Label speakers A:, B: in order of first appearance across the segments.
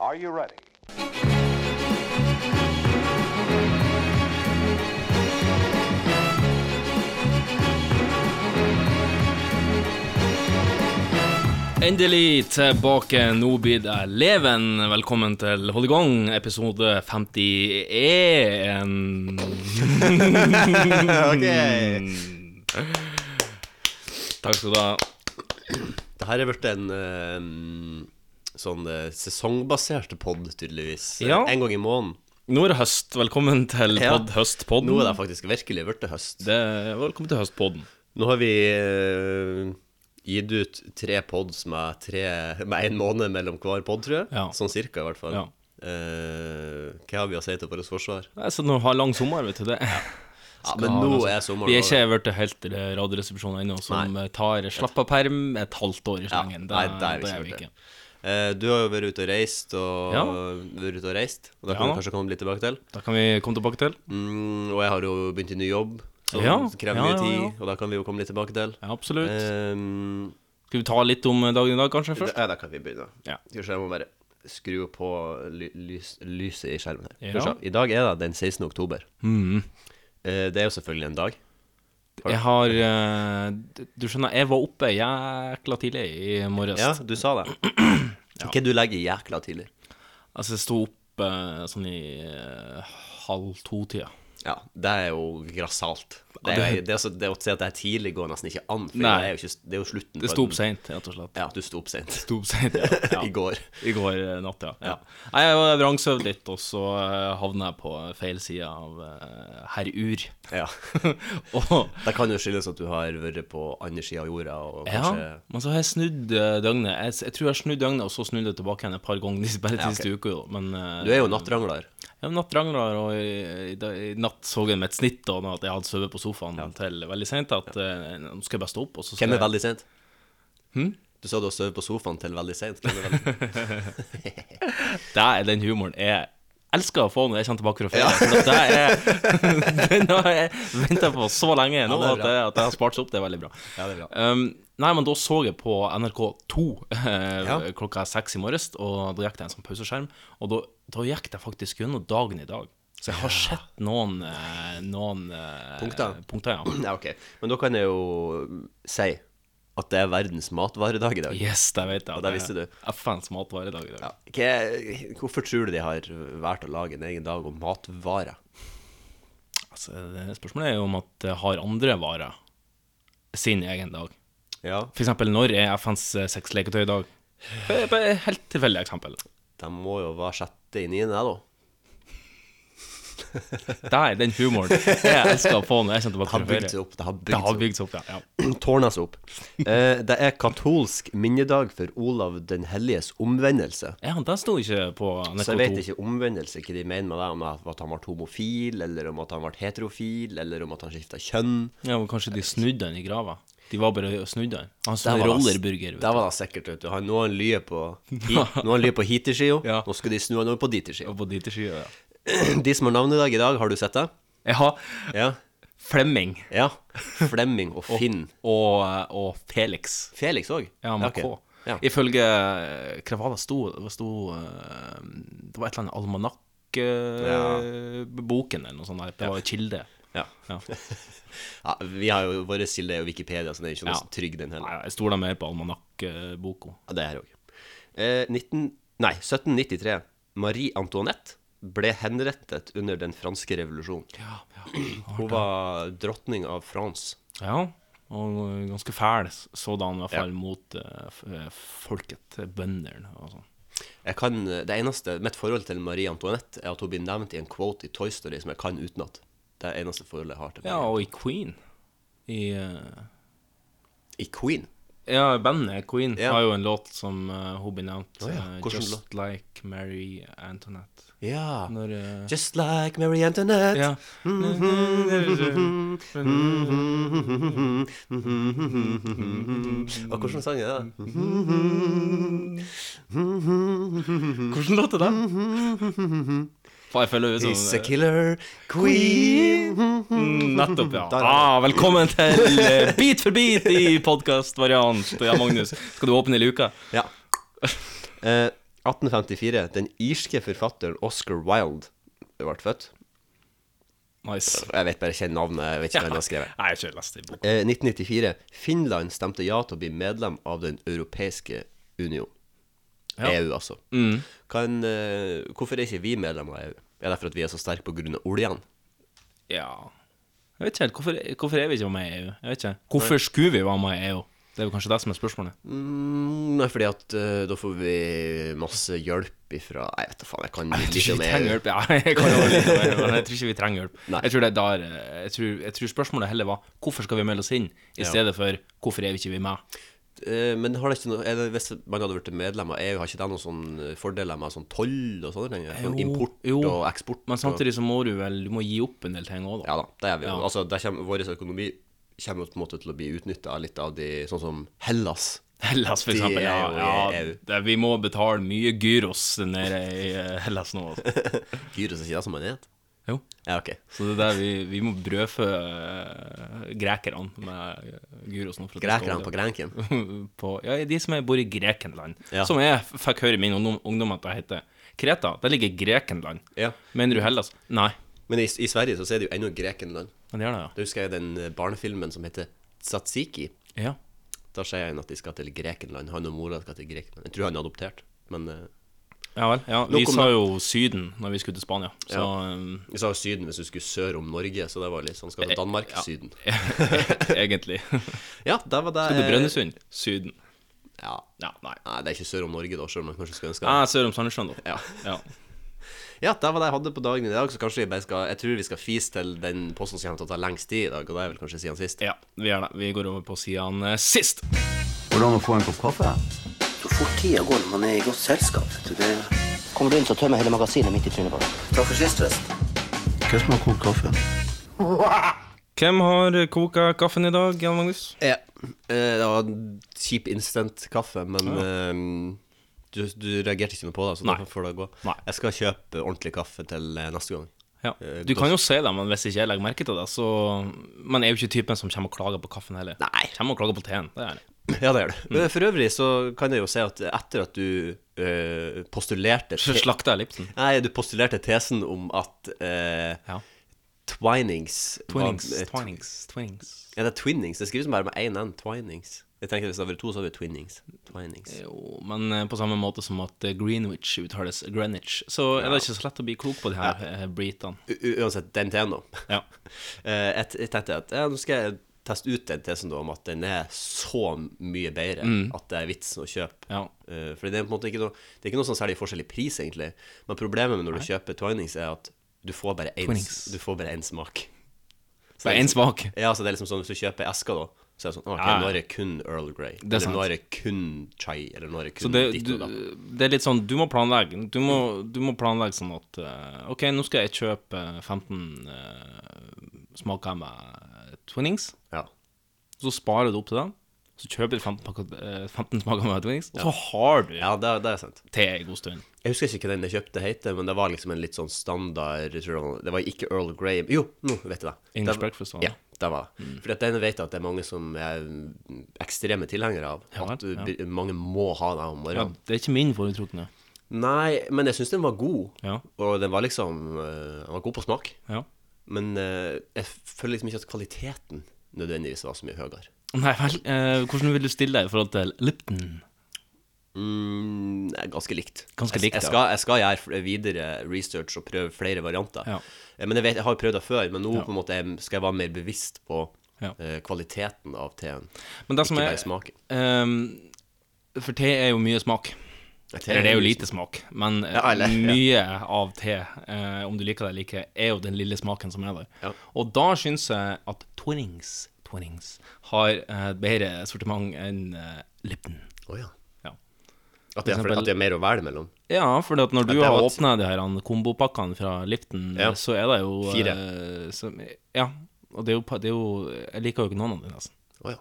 A: Are you ready?
B: Endelig tilbake. Nå blir det leven. Velkommen til Hold i gang, episode 51.
C: Mm.
B: Takk skal du ha.
C: Det her er blitt en eh, sånn eh, sesongbasert pod, tydeligvis.
B: Ja.
C: En gang i måneden.
B: Nå er det høst. Velkommen til
C: Ja.
B: podd høstpodden.
C: Nå er det faktisk virkelig blitt høst.
B: Det er- velkommen til høstpodden.
C: Nå har vi eh, gitt ut tre pods med, tre, med en måned mellom hver pod, tror jeg.
B: Ja.
C: Sånn cirka, i hvert fall.
B: Ja.
C: Eh, hva har vi å si til vårt forsvar?
B: Nei, Så nå har lang sommer, vet du det.
C: Ja, men nå er sommeren
B: Vi er
C: over.
B: ikke blitt helt til Radioresepsjonen ennå, som
C: Nei.
B: tar slapp av perm et halvt år i slengen.
C: nei, det er vi
B: det
C: ikke blitt. Eh, du har jo vært ute og reist, og,
B: Ja.
C: vært ute og reist, og det
B: Ja.
C: kan vi kanskje komme litt tilbake til.
B: Da kan vi komme tilbake til.
C: Mm, og jeg har jo begynt i ny jobb, som
B: Ja,
C: krever
B: ja,
C: mye
B: ja,
C: tid,
B: ja.
C: og da kan vi jo komme litt tilbake til.
B: Ja, absolutt.
C: Ehm,
B: Skal vi ta litt om dagen i dag, kanskje,
C: det,
B: først?
C: ja, da kan vi begynne.
B: Ja.
C: Skal vi se, jeg må bare skru på ly lys lyset i skjermen her.
B: Ja.
C: Skal vi se. I dag er det den 16. oktober.
B: Mhm.
C: Eh, det er jo selvfølgelig en dag.
B: Jeg har eh, d- Du skjønner, jeg var oppe jækla tidlig i morges.
C: Ja, du sa det. Hva du legger i jækla tidlig?
B: Altså, jeg sto opp eh, sånn i eh, halv to-tida.
C: Ja, det er jo grassat. Det, er, det, er, så- det å si at det er tidlig går nesten ikke an, for
B: Nei.
C: det er jo, ikke, det er jo
B: Det
C: slutten. på
B: sto
C: en-
B: opp seint, rett og slett.
C: Ja, du sto opp sent.
B: Sto opp seint, ja. ja.
C: I går.
B: I går eh, natt, ja.
C: Ja.
B: Nei, Jeg var vrangsøvd litt, og så eh, havna jeg på feil side av eh, herr Ur.
C: Ja.
B: og
C: Det kan jo skyldes at du har vært på andre sida av jorda, og kanskje
B: Ja, men så har jeg snudd eh, døgnet. Jeg, s- jeg tror jeg har snudd døgnet, og så snudde jeg tilbake igjen et par ganger de- bare de
C: Ja, ok.
B: siste uka. jo. Men eh,
C: Du er jo nattrangler.
B: Jeg var nattrangler, og i, i, dag- i natt så jeg med et snitt da når at jeg hadde sovet på sofaen til veldig sent, at eh, nå skal jeg bare stå opp, og så skal
C: Hvem er
B: jeg
C: veldig sent? Du sa du har sovet på sofaen til veldig sent. Hvem er veldig...
B: Det er den humoren jeg elsker å få når jeg kommer tilbake fra ferie. Ja. den har jeg venta på så lenge nå at,
C: Ja, det er bra.
B: det, at det har spart seg opp. Det er veldig bra.
C: Ja, det er bra.
B: Um, nei, men da så jeg på NRK2 eh,
C: Ja.
B: klokka seks i morges, og da gikk det en sånn pauseskjerm, og da, da gikk det faktisk gjennom dagen i dag. Så jeg har sett noen, eh, noen eh,
C: Punkter.
B: punkter ja.
C: Ja, ok. Men da kan jeg jo si at det er verdens matvaredag i dag.
B: Yes, det vet jeg.
C: Og det visste du.
B: FNs matvaredag i dag.
C: Ja. Hva- Hvorfor tror du de har valgt å lage en egen dag om matvarer?
B: Altså, det- spørsmålet er jo om at det har andre varer sin egen dag.
C: Ja.
B: For eksempel, når er FNs eh, sexleketøydag? Bare- bare et Helt tilfeldig eksempel.
C: De må jo være sjette i niende, da.
B: Det er den humoren jeg elsker å få når jeg kommer tilbake
C: Det har
B: fra ferie.
C: bygd seg opp. Det har
B: Det har
C: bygd
B: bygd seg opp, ja. ja.
C: seg opp. Tårna seg opp. Eh, det er katolsk minnedag for Olav den helliges omvendelse.
B: ja det sto ikke på
C: Så jeg vet
B: NRK2.
C: ikke omvendelse, hva de mener med det, om at han ble homofil, eller om at han ble heterofil, eller om at han skifta kjønn.
B: Ja, men kanskje de snudde den i grava? De var bare og snudde den. Han
C: Der
B: snudde
C: var det-
B: rollerburger.
C: Der var det sikkert, vet du. Han, nå har han lyet på, hi- nå har han lyet på hiterskia,
B: Ja.
C: nå skal de snu han over på diterskia.
B: Og på dit i skyen, ja.
C: De som har navnedag i dag, har du sett det?
B: Jeg har
C: Ja.
B: Flemming
C: ja. Flemming og Finn.
B: og, eh, og Felix.
C: Felix òg?
B: Ja, med
C: ok.
B: K.
C: Ja.
B: Ifølge Hva var det sto? Det sto eh, Det var et eller annet almanakk-boken eller noe sånt. Der. Det var en kilde.
C: Ja.
B: Ja.
C: ja. Vi har jo våre kilder er jo Wikipedia, så den er ikke noe
B: Ja.
C: så trygg, den heller.
B: Nei, jeg stoler mer på almanakk-boka.
C: Ja, det er jeg òg. Eh, 19 nei, 1793. Marie Antoinette ble henrettet under den franske revolusjonen.
B: Ja, ja.
C: Hun var dronning av France.
B: ja. Og ganske fæl sådan, i hvert fall
C: Ja.
B: mot eh, f- eh, folket, bøndene og sånn.
C: Jeg kan, det eneste, Mitt forhold til Marie Antoinette er at hun blir nevnt i en quote i Toy Story som jeg kan utenat. Det er det eneste forholdet jeg har til
B: Ja,
C: Marie.
B: og i Queen I eh,
C: I Queen.
B: Ja, bandet Queen
C: Ja.
B: har jo en låt som eh, hun blir nevnt.
C: Å ja,
B: eh,
C: hvordan
B: Just Like Mary Antoinette.
C: Ja.
B: Når eh,
C: Just like Marie Antoinette.
B: Ja.
C: Og hvordan sang er det?
B: Hvordan låt er det? Faen, jeg føler ut
C: He's a
B: som
C: killer queen.
B: Nettopp, ja.
C: Der er det.
B: Ah, velkommen til eh, Beat for beat i podkastvariant. Ja, Magnus, skal du åpne luka?
C: Ja. Eh, 1854. Den irske forfatteren Oscar Wilde ble født.
B: Nice.
C: Jeg vet bare ikke navnet. jeg vet ikke hvem han har skrevet
B: Nei, jeg har ikke lest den boka.
C: Eh, 1994. Finland stemte ja til å bli medlem av Den europeiske union.
B: Ja.
C: EU, altså.
B: Mm.
C: Kan, eh, hvorfor er ikke vi medlem av EU? Er det for at vi er så sterke pga. oljen?
B: Ja Jeg vet ikke helt. Hvorfor, hvorfor er vi ikke med i EU? Jeg vet ikke. Hvorfor skulle vi være med i EU? Det er jo kanskje det som er spørsmålet.
C: Mm, nei, fordi at eh, da får vi masse hjelp ifra Nei, vet da faen, jeg kan
B: Jeg tror ikke
C: ikke om E
B: vi trenger
C: EU.
B: hjelp. Ja, jeg, kan jo litt om EU, men jeg tror ikke vi trenger hjelp.
C: Nei.
B: Jeg tror, det er der, eh, jeg, tror, jeg tror spørsmålet heller var hvorfor skal vi melde oss inn, i stedet for hvorfor er vi ikke vi med?
C: Eh, men har det ikke noe er det, hvis man hadde blitt medlem av EU, har ikke det noen sånne fordeler med sånn toll og sånne ting? Sånn
B: Jo,
C: import
B: jo.
C: og eksport?
B: Men
C: og,
B: samtidig så må du vel du må gi opp en del ting òg, da.
C: ja da, det er vi jo. Altså, det kommer, vår økonomi kommer jo på en måte til å bli utnytta litt av de sånn som Hellas.
B: Hellas, for
C: De
B: eksempel.
C: er
B: Ja,
C: jo i
B: ja,
C: EU.
B: det, vi må betale mye gyros nede i eh, Hellas nå. altså.
C: Gyros er ikke det som man heter?
B: Jo.
C: Ja, ok.
B: Så det er der vi, vi må brødfø eh, grekerne med eh, gyros nå. for at de skal
C: Grekerne
B: overleve.
C: på Grenken.
B: på Ja, de som er- bor i Grekenland.
C: Ja.
B: Som jeg f- fikk høre i min ungdom, ungdom at det heter Kreta. Der ligger Grekenland.
C: Ja.
B: Mener du Hellas? Nei.
C: Men i, i Sverige så er det jo ennå Grekenland.
B: Men det gjør det,
C: Da husker jeg den eh, barnefilmen som heter Tsatsiki.
B: ja. ja.
C: Da sier han at de skal til Grekenland. Han og mora skal til Grekenland. Jeg tror han er adoptert. Men eh,
B: Ja vel. Ja, vi
C: Nok om
B: sa jo Syden når vi skulle til Spania, så um,
C: vi sa jo Syden hvis du skulle sør om Norge, så det var litt sånn. Skal til Danmark?
B: Ja.
C: Syden.
B: eh, egentlig.
C: Ja, der var det
B: Skal til
C: eh,
B: Brønnøysund? Syden.
C: Ja.
B: Ja, nei.
C: Nei, det er ikke sør om Norge, da, selv om man kanskje skulle ønske det.
B: Ah, sør om Sandnessjøen, da.
C: Ja.
B: Ja.
C: ja, det var det jeg hadde på dagen i dag, så kanskje vi bare skal Jeg tror vi skal fise til den posten som kommer til å ta lengst tid i dag, og det er vel kanskje siden sist.
B: ja, vi gjør det. Vi går over på siden eh, sist.
A: Går det an å få en kopp kaffe?
D: Så fort tida går når man er i godt selskap. vet du, Det
E: Kommer du inn, så tømmer jeg hele magasinet midt i trynet på deg.
D: Takk for sist, forresten.
A: Hvem som har kokt kaffe?
B: Hvem har koka kaffen i dag, Jan Magnus?
C: Ja. eh, Det var kjip instant-kaffe, men eh, du, du reagerte ikke noe på det, så
B: Nei.
C: da får det gå.
B: Nei.
C: Jeg skal kjøpe ordentlig kaffe til eh, neste gang.
B: Ja.
C: Eh,
B: Du kan jo si det, men hvis ikke jeg legger merke til det, så Man er jo ikke typen som kommer og klager på kaffen heller.
C: Nei.
B: Kommer og klager på teen. Det er jeg.
C: Ja, det gjør du. Eh, For øvrig så kan jeg jo si at etter at du eh, postulerte
B: Så
C: te-
B: slakter jeg Lipsen.
C: Nei, du postulerte tesen om at eh,
B: Ja.
C: twinings var-
B: Twinings.
C: eh, tw-
B: Twinings. Twinings.
C: Ja, det er twinnings. Det skrives bare med én n. Twinings. Jeg tenker Hvis det hadde vært to, så hadde det vært twinnings. Twinings.
B: Jo, men eh, på samme måte som at eh, Greenwich uttales Greenwich, så er det ikke så lett å bli klok på de her eh, britene.
C: U u- uansett, den teen, da.
B: Ja.
C: Eh, jeg, t- jeg tenkte at ja, nå skal jeg teste ut den tesen da, om at den er så mye bedre at det er vitsen å kjøpe.
B: Ja.
C: Eh, fordi det er på en måte ikke noe Det er ikke noe sånn særlig forskjell i pris, egentlig. Men problemet med når du kjøper Twinings, er at du får bare én
B: Twinings.
C: du får bare én smak.
B: Det er
C: Så liksom-
B: én smak.
C: Ja, så det er liksom sånn hvis du kjøper esker, da, så er det sånn OK,
B: Ah, Ja.
C: nå er det kun Earl Grey.
B: er
C: Eller
B: sant.
C: nå er det kun chai. Eller nå er det
B: Så
C: kun
B: det,
C: ditt
B: du,
C: og datt.
B: det er litt sånn Du må planlegge. Du må, du må planlegge sånn at eh, OK, nå skal jeg kjøpe 15 eh, smaker med Twinings.
C: Ja.
B: Så sparer du opp til den. Så kjøper du 15, pakker, eh, 15 smaker med Twinings, og så har du
C: ja, det, det er sant.
B: te i god stund.
C: Jeg husker ikke hva den jeg kjøpte heter, men det var liksom en litt sånn standard jeg tror det var- Det var ikke Earl Grey Jo, nå vet jeg det.
B: English
C: det,
B: breakfast, var Mm. det?
C: Ja, det var det. Fordi at den vet jeg at det er mange som er mm, ekstreme tilhengere av.
B: Ja
C: at
B: vel,
C: du- mange må ha det om
B: Ja,
C: morgenen.
B: det er ikke min foretrukne.
C: Nei, men jeg syns den var god.
B: Ja.
C: Og den var liksom eh, Den var god på smak.
B: Ja.
C: Men eh, jeg føler liksom ikke at kvaliteten nødvendigvis var så mye høyere.
B: Nei vel, eh, hvordan vil du stille deg i forhold til Lipton?
C: Mm, det er ganske likt.
B: Ganske likt,
C: jeg, jeg,
B: ja.
C: skal, jeg skal gjøre fl- videre research og prøve flere varianter.
B: Ja.
C: Eh, Men jeg, vet, jeg har jo prøvd det før, men nå på en måte jeg- skal jeg være mer bevisst på
B: Ja.
C: eh, kvaliteten av teen.
B: Men det som
C: Ikke
B: er
C: bare smaken.
B: ehm, For te er jo mye smak. Eller det er jo lite smak, men eh,
C: Ja, eller- ja.
B: mye av te, eh, om du liker det eller ikke, er jo den lille smaken som er der.
C: Ja.
B: Og da syns jeg at Twinings, Twinings har eh, et bedre sortiment enn eh, Lipton.
C: Å ja.
B: Ja.
C: At det, er,
B: eksempel-
C: at det er mer å velge mellom.
B: Ja, for når du
C: det
B: har
C: var-
B: åpna de her han, kombopakkene fra Lipton,
C: Ja.
B: så er det jo eh,
C: Fire.
B: som, ja. Og det er, jo, pa- det er jo Jeg liker jo ikke noen av dem, nesten.
C: Å ja.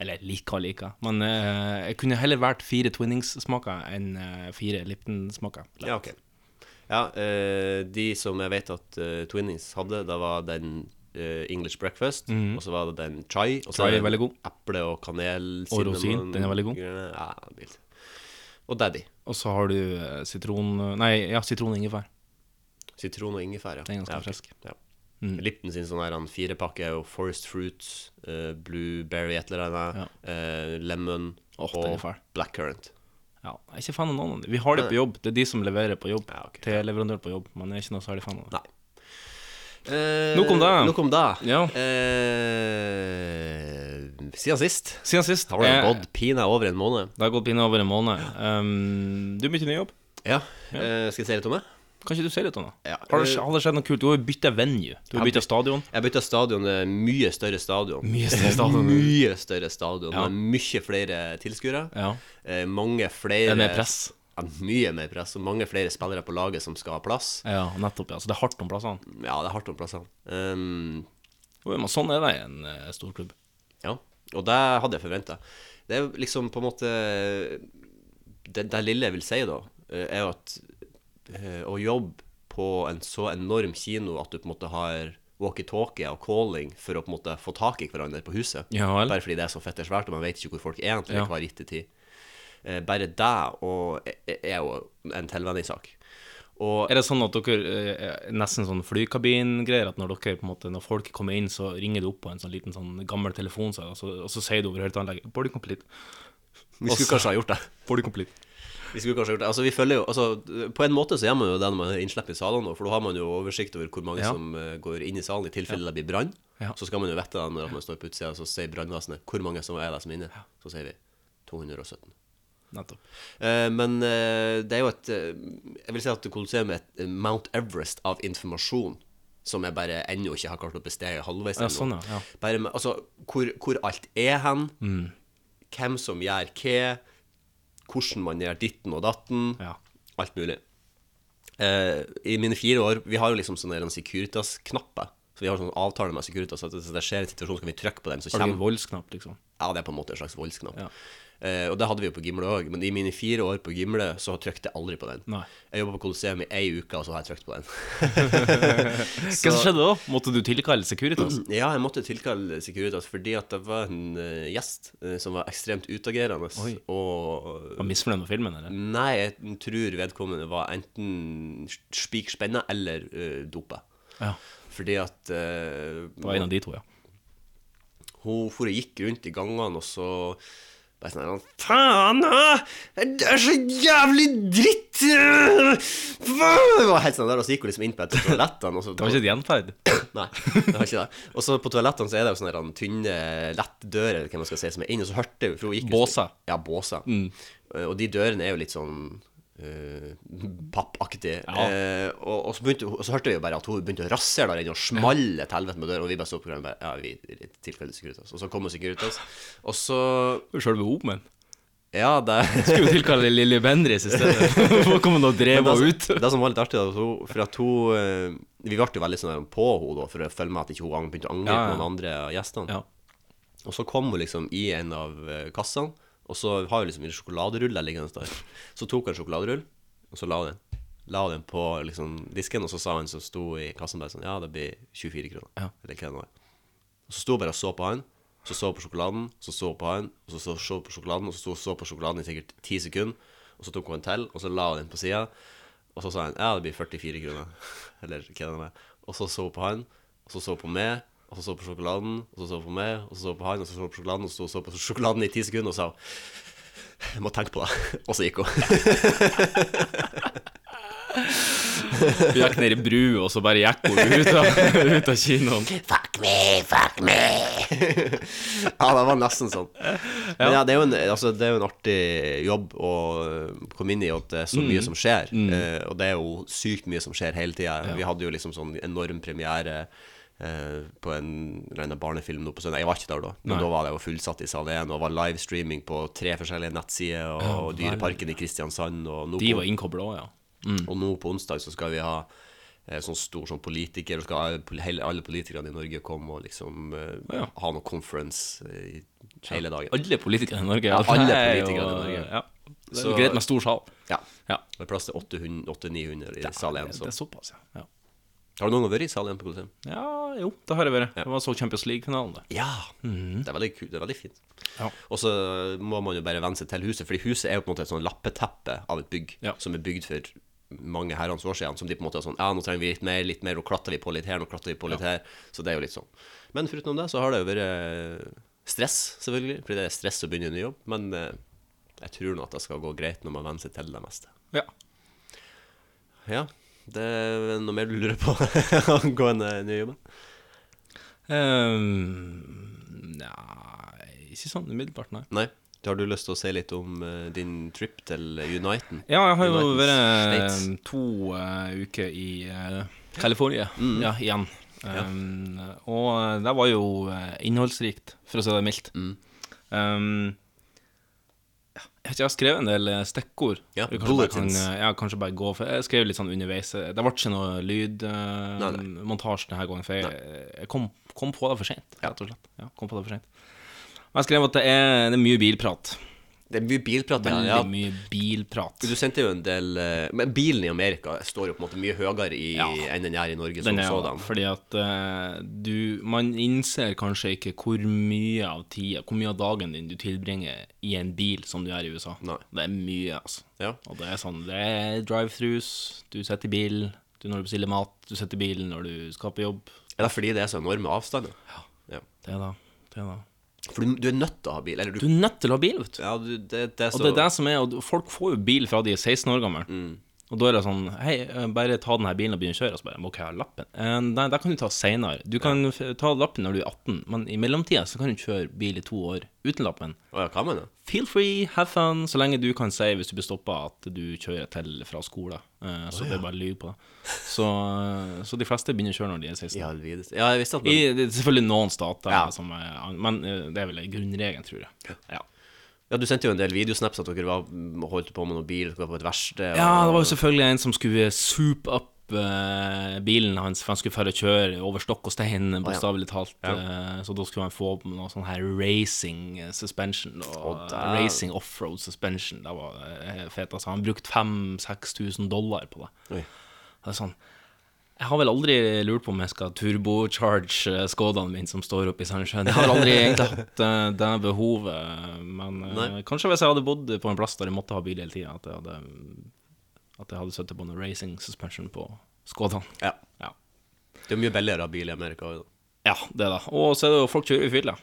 B: Eller liker og liker. Men eh, jeg kunne heller valgt fire Twinings-smaker enn eh, fire Lipton-smaker.
C: Ja, ok. Ja, eh, de som jeg vet at eh, Twinnies hadde, da var den eh, English breakfast, og så var det den chai. Og
B: Mhm.
C: så
B: Chai
C: den
B: er veldig god.
C: Eple og kanel.
B: Og rosin,
C: cinnamon,
B: den er veldig god.
C: grønne- Ja, vilt. og daddy.
B: Og så har du eh, sitron Nei, ja, sitron og ingefær.
C: Sitron og ingefær, ja.
B: Den er ganske
C: ja, ok.
B: frisk.
C: Ja.
B: Mm.
C: Lipton sin sånn her han firepakke er jo Forest Fruit, eh, Blueberry et eller annet, eh, Lemon
B: Åh, den er
C: og
B: fæl.
C: Blackcurrant.
B: Ja, jeg er ikke fan av noen av dem. Vi har det på jobb. Det er de som leverer på jobb.
C: Ja, ok.
B: Til leverandør på jobb. Men jeg er ikke noe særlig fan av det.
C: Nei. Eh,
B: Nok om det.
C: Nok om det.
B: Ja.
C: Eh, siden sist
B: Siden sist
C: har det
B: eh,
C: gått pinadø over en måned.
B: Det har gått pinne over en måned. Um, du begynte ny jobb.
C: Ja. Eh, skal jeg si litt om det?
B: Kan ikke du si litt om det?
C: Ja,
B: Har, det
C: eh,
B: skj- har det skjedd noe kult? Du har jo bytta venue. Du har
C: Jeg
B: bytta stadion.
C: Jeg bytta stadion. Det er mye større stadion.
B: Mye større stadion.
C: Mye større stadion.
B: Ja.
C: Med mye flere tilskuere.
B: Ja.
C: Eh, mange flere
B: Det er mer press.
C: Ja, mye mer press. Og mange flere spillere på laget som skal ha plass.
B: Ja, nettopp. ja Så det er hardt om plassene.
C: Ja, det er hardt om plassene. Um,
B: Jo, men sånn er det i en eh, stor klubb.
C: ja. Og det hadde jeg forventa. Det er jo liksom på en måte Det, det lille jeg vil si, da, eh, er jo at eh, å jobbe på en så enorm kino at du på en måte har walkietalkie og calling for å på en måte få tak i hverandre på huset.
B: Ja vel.
C: Bare fordi det er så fette svært, og man vet ikke hvor folk er til
B: Ja.
C: hver gitte tid. Eh, Bare det og eh, er jo en tilvenningssak. Og
B: Er det sånn at dere eh, er nesten sånn flykabingreier, at når dere på en måte Når folk kommer inn, så ringer du opp på en sånn liten sånn gammel telefon, så, og, så, og så sier du over hele anlegget 'Boarding complete'.
C: vi skulle
B: Også-
C: kanskje ha gjort det.
B: Boarding complete.
C: Vi skulle kanskje gjort det. Altså, vi følger jo altså, På en måte så gjør man jo det når man er innslipp i salene, nå, for da har man jo oversikt over hvor mange
B: Ja.
C: som eh, går inn i salen i tilfelle det blir brann.
B: Ja.
C: Så skal man jo vite det når at man står på utsida, så sier brannvesenet hvor mange som er det som er inne. Så sier vi 217.
B: Nettopp.
C: Eh, men eh, det er jo et eh, Jeg vil si at Colosseum er et eh, Mount Everest av informasjon. Som jeg bare ennå ikke har klart å bestige halvveis.
B: Ja,
C: eller noe.
B: sånn, ja, Mm. ja.
C: Bare med, altså, hvor, hvor alt er hen, hvem som gjør hva, hvordan man gjør ditten og datten.
B: Ja.
C: Alt mulig. Eh, I mine fire år Vi har jo liksom sånne der Securitas-knapper. Så vi har sånn avtale med Securitas at hvis det skjer en situasjon, så kan vi trykke på den, så
B: Har du
C: kommer
B: en voldsknapp, liksom?
C: ja, det er på en måte en slags voldsknapp.
B: Ja.
C: Eh, og det hadde vi jo på Gimle òg, men i mine fire år på Gimle så trykte jeg aldri på den.
B: Nei.
C: Jeg jobba på Colosseum i ei uke, og så har jeg trykt på den.
B: Hva som skjedde da? Måtte du tilkalle Securitas?
C: Ja, jeg måtte tilkalle Securitas fordi at det var en eh, gjest eh, som var ekstremt utagerende,
B: Oi.
C: og
B: Var misfornøyd med filmen, eller?
C: Nei, jeg tror vedkommende var enten spikspenna eller uh, dopa.
B: Ja.
C: Fordi at eh,
B: Det var en av de to, ja.
C: Hun for og gikk rundt i gangene, og så bare sånn her, Faen, ah! det er så jævlig dritt! øh, faen!» Det var helt sånn der, Og så gikk hun liksom inn på et av toalettene, og så
B: Det var ikke et gjenferd?
C: Nei, det var ikke det. Og så på toalettene så er det jo sånne her, han tynne lettdører, eller hva man skal si, som er inne, og så hørte hun for hun gikk jo-
B: Båser. Mm.
C: Ja, båser. Eh, Og de dørene er jo litt sånn eh, pappaktige.
B: Ja.
C: Eh, og, og, så begynte, hun- og så hørte vi jo bare at hun begynte å rasere der inne og smalle til helvete med døra, og vi bare så på hverandre bare, ja, vi tilkaller Securitas. Og så kom hun Securitas, og så
B: Sjølve Omen?
C: Ja, det
B: Skulle jo tilkalle Lilly Bendriss i stedet. Hvor kom hun og drev
C: Men
B: henne
C: det,
B: ut?
C: som- det som var litt artig, da, at hun- for at hun eh, Vi ble jo veldig sånn der på henne da, for å følge med at ikke hun ang- begynte å angripe
B: Ja, ja.
C: noen andre av gjestene.
B: Ja.
C: Og så kom hun liksom i en av eh, kassene, og så har hun liksom en sjokoladerulle liggende der. Så tok hun en sjokoladerull, og så la hun den. La hun den på liksom disken, og så sa han som sto i kassen bare sånn Ja, det blir 24 kroner.
B: Ja.
C: Eller hva det nå er. Og så sto hun bare og så på han, så så hun på sjokoladen, så så hun på han, og så så så hun på sjokoladen, og så sto hun og så på sjokoladen i sikkert ti sekunder, og så tok hun en til, og så la hun den på sida, og så sa han ja, det blir 44 kroner, eller hva det nå er, og så så hun på han, og så så hun på meg, og så så hun på sjokoladen, og så så hun på meg, og så så hun på han, og så så hun på sjokoladen, og så sto hun og så på sjokoladen i ti sekunder, og sa jeg må tenke på det, og så gikk hun.
B: Vi gikk ned i bru, og så bare gikk hun ut av, ut av kinoen.
C: Fuck me, fuck me! ja, det var nesten sånn. Men ja, det er jo en, altså, det er jo en artig jobb å øh, komme inn i, og at det er så mye
B: Mm.
C: som skjer. Eh, og det er jo sykt mye som skjer hele tida. Vi hadde jo liksom sånn enorm premiere eh, på en eller annen barnefilm nå på søndag. Jeg var ikke der da, men
B: Nei.
C: da var det jo fullsatt i sal 1, og var livestreaming på tre forskjellige nettsider, og, Dyreparken i Kristiansand, og nå
B: De
C: på-
B: var innkobla òg, ja.
C: og nå på onsdag så skal vi ha eh, sånn stor sånn politiker, og skal alle pol- hele, alle politikerne i Norge komme og liksom eh,
B: Ja.
C: ha noe conference eh, i hele dagen.
B: Alle politikere i Norge.
C: Ja, alle
B: det er jo-
C: politikerne i Norge.
B: Ja. Det er
C: Så-
B: jo greit med stor sal.
C: Ja.
B: Ja.
C: Det er plass til 800 800-900 i sal 1.
B: Det er
C: Så.
B: såpass, ja. ja.
C: Har du noen gang vært i Salien på Colosseum?
B: Ja, jo, det har jeg vært. Det var så Champions League-finalen, det.
C: Ja.
B: Mhm.
C: Det er veldig kult. Det er veldig fint.
B: Ja.
C: Og så må man jo bare venne seg til huset, fordi huset er jo på en måte et sånn lappeteppe av et bygg
B: Ja.
C: som er bygd for mange herrens år siden, som de på en måte er sånn Ja, nå trenger vi litt mer, litt mer, og klatrer vi på litt her, nå klatrer vi på litt her. Så det er jo litt sånn. Men foruten det så har det jo vært eh, stress, selvfølgelig, fordi det er stress å begynne i ny jobb. Men eh, jeg tror nå at det skal gå greit når man venner seg til det meste.
B: Ja.
C: Ja. Det er noe mer du lurer på angående nye jobben?
B: Ehm, nei, ikke sånn umiddelbart, nei.
C: Nei. Har du lyst til å si litt om eh, din trip til Uniten?
B: Ja, jeg har jo
C: United
B: vært
C: States.
B: eh, to eh, uker i uh, California ja, igjen. Um, Og eh, det var jo eh, innholdsrikt, for å si det mildt.
C: Mm.
B: Um, jeg vet ikke, jeg har skrevet en del eh, stikkord.
C: Ja,
B: Vi kanskje bare kan,
C: bulletins.
B: eh, ja, kanskje bare gå for Jeg skrev litt sånn underveis. eh, Det ble ikke noe
C: Nei,
B: lydmontasje denne gangen, for jeg, jeg kom, kom på det for seint, rett og slett. Ja, kom på det for sent. Men jeg skrev at det er, det er mye bilprat.
C: Det er mye bilprat.
B: Veldig
C: Ja.
B: mye bilprat.
C: Du sendte jo en del eh, Men bilen i Amerika står jo på en måte mye høyere i,
B: Ja.
C: enn den er i Norge som
B: Den er jo
C: sådan.
B: fordi at eh, du Man innser kanskje ikke hvor mye av tida, hvor mye av dagen din du tilbringer i en bil som du gjør i USA.
C: Nei.
B: Det er mye, altså.
C: Ja.
B: Og det er sånn Det er drive-thrus, du sitter i bilen du når du bestiller mat, du sitter i bilen når du skal på jobb.
C: Er det fordi det er så enorme avstander? Ja.
B: Det er da. Det er da.
C: For du, du er nødt til å ha bil. Eller
B: Du
C: du,
B: er nødt til å ha bil, vet du.
C: Ja, du, det, det er
B: Og
C: så Mm.
B: det er det som er, og folk får jo bil fra de er 16 år gamle. Og da er det sånn Hei, eh, bare ta denne bilen og begynne å kjøre. Og så bare Må ikke jeg ha lappen? Eh, Nei, det kan du ta seinere. Du kan f- ta lappen når du er 18, men i mellomtida så kan du kjøre bil i to år uten lappen.
C: Å ja, hva mener du?
B: Feel free, have fun, så lenge du kan si hvis du blir stoppa at du kjører til fra skolen. Eh, Så det er bare lyd på det. Så, så de fleste begynner å kjøre når de er 16.
C: I all videste Ja, jeg visste at
B: I,
C: men,
B: det er selvfølgelig noen stater,
C: Ja.
B: som er, men eh, det er vel grunnregelen, tror jeg. Ja.
C: Ja, du sendte jo en del videosnaps at dere var, holdt på med noe bil, dere var på et verksted og-
B: Ja, det var jo selvfølgelig en som skulle soup up eh, bilen hans, for han skulle føre og kjøre over stokk og stein, bokstavelig talt. eh, så da skulle han få noe sånn her racing eh, suspension, og eh,
C: der.
B: racing offroad suspension. Det var eh, fett. Altså, han brukte 5000-6000 dollar på det.
C: Oi.
B: Det er sånn jeg har vel aldri lurt på om jeg skal turbocharge eh, Skodaen min som står oppe i Sandnessjøen. Jeg har aldri egentlig hatt eh, det behovet, men eh,
C: Nei.
B: kanskje hvis jeg hadde bodd på en plass der jeg måtte ha bil hele tida, at jeg hadde At jeg hadde sittet på noe racing suspension på Skodaen.
C: ja.
B: Ja.
C: Det er mye billigere å ha bil i Amerika også, da.
B: ja, det da. Og så er det jo folk kjører i fylla.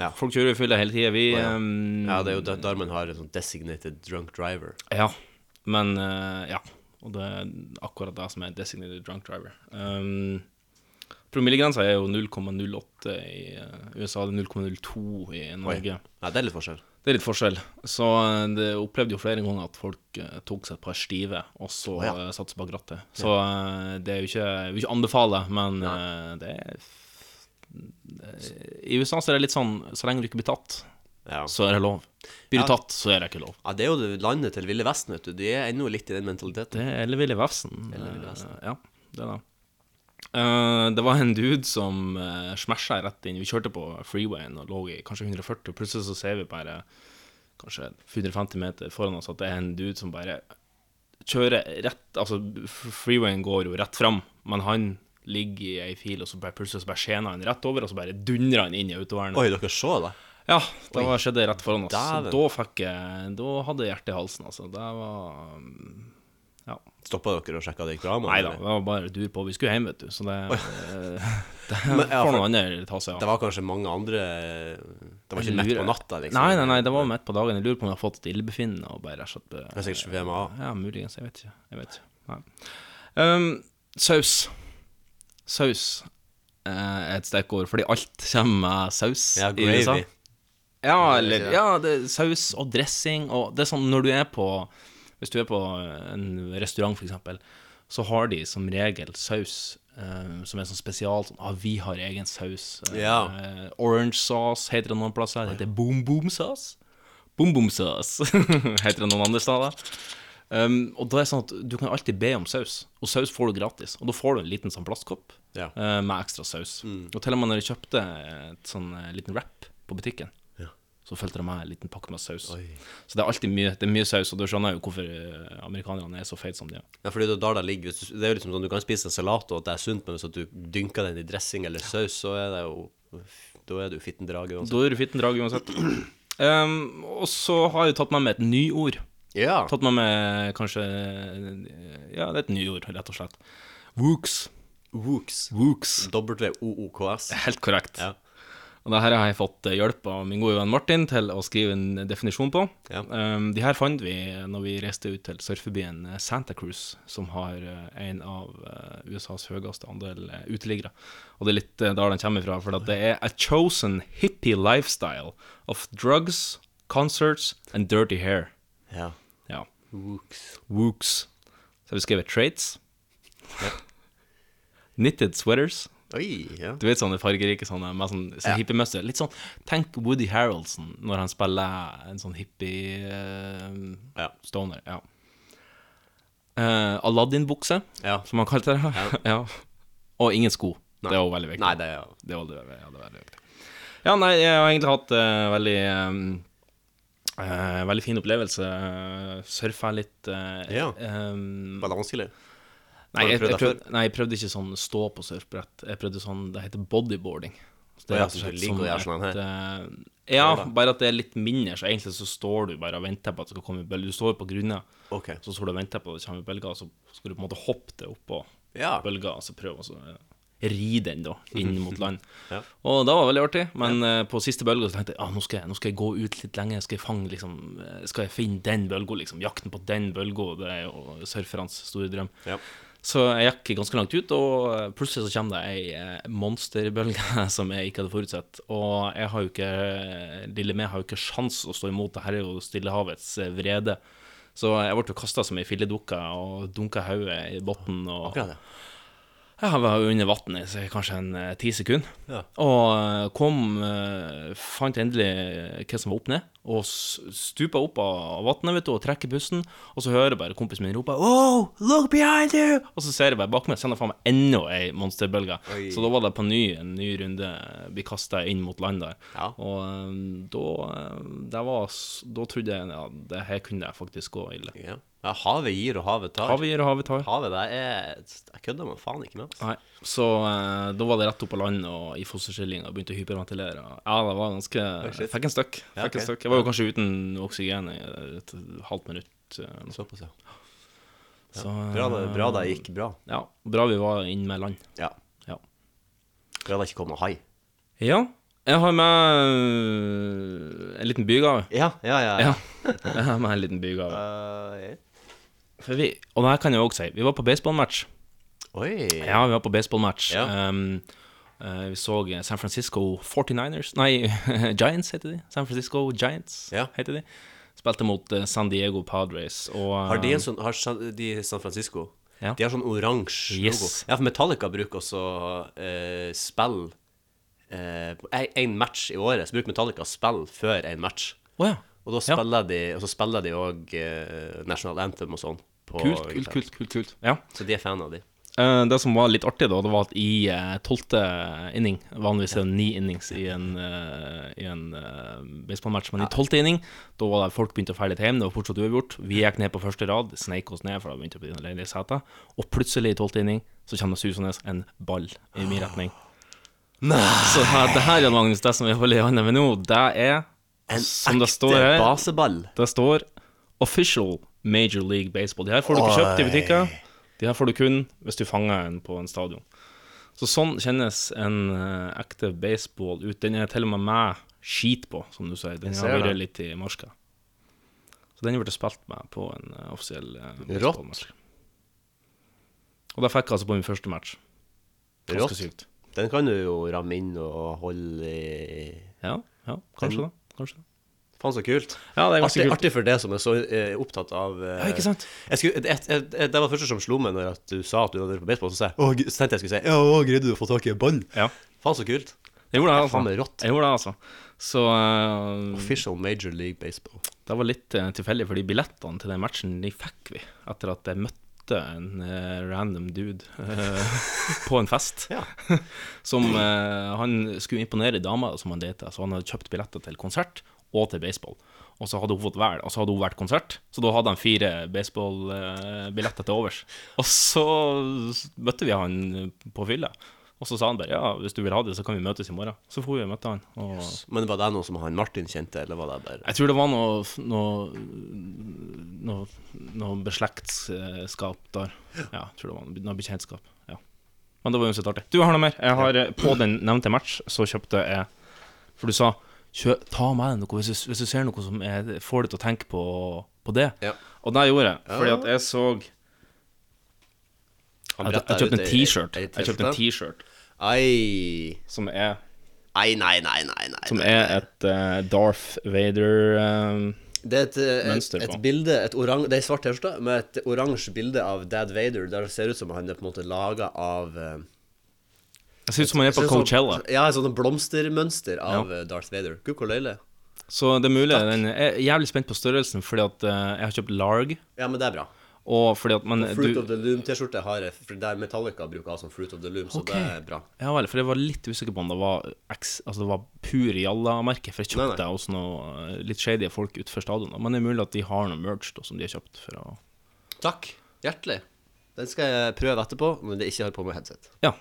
C: Ja.
B: Folk kjører i fylla hele tida. Vi ehm,
C: ja, det er jo der, der man har en sånn designated drunk driver.
B: Ja, men eh, ja. Og det er akkurat det som er designated drunk driver. Um, Promillegrensa er jo 0,08 i eh, USA, det er 0,02 i Norge.
C: Ja, det er litt forskjell.
B: Det er litt forskjell. Så eh, det opplevde jo flere ganger at folk eh, tok seg et par stive, og så
C: Å, ja.
B: eh, satte seg bak rattet. Så eh, det er jo ikke Jeg vil ikke anbefale, men eh, det er f- det er- I USA så er det litt sånn så lenge du ikke blir tatt,
C: Ja.
B: så er det lov. Blir du
C: Ja.
B: tatt, så er det ikke lov.
C: ja, det er jo det- landet til Ville Vesten, vet du. De er ennå litt i den mentaliteten.
B: Det er Elleville Vefsen. Eh, ja, det er det. Eh, det var en dude som uh, smasha rett inn. Vi kjørte på freewayen og lå i kanskje 140, og plutselig så ser vi bare kanskje 150 meter foran oss at det er en dude som bare kjører rett Altså, f- freewayen går jo rett fram, men han ligger i ei fil, og så bare plutselig så bare skjener han rett over, og så bare dundrer han inn i autovernet.
C: Oi, dere så det?
B: Ja, det var, skjedde rett foran oss.
C: Dæven.
B: Da fikk jeg Da hadde jeg hjertet i halsen, altså. Det var mm, Ja.
C: Stoppa dere og sjekka det gikk bra? med
B: Nei
C: den,
B: da, det
C: eller?
B: var bare dur på. Vi skulle hjem, vet du. Så det, eh, det
C: Men, ja,
B: får
C: for-
B: noen andre ta seg
C: Det
B: av.
C: var kanskje mange andre Det var ikke
B: Jeg
C: midt
B: lurer-
C: på natta, liksom?
B: Nei, nei, nei, det var midt på dagen. Jeg lurer på om jeg har fått et illebefinnende og bare rett og slett eh,
C: Det er
B: ble-
C: sikkert VMA.
B: Ja, muligens. Jeg vet ikke. Jeg vet ikke. Nei. Ehm, saus. Saus eh, er et stikkord, fordi alt kommer med saus
C: Ja,
B: i USA.
C: gravy.
B: Ja,
C: Det er
B: eller
C: ikke det.
B: ja, det er saus og dressing og Det er sånn når du er på Hvis du er på en restaurant, for eksempel, så har de som regel saus eh, som er sånn spesial sånn, ah, Vi har egen saus. Eh,
C: Ja.
B: eh, orange sauce heter det noen plasser. Det heter boom boom sauce. Boom boom sauce heter det noen andre steder. Um, og da er det sånn at du kan alltid be om saus, og saus får du gratis. Og da får du en liten sånn plastkopp
C: Ja.
B: eh, med ekstra saus. Og til og med når jeg kjøpte et sånn eh, liten wrap på butikken, Så felte de meg en liten pakke med saus. Så det er alltid mye, det er mye saus, og da skjønner jeg jo hvorfor eh, amerikanerne er så feite som de er.
C: Ja, fordi det er da det ligger hvis du- Det er jo liksom sånn du kan spise en salat, og at det er sunt, men hvis at du dynker den i dressing eller saus, så er det jo Da er du fitten drage uansett.
B: Da er du fitten drag uansett. Ehm, og så har jeg tatt meg med et nyord.
C: Ja.
B: Tatt meg med kanskje eh, Ja, det er et nyord, rett og slett. Wooks.
C: Wooks.
B: Wooks.
C: W-O-O-K-S.
B: Helt korrekt.
C: Ja.
B: Og det her har jeg fått eh, hjelp av min gode venn Martin til å skrive en definisjon på.
C: Ja.
B: Ehm, de her fant vi når vi reiste ut til surfebyen eh, Santa Cruz, som har eh, en av eh, USAs høyeste andel eh, uteliggere. Og det er litt eh, der den kommer fra, for at det er a chosen hippie lifestyle of drugs, concerts and dirty hair.
C: ja.
B: Ja.
C: Wooks.
B: Wooks. Så har vi skrevet traits. Knitted sweaters.
C: Oi, ja.
B: Du vet sånne fargerike sånne med sånn så hippiemønster. Litt sånn Tenk Woody Harroldson når han spiller en sånn hippie eh,
C: Ja.
B: stoner. Ja. Eh, Aladdin-bukse,
C: Ja.
B: som han kalte det. Ja. Og ingen sko. Det er jo veldig viktig.
C: Nei, det er
B: Det var det, ja, det var veldig viktig. Ja, nei, jeg har egentlig hatt eh, veldig eh, eh, Veldig fin opplevelse. Uh, Surfa litt eh,
C: Ja.
B: eh,
C: Var det vanskelig?
B: Nei,
C: Har du
B: jeg,
C: prøvd
B: jeg,
C: det
B: prøvde, nei, jeg prøvde ikke sånn stå på surfbrett. Jeg prøvde sånn Det heter bodyboarding. Så
C: Å ja,
B: rett og
C: så du
B: slett
C: ligger og gjør
B: som
C: sånn
B: et, eh, ja, bare at det er litt mindre, så egentlig så står du bare og venter på at det skal komme bølger. Du står på grunna,
C: OK.
B: så står du og venter på at det kommer bølger, og så skal du på en måte hoppe det oppå
C: Ja.
B: bølga, og så prøve å så, eh, ri den da, inn mot land.
C: Ja.
B: Og det var veldig artig, men eh, på siste bølga så tenkte jeg ah, nå, skal jeg, nå skal jeg gå ut litt lenge, skal jeg fange liksom, eh, skal jeg finne den bølga, liksom, jakten på den bølga, det er jo surfernes store drøm.
C: Ja.
B: Så jeg gikk ganske langt ut, og eh, plutselig så kommer det ei eh, monsterbølge som jeg ikke hadde forutsett. Og jeg har jo ikke eh, Lille meg har jo ikke sjans å stå imot, det her er jo Stillehavets eh, vrede. Så jeg ble jo kasta som ei filledukke og dunka hodet i bunnen. Og
C: Akkurat det.
B: jeg var jo under vannet i kanskje en eh, ti sekunder.
C: Ja.
B: Og eh, kom eh, Fant endelig hva som var opp ned, og s- stupa opp av vannet vet du, og trekker pusten. Og så hører jeg bare kompisen min rope 'Oh, look behind you!' Og så ser jeg bare bak meg, sender faen meg enda ei monsterbølge.
C: Oi.
B: Så da var det på ny en ny runde eh, bli kasta inn mot land der.
C: Ja.
B: Og eh, da eh, det var, s- Da trodde jeg ja, det her kunne jeg faktisk gå ille.
C: ja. ja. Havet gir, og havet tar.
B: Havet gir og havet tar.
C: Havet, det er Jeg kødder man faen ikke med. Altså.
B: Nei, så eh, da var det rett opp på land og i fosterstilling og begynte å hyperventilere. Ja, det var ganske
C: shit.
B: Fikk en støkk. Fikk
C: Ja, ok.
B: en støkk. Jeg var jo kanskje uten oksygen i et halvt minutt. eh, eller noe sånt.
C: Såpass, ja.
B: Så, eh,
C: Bra det, bra det gikk bra.
B: ja, bra vi var inn med land.
C: Ja.
B: Ja.
C: Bra det ikke kom noe hai.
B: ja. Jeg har med eh, en liten bygave.
C: Ja, ja, ja.
B: Ja. Jeg har med en liten bygave.
C: Eh,
B: For vi, og det her kan jeg òg si. Vi var på baseballmatch.
C: oi.
B: Ja, vi var på baseballmatch.
C: Ja.
B: Um, eh, vi så eh, San Francisco 49ers Nei, Giants heter de. San Francisco Giants
C: Ja.
B: heter de. Spilte mot eh, San Diego Padres. Og,
C: Har de
B: eh,
C: en sånn Har San- de i San Francisco
B: Ja.
C: De har sånn oransje
B: Yes.
C: logo. Ja, for Metallica bruker også uh, spill eh, på en- En match i året. Så bruker Metallica spill før en match.
B: Å ja.
C: Og da spiller de Og så spiller de òg National Anthem og sånn. på-
B: Kult, kult, kult. kult, kult. Ja.
C: Så de er fan av de.
B: Eh, det som var litt artig, da, det var at i eh, tolvte inning Vanligvis er det ni innings i en, eh, i en eh, baseballmatch, men i tolvte inning da var det folk begynte å ferdig hjem. Det var fortsatt uavgjort. Vi gikk ned på første rad, sneik oss ned, for da begynte vi å bli ledige seter. Og plutselig, i tolvte inning, så kommer det susende en ball i min retning. Så her, det her, Jan Magnus, det som vi holder i hånda med nå, det er, som det står
C: ekte
B: her
C: baseball.
B: det står Official Major League Baseball. De her får du ikke kjøpt i butikker. De her får du kun hvis du fanger en på en stadion. Så sånn kjennes en eh, ekte baseball ut. Den er til og med meg skit på, som du sier. Den har
C: ser
B: vært
C: det.
B: litt i marska. Så den ble spilt med på en eh, offisiell eh,
C: Rått.
B: baseballmatch. Og det fikk jeg altså på min første match. Ganske
C: Rått.
B: sykt.
C: Den kan du jo ramme inn og holde i
B: Ja, ja, kanskje det. Kanskje det.
C: Faen, så kult.
B: Ja, det er ganske
C: artig,
B: kult.
C: artig for det som er så eh, opptatt av eh,
B: Ja, ikke sant?
C: Jeg skulle, jeg, jeg, jeg, det var det første som slo meg når at du sa at du hadde vært på baseball. Så sa jeg «Å, gud», så tenkte jeg skulle si Ja, å, greide du å få tak i en ball?
B: Ja.
C: Faen, så kult.
B: Jeg gjorde det,
C: Det er faen meg
B: altså.
C: rått.
B: Jeg gjorde det, altså. Så eh,
C: Official Major League Baseball.
B: Det var litt eh, tilfeldig, fordi billettene til den matchen de fikk vi etter at jeg møtte en eh, random dude eh, på en fest.
C: Ja.
B: som eh, Han skulle imponere dama som han data, så han hadde kjøpt billetter til konsert og til baseball. Og så hadde hun fått hver, og så hadde hun vært konsert, så da hadde han fire baseballbilletter til overs. Og så møtte vi han på fylla, og så sa han bare ja, hvis du vil ha det, så kan vi møtes i morgen. Så for vi og møtte han. Og
C: Men var det noe som han Martin kjente, eller var det bare
B: jeg tror det var noe noe, noe, noe beslektskap der. Ja, jeg tror det var noe bekjentskap. Ja. Men det var uansett artig. Du jeg har noe mer. Jeg har eh, På den nevnte match så kjøpte jeg For du sa Kjø, ta med deg noe hvis du, hvis du ser noe som er, får deg til å tenke på, på det.
C: Ja.
B: Og det gjorde jeg, fordi at jeg så Jeg,
C: Han
B: jeg
C: brettet
B: kjøpte
C: ut
B: en
C: ei-
B: T-shirt.
C: ei
B: Jeg kjøpte en T-shirt
C: Ai.
B: som er
C: Ai, nei, nei, nei, nei.
B: Som
C: nei.
B: er et eh, Darth Vader eh,
C: Det er et, eh, et,
B: Mønster på.
C: et bilde et orang, Det er ei svart T-skjorte med et oransje bilde av Dad Vader. Der det ser ut som han er på en måte laga av eh,
B: Jeg ser ut som han er
C: ser
B: på
C: ut som-
B: Coachella.
C: Ja, et sånt blomstermønster av eh, Darth Vader. Gud, hvor løyelig.
B: Så det er mulig den Jeg er jævlig spent på størrelsen, fordi at eh, jeg har kjøpt larg.
C: Ja, men det er bra.
B: Og fordi at man
C: Fruit
B: Eh, du-
C: of the Loom-T-skjorte har jeg, for der Metallica bruker å ha som Fruit of the Loom, så
B: Ok.
C: det er bra.
B: Ja vel, for jeg var litt usikker på om det var X, altså det var pur jalla-merke. For jeg
C: Nei, nei.
B: kjøpte det hos noen eh, litt shady folk utenfor stadionet. Men det er mulig at de har noe merch da, som de har kjøpt for å
C: Takk. Hjertelig. Den skal jeg eh, prøve etterpå, når jeg ikke har på meg headset.
B: Ja.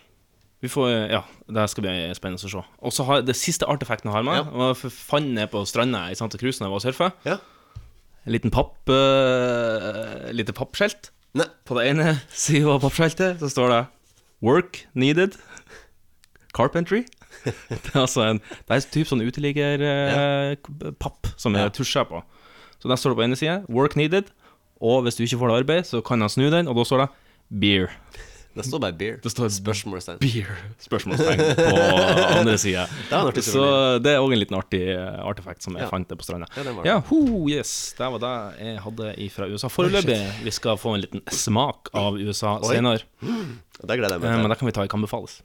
B: Vi får, eh, ja, Det skal bli spennende å se. Og så har det siste artefakten jeg har med,
C: Ja.
B: var for fant ned på stranda i Santa Cruz når jeg var og surfa.
C: Ja.
B: En liten papp eh, lite pappskjelt.
C: Nei.
B: På det ene sida av pappskiltet så står det 'Work needed'. Carpentry. Det er altså en Det er typ sånn eh, uteliggerpapp som er tusja på. Så der står det på ene sida 'Work needed', og hvis du ikke får deg arbeid, så kan han snu den, og da står det 'Beer'.
C: Det står bare beer.
B: Det står et
C: Spørsmålstegn.
B: Beer. Spørsmålstegn på andre sida.
C: er en artig
B: Så det er òg en liten artig eh, artefakt som jeg
C: Ja.
B: fant det på stranda.
C: Ja, den var
B: Ja, ho, yes. Det var det jeg hadde fra USA. Foreløpig. Vi skal få en liten smak av USA senere.
C: Og Det gleder jeg
B: Eh, Men
C: meg til.
B: det kan vi ta i Kan befales.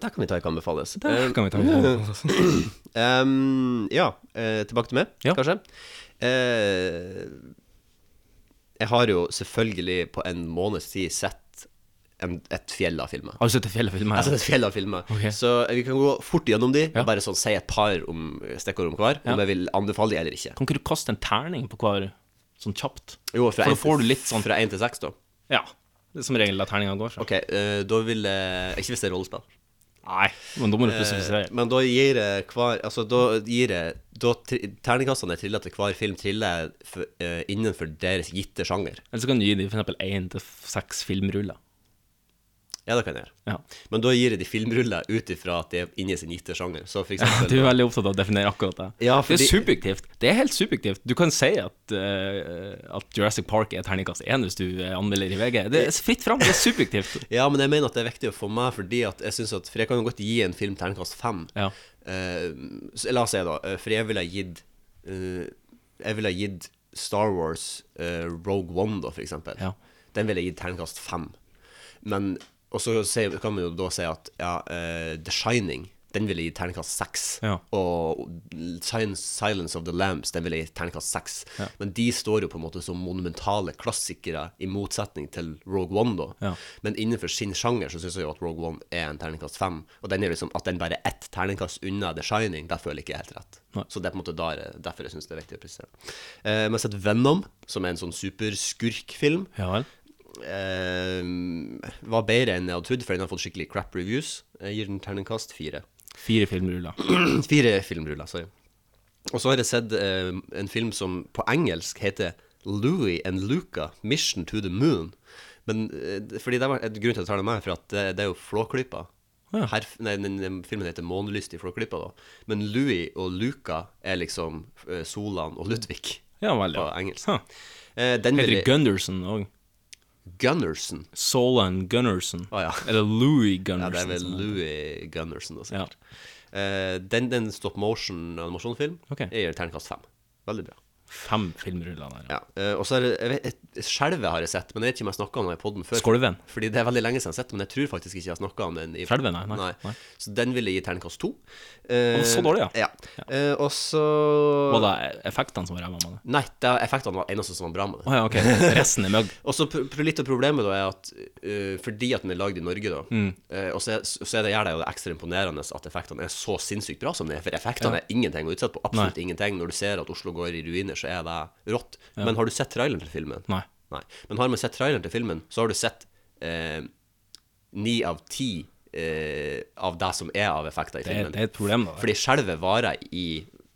C: Det kan vi ta i kan befales.
B: Det
C: Eh,
B: kan vi ta i Kan befales.
C: Ehm, ja, eh, tilbake til meg,
B: Ja.
C: kanskje. Eh, jeg har jo selvfølgelig på en måneds tid sett en, et fjell av filmer.
B: Har du sett det fjellet filmet
C: Jeg har sett
B: her?
C: et fjell av filmer,
B: Ok.
C: så eh, vi kan gå fort gjennom de.
B: Ja.
C: Og bare sånn si et par om stikkord om hver,
B: Ja.
C: om jeg vil anbefale de eller ikke.
B: Kan ikke du kaste en terning på hver sånn kjapt?
C: Jo,
B: For
C: fra
B: da
C: en til-
B: får du litt sånn-
C: Fra én til seks, da.
B: Ja. Det er som regel der terninga går. Så.
C: Ok, eh, da vil jeg Ikke hvis det er rollespill.
B: Nei, men da må du
C: Eh,
B: spesifisere.
C: Men da gir jeg hver Altså, da gir jeg Da tri- terningkastene jeg triller til hver film, triller jeg for- eh, innenfor deres gitte sjanger.
B: Eller så kan du gi dem f.eks. én til seks filmruller.
C: Ja, det kan jeg gjøre.
B: Ja.
C: Men da gir jeg de filmruller ut ifra at de er inni sin gitte sjanger. Så for
B: Du
C: eksempel
B: er veldig opptatt av å definere akkurat det.
C: Ja,
B: Det
C: fordi-
B: er subjektivt. Det er helt subjektivt. Du kan si at, eh, at Jurassic Park er terningkast én hvis du eh, anmelder i VG. Det er fritt fram, det er subjektivt.
C: Ja, men jeg mener at det er viktig for meg, fordi at jeg synes at For jeg kan jo godt gi en film terningkast fem.
B: Ja.
C: Eh, så la oss si, da, eh, for jeg ville ha gitt eh, Jeg ville ha gitt Star Wars eh, Rogue One, da, for eksempel.
B: Ja.
C: Den ville jeg gitt terningkast fem. Men Og så sier- kan vi jo da si at ja, eh, The Shining, den ville jeg gitt terningkast seks.
B: Ja.
C: Og Silence, Silence of the Lambs, den ville jeg gitt terningkast seks. Men de står jo på en måte som monumentale klassikere, i motsetning til Rogue One, da.
B: Ja.
C: Men innenfor sin sjanger så syns jeg jo at Rogue One er en terningkast fem. Og den er liksom at den bare er ett terningkast unna The Shining, det føler jeg ikke er helt rett.
B: Nei.
C: Så det er på en måte der, derfor jeg syns det er viktig å presisere. Eh, men jeg har sett Venom, som er en sånn superskurkfilm.
B: Ja vel.
C: Eh, var bedre enn jeg hadde trodd, for den har fått skikkelig crap reviews. Jeg gir den terningkast fire.
B: Fire filmruller.
C: fire filmruller, sorry. Og så har jeg sett eh, en film som på engelsk heter Louis and Luca, Mission to the Moon. Men eh, fordi det var et grunn til at jeg tar det med, for at det, det er jo Flåklypa.
B: Ja.
C: Her, nei, den, den filmen heter Månelyst i Flåklypa, da. Men Louis og Luca er liksom eh, Solan og Ludvig
B: Ja vel,
C: på
B: ja.
C: engelsk.
B: Huh.
C: Eh, den
B: Heter
C: vil
B: det
C: jeg
B: Gunderson òg?
C: Gunnerson.
B: Solan Gunnerson.
C: Å, ja.
B: Eller Louis Sånn
C: Ja,
B: Gunnerson.
C: det er vel
B: som han heter.
C: Louis Gunnerson, da, sikkert. Eh, den, den stop motion-animasjonsfilm
B: Ok.
C: Jeg gir terningkast fem. Veldig bra.
B: Fem filmruller der. Ja.
C: Ja, eh, og så er det jeg vet- et- Skjelvet har jeg sett, men jeg vet ikke om jeg har snakka om den i poden før.
B: Skjelven?
C: Fordi det er veldig lenge siden jeg har sett den, men jeg tror faktisk ikke jeg har snakka om den. I,
B: Skjelvet, nei, nei, nei.
C: Så den vil jeg gi terningkast to.
B: Å, så dårlig, ja.
C: ja. Eh, og så
B: Var det effektene som var ræva med det?
C: Nei, det er effektene var eneste som var bra med det.
B: Å ja, ok. Resten er møgg.
C: Og så pr- pr- litt av problemet da er at eh, fordi at den er lagd i Norge, da,
B: Mm.
C: eh, og så, er- så er det gjerne det ekstra imponerende at effektene er så sinnssykt bra som de er. For effektene er ingenting å utsette på. Absolutt ingenting. Når du ser at Oslo går i ruiner, så er det rått. Men har du sett traileren til filmen?
B: Nei.
C: Men har man sett traileren til filmen, så har du sett eh, ni av ti eh, av det som er av effekter i
B: Det, er-
C: filmen.
B: det er et problem, da.
C: Fordi skjelvet varer i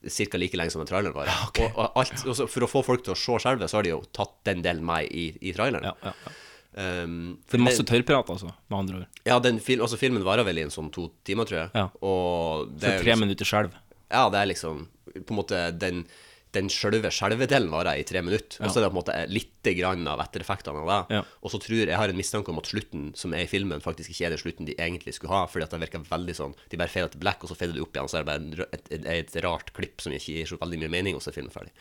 C: ca. like lenge som en trailer varer. Og, og alt, og så for å få folk til å se skjelvet, så har de jo tatt den delen med i, i traileren.
B: Ja, ja, ja.
C: Um,
B: Det er masse tørrprat, altså, med andre ord.
C: ja den fil, altså filmen varer vel i en sånn to timer, tror jeg.
B: Ja.
C: Og det
B: For
C: er jo
B: tre
C: liksom-
B: minutter skjelv.
C: Ja, det er liksom på en måte den den sjølve skjelvedelen varer i tre minutter, og så er det på en måte litt grann av ettereffektene av det.
B: Ja.
C: Og så tror jeg jeg har en mistanke om at slutten som er i filmen, faktisk ikke er den slutten de egentlig skulle ha, fordi at det virker veldig sånn De bare fader til black, og så fader det opp igjen, så er det bare en, rø- et, et, et rart klipp som ikke gir så veldig mye mening, og så er filmen ferdig.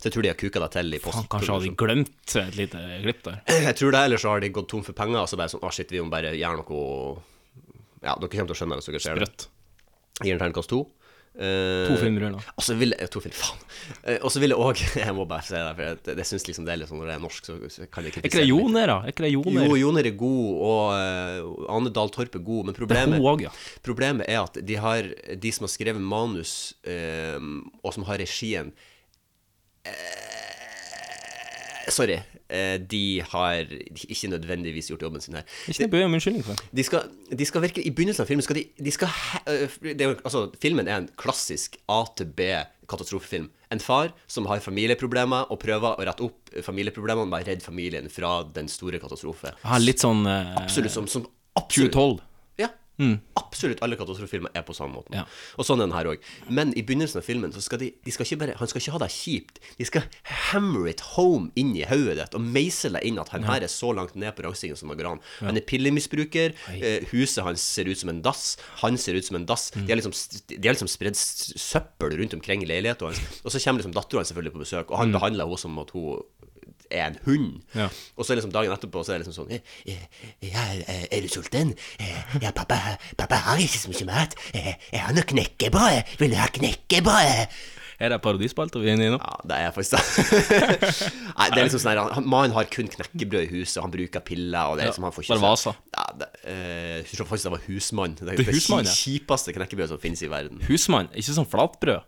C: Så jeg tror de har kuka det til i
B: Faen, kanskje hadde de
C: postproduksjonen.
B: glemt et lite glipp der.
C: Jeg tror det, eller så har de gått tom for penger, og så bare sånn Å, shit, vi må bare gjøre noe Ja, dere kommer til å skjønne det hvis dere ser det.
B: Sprøtt.
C: Jeg Gir en terningkast to. Eh,
B: To filmruller.
C: og så vil jeg, to film, faen. Eh, Og så vil jeg òg Jeg må bare si det, for jeg, jeg, synes liksom det er litt sånn når det er norsk, så, så kan jeg
B: Er ikke det
C: meg.
B: joner, da? Er ikke det joner?
C: Jo, Joner er god, og eh, Ane Dahl Torp er god, men problemet,
B: Det er hun også, ja.
C: problemet er at de, har, de som har skrevet manus, eh, og som har regien eh, Sorry. eh, de har ikke nødvendigvis gjort jobben sin her.
B: Ikke noe bøye om unnskyldning for det.
C: De skal, de skal virke, I begynnelsen av filmen skal de, de skal, he- øh, det, er jo- altså, Filmen er en klassisk A til B-katastrofefilm. En far som har familieproblemer og prøver å rette opp familieproblemene ved å redde familien fra den store katastrofe.
B: Ah, litt sånn eh,
C: Absolutt som, som absolutt,
B: 2012.
C: ja. Absolutt alle katastrofefilmer er på samme måten.
B: Ja.
C: Og sånn er den her òg. Men i begynnelsen av filmen så skal de, de skal ikke bare, han skal ikke ha det kjipt. De skal hammer it home inn i hodet ditt og meisle inn at han her er så langt ned på rangstigen som det går an. Han er pillemisbruker. Eh, huset hans ser ut som en dass. Han ser ut som en dass. De har liksom, st- de har liksom spredd s- søppel rundt omkring i leiligheten hans. Og så kommer liksom dattera hans selvfølgelig på besøk, og han behandler henne som at hun er en hund.
B: Ja.
C: Og så liksom dagen etterpå så er det liksom sånn eh, eh, ja, eh, Er du sulten? Eh, Ja, pappa, pappa har ikke så mye mat. Eh, Jeg har noe knekkebrød. Vil du ha knekkebrød?
B: Er det parodispalt vi er inne i nå?
C: Ja, det er faktisk det. Nei, det er liksom sånn her, han- Mannen har kun knekkebrød i huset, han bruker piller og det er liksom, han får ikke
B: bare vaser.
C: Ja, det, eh, jeg tror faktisk det var husmann. Det,
B: er
C: det
B: husmann, ja.
C: kjipeste knekkebrødet som finnes i verden.
B: Husmann, ikke sånn flatbrød.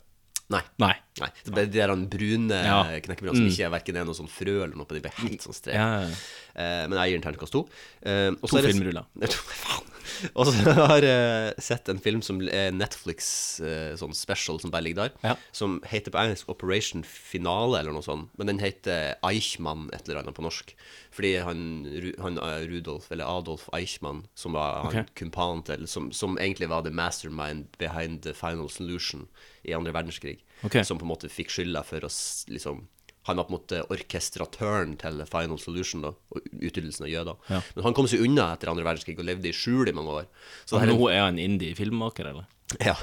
C: Nei.
B: Nei.
C: Nei, det er de der han brune
B: Ja. Mm.
C: knekkebrødene som ikke er verken er noe sånn frø eller noe på de er helt sånn strek.
B: Ja, ja, ja.
C: Eh, men jeg gir den terningkast to. Eh, og
B: To
C: så er det-
B: filmruller.
C: Nei, to- Faen. Og så har jeg sett en film som er Netflix eh, sånn special som bare ligger der,
B: Ja.
C: som heter på engelsk Operation Finale eller noe sånt. Men den heter Eichmann et eller annet på norsk. Fordi han, Ru- han eh, Rudolf, eller Adolf Eichmann, som var han
B: Ok.
C: kumpanen til, som, som egentlig var the mastermind behind the final solution i andre verdenskrig,
B: Ok.
C: som på en måte fikk skylda for å s- liksom han var på en måte orkestratøren til Final Solution da, og utrydelsen av jøder.
B: Ja.
C: Men han kom seg unna etter andre verdenskrig og levde i skjul i mange år. Så det her er en-
B: Nå er han indie-filmmaker, eller?
C: ja.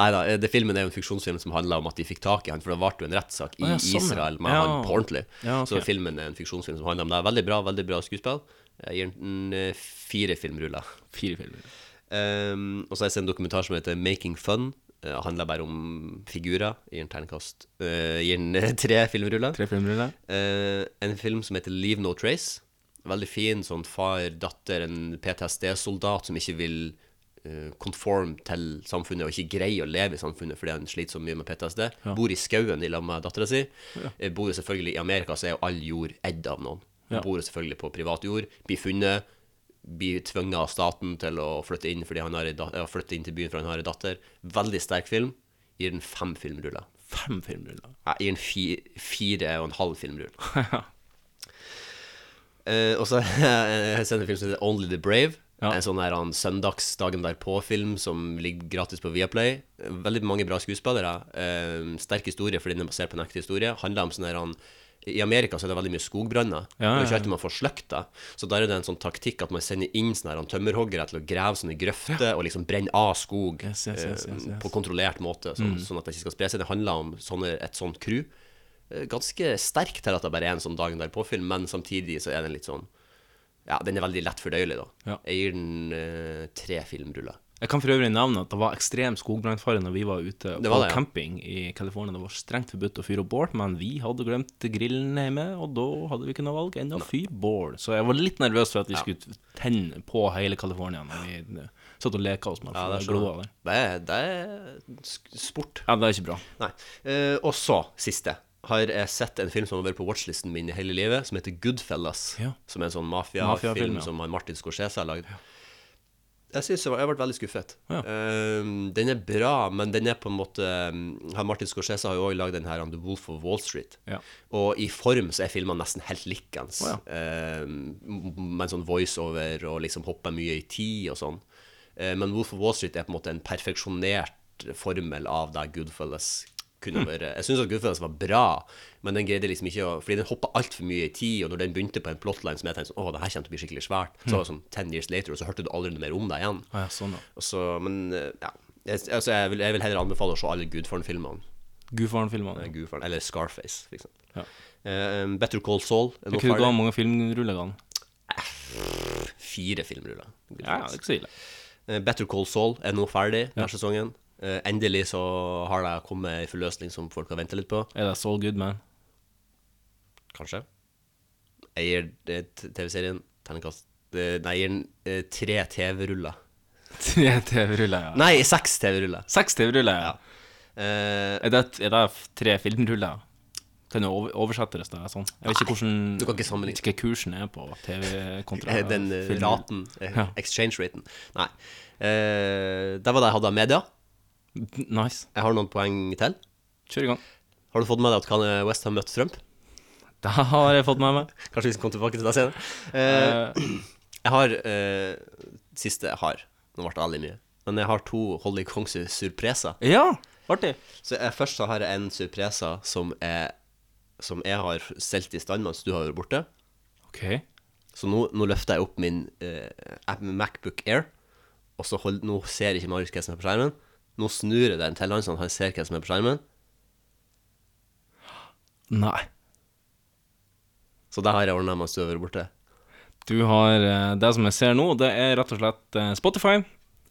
C: Nei da, det filmen er jo en fiksjonsfilm som handler om at de fikk tak i han, for det ble jo en rettssak i
B: Å, ja, sånn, ja.
C: Israel med
B: Ja.
C: han på ordentlig.
B: Ja, ok.
C: Så filmen er en fiksjonsfilm som handler om det. Veldig bra, veldig bra skuespill. Jeg gir den eh, fire filmruller.
B: Fire filmer.
C: Ehm, og så har jeg sett en dokumentar som heter Making Fun. Uh, handler bare om figurer. Jeg Gir den terningkast. eh, gir den eh, tre filmruller.
B: Tre filmer,
C: Eh, en film som heter Leave No Trace. Veldig fin sånn far-datter, en PTSD-soldat som ikke vil eh, conform til samfunnet og ikke greier å leve i samfunnet fordi han sliter så mye med PTSD. Bor i skauen i lag med dattera si. Eh, Bor jo selvfølgelig I Amerika så er jo all jord eid av noen.
B: Ja.
C: Bor jo selvfølgelig på privat jord. Blir funnet. Blir tvunget av staten til å flytte inn fordi han har ei dat- eh, flytte inn til byen fordi han har ei datter. Veldig sterk film. Gir den fem filmruller.
B: Fem filmruller.
C: Jeg gir den fi, fire og en halv filmrull.
B: Ja.
C: Eh, og så har jeg sett en film som heter Only the Brave.
B: Ja.
C: En sånn her han, søndagsdagen derpå-film som ligger gratis på Viaplay. Veldig mange bra skuespillere. Eh, sterk historie, fordi den er basert på en ekte historie. Handler om sånn her han, I Amerika så er det veldig mye skogbranner.
B: Ja,
C: Det er
B: ja,
C: ikke alltid man får sløkta. Så der er det en sånn taktikk at man sender inn sånne her han, tømmerhoggere til å grave sånne grøfter og liksom brenne av skog
B: Yes, Mm. yes, yes, yes,
C: eh,
B: yes.
C: på kontrollert måte, sånn, sånn at det ikke skal spre seg. Det handler om sånne, et sånt crew. eh, ganske sterk til at det bare er en sånn dagen derpå-film, men samtidig så er den litt sånn Ja, den er veldig lett fordøyelig, da.
B: Ja.
C: Jeg gir den eh, tre filmruller.
B: Jeg kan for øvrig nevne at det var ekstrem skogbrannfare når vi var ute
C: Det
B: på
C: var det, ja.
B: camping i California. Det var strengt forbudt å fyre opp bål, men vi hadde glemt grillen hjemme, og da hadde vi ikke noe valg enn å fyre bål. Så jeg var litt nervøs for at vi skulle tenne på hele California når vi eh, satt og leka oss med
C: Ja,
B: ja,
C: det
B: gloa der.
C: skjønner jeg. Det er, det er sk- sport.
B: Ja, det er ikke bra.
C: Nei. Eh, og så, siste, har jeg sett en film som har vært på watchlisten min i hele livet, som heter Goodfellas.
B: Ja.
C: Som er en sånn mafiafilm
B: Mafiafilm, ja.
C: som han Martin Scorsese har lagd. Jeg synes jeg, var, jeg ble veldig skuffet.
B: Ja.
C: Eh, den er bra, men den er på en måte eh, han Martin Scorsese har jo også lagd den her The Wolf of Wall Street.
B: Ja.
C: Og i form så er filmene nesten helt likens.
B: Å,
C: Eh, med en sånn voiceover og liksom hopper mye i tid og sånn. Eh, men Wolf of Wall Street er på en måte en perfeksjonert formel av det Goodfellas kunne være. Jeg syns at Goodfellas var bra, men den greide liksom ikke å Fordi den hoppa altfor mye i tid, og når den begynte på en plotline som jeg tenkte sånn Å, det her kommer til å bli skikkelig svært. Så var det sånn ten years later, og så hørte du aldri noe mer om det igjen.
B: Ah, ja, sånn, ja.
C: Og så, men eh, ja. Jeg, altså, jeg, vil, jeg vil heller anbefale å se alle Gudfaren-filmene.
B: Gudfaren-filmene.
C: Gudfaren, Eller Scarface, for eksempel.
B: Ja.
C: Eh, um, Better Call Saul er nå
B: Hva ga
C: ferdig.
B: mange filmruller ga han?
C: Fire filmruller.
B: Ja, det er ikke så ille.
C: Eh, Better Call Saul er nå ferdig denne sesongen. Eh, endelig så har det kommet en forløsning som folk har venta litt på.
B: Er det Saul Goodman?
C: Kanskje. Jeg gir eh, t- TV-serien terningkast eh, Nei, jeg gir den eh, tre TV-ruller.
B: Tre TV-ruller, ja.
C: Nei, seks TV-ruller.
B: Seks TV-ruller, ja.
C: Eh,
B: Er det, er det f- tre filmruller? Kan jo over- oversettes det sånn? Jeg vet ikke hvordan
C: du kan ikke sammenligne.
B: Ikke hva kursen er på TV kontra
C: Eh, Den eh,
B: film.
C: raten, eh,
B: Ja.
C: exchange-raten. Nei. Eh, det var det jeg hadde av media.
B: Nice.
C: Jeg har noen poeng til.
B: Kjør i gang.
C: Har du fått med deg at Kanye West har møtt Trump?
B: Det har jeg fått med meg.
C: Kanskje vi skal komme tilbake til det senere. Eh, jeg har eh, Siste jeg har. Nå ble det veldig mye. Men jeg har to Holly Kongsu-surpreser.
B: Eh, ja, artig.
C: Så jeg, først så har jeg en surprese som jeg, som jeg har stelt i stand mens du har vært borte.
B: OK.
C: Så nå, nå løfter jeg opp min eh, app- Macbook Air, og så hold, nå ser ikke Marius hva som er på skjermen. Nå snur jeg den til han, så han ser hva som er på skjermen.
B: Nei.
C: Så det har jeg ordna mens du har vært borte.
B: Du har eh, Det som jeg ser nå, det er rett og slett eh, Spotify.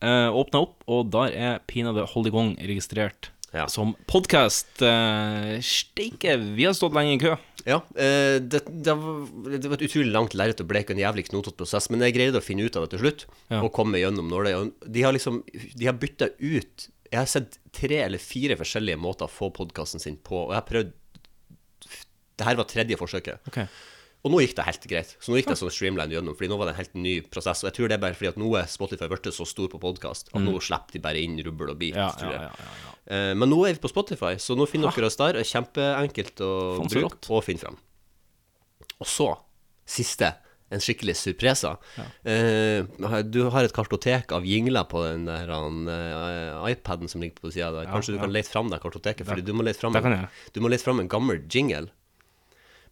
B: Eh, Åpna opp, og der er pinadø Hold i gang registrert
C: Ja.
B: som podkast. Eh, Steike, vi har stått lenge i kø.
C: Ja, eh, det, det, var, det var et utrolig langt lerret å bleke og en jævlig knotete prosess, men jeg greide å finne ut av det til slutt,
B: Ja.
C: og komme gjennom når det og De har liksom De har bytta ut Jeg har sett tre eller fire forskjellige måter å få podkasten sin på, og jeg har prøvd Det her var tredje forsøket.
B: Ok.
C: Og nå gikk det helt greit. Så nå gikk det sånn streamline gjennom, Fordi nå var det en helt ny prosess. Og jeg tror det er bare fordi at nå er Spotify blitt så stor på podkast at nå slipper de bare inn rubbel og bit.
B: Mm. Ja,
C: tror jeg.
B: ja, ja,
C: Eh, Men nå er vi på Spotify, så nå finner dere oss der. Det er kjempeenkelt å
B: Faen, så
C: bruke
B: rått.
C: og finne frem. Og så, siste, en skikkelig surprese. Eh, du har et kartotek av jingler på den der han, eh, iPaden som ligger på sida der. Kanskje du kan lete fram det kartoteket, Fordi du må lete fram
B: det kan
C: en,
B: jeg.
C: du må lete fram en gammel jingle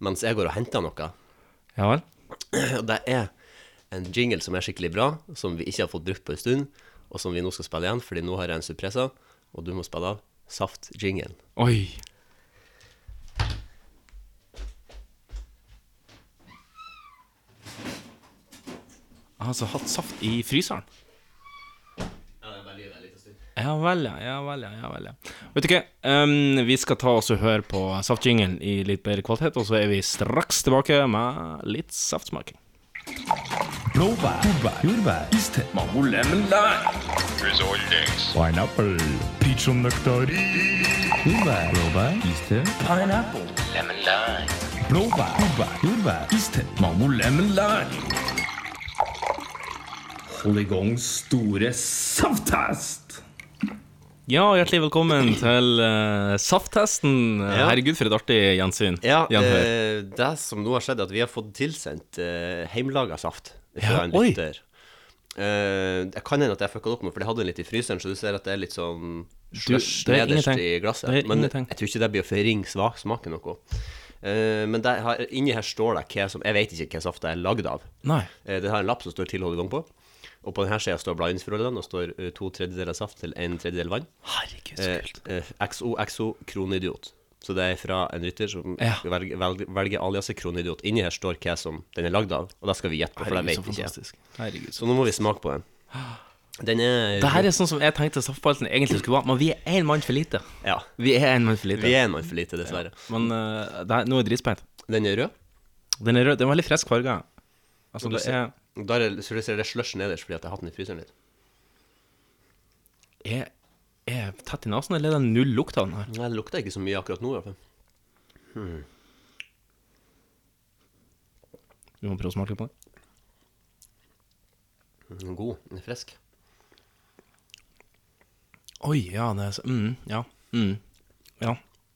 C: mens jeg går og henter noe.
B: Ja vel?
C: Og det er en jingle som er skikkelig bra, som vi ikke har fått brukt på en stund, og som vi nå skal spille igjen, fordi nå har jeg en surprese, og du må spille av Saft-jinglen.
B: Oi. Altså hatt saft i fryseren? Ja vel, ja. ja vel, ja, ja vel, ja. Vet du hva, Ehm, vi skal ta oss og høre på saftjingelen i litt bedre kvalitet, og så er vi straks tilbake med litt saftsmaking.
F: Blåbær, jordbær, jordbær iste, mango, lemon, lime Pineapple, peach og nektar Jordbær, blåbær, iste, pineapple, lemon, lime Blåbær, jordbær, jordbær iste, mango, lemon, lime Hold i gang store safttest!
B: Ja, hjertelig velkommen til eh, safttesten. Herregud, for et artig gjensyn.
C: Ja,
B: Gjenhør.
C: eh, det som nå har skjedd, er at vi har fått tilsendt eh, heimelaga saft fra
B: Ja,
C: en
B: oi.
C: lytter. Eh, det kan hende at jeg fucka det opp nå, for jeg hadde den litt i fryseren, så du ser at det er litt sånn slush
B: det er
C: nederst
B: ingenting.
C: i glasset.
B: Det er
C: men
B: ingenting.
C: jeg tror ikke det blir å forringe svak smaken noe. Eh, men det har, inni her står det hva som Jeg vet ikke hva saft det er lagd av.
B: Nei.
C: Eh, Det har en lapp som står 'tilhold i gang' på. Og på denne sida står blandingsforholdene, og står eh, to tredjedeler saft til en tredjedel vann.
B: Herregud, så
C: Eh,
B: kult.
C: eh, XOXO kronidiot. Så det er fra en rytter som
B: Ja.
C: velger, velger, velger aliaset kronidiot. Inni her står hva som den er lagd av, og det skal vi gjette på, for det
B: Herregud,
C: vet
B: så
C: vi ikke.
B: fantastisk. Herregud, så
C: Så nå må vi smake på den. Den er
B: det her er sånn som jeg tenkte straffepalten egentlig skulle være, men vi er én mann for lite.
C: Ja.
B: Vi er én mann for lite.
C: Vi er en mann for lite, dessverre.
B: Men eh, det her, nå er jeg dritspent.
C: Den er rød.
B: Den er rød. Den var litt frisk farge. Altså, det er,
C: Da er det, så du ser det slush nederst fordi at jeg har hatt den i fryseren litt.
B: er, er jeg tett i nesen, eller er det null lukt av den her?
C: Nei, det lukter ikke så mye akkurat nå, i hvert fall.
B: Vi må prøve å smake på den.
C: Den er God. Den er frisk.
B: Oi, ja, det er så mm, Ja. Mm, ja.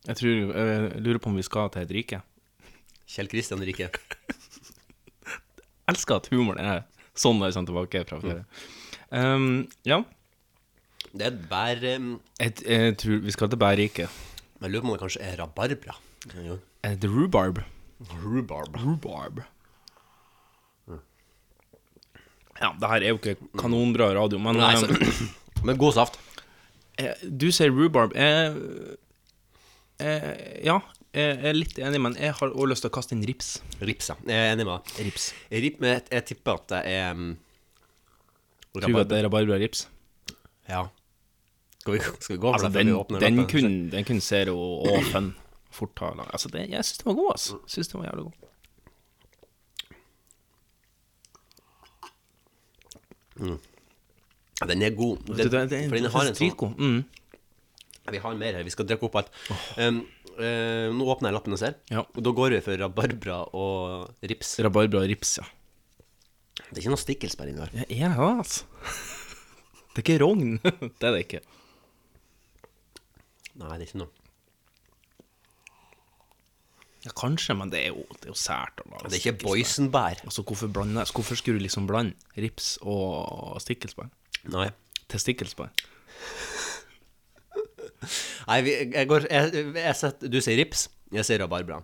B: Jeg tror Jeg lurer på om vi skal til et rike.
C: Kjell Kristian Rike.
B: Elsker at humoren er sånn når jeg kommer tilbake fra ferie. Um, ja.
C: Det er et bær ehm,
B: Jeg, jeg tror vi skal til bærriket.
C: Jeg lurer på om det kanskje er rabarbra. Jo.
B: Er det Eh, rhubarb?
C: Rhubarb. Mm.
B: Rhubarb. Ja, det her er jo ikke kanonbra radio, men
C: Nei,
B: um,
C: så, men god saft.
B: Eh, Du sier rhubarb. Jeg, jeg, ja, jeg er litt enig, men jeg har også lyst til å kaste inn rips.
C: Rips, ja. Jeg er enig med deg.
B: Rips.
C: Rip, men jeg, jeg tipper at det er ehm,
B: Tror du at det er rabarbra rips?
C: Ja. Skal vi, skal vi gå for
B: Altså,
C: det før
B: den,
C: vi åpner
B: den,
C: lappen?
B: kunne, den kunne zero og fun fort ha lag- Altså, det, jeg syns den var god, altså. Syns den var jævlig god.
C: Mm. Den er god. Den,
B: Du, det- det-
C: for den
B: det
C: har
B: er
C: en sånn
B: dritgod. Mm.
C: Vi har mer her. Vi skal drikke opp alt. Ehm, eh, nå åpner jeg lappen og ser.
B: Ja.
C: Og da går vi for rabarbra og rips.
B: Rabarbra rips, ja.
C: Det er ikke noe stikkelsbær inni der.
B: Det er det, altså. Det er ikke rogn. det er det ikke.
C: Nei, det er ikke noe.
B: Ja, kanskje, men det er jo, det er jo sært. å lage
C: Det er ikke
B: stikkelsbær.
C: boysenbær.
B: Altså, hvorfor, blande, hvorfor skulle du liksom blande rips og stikkelsbær?
C: Nei.
B: Testikkelsbær.
C: Nei, vi, jeg går jeg, jeg setter, Du sier rips, jeg sier rabarbra.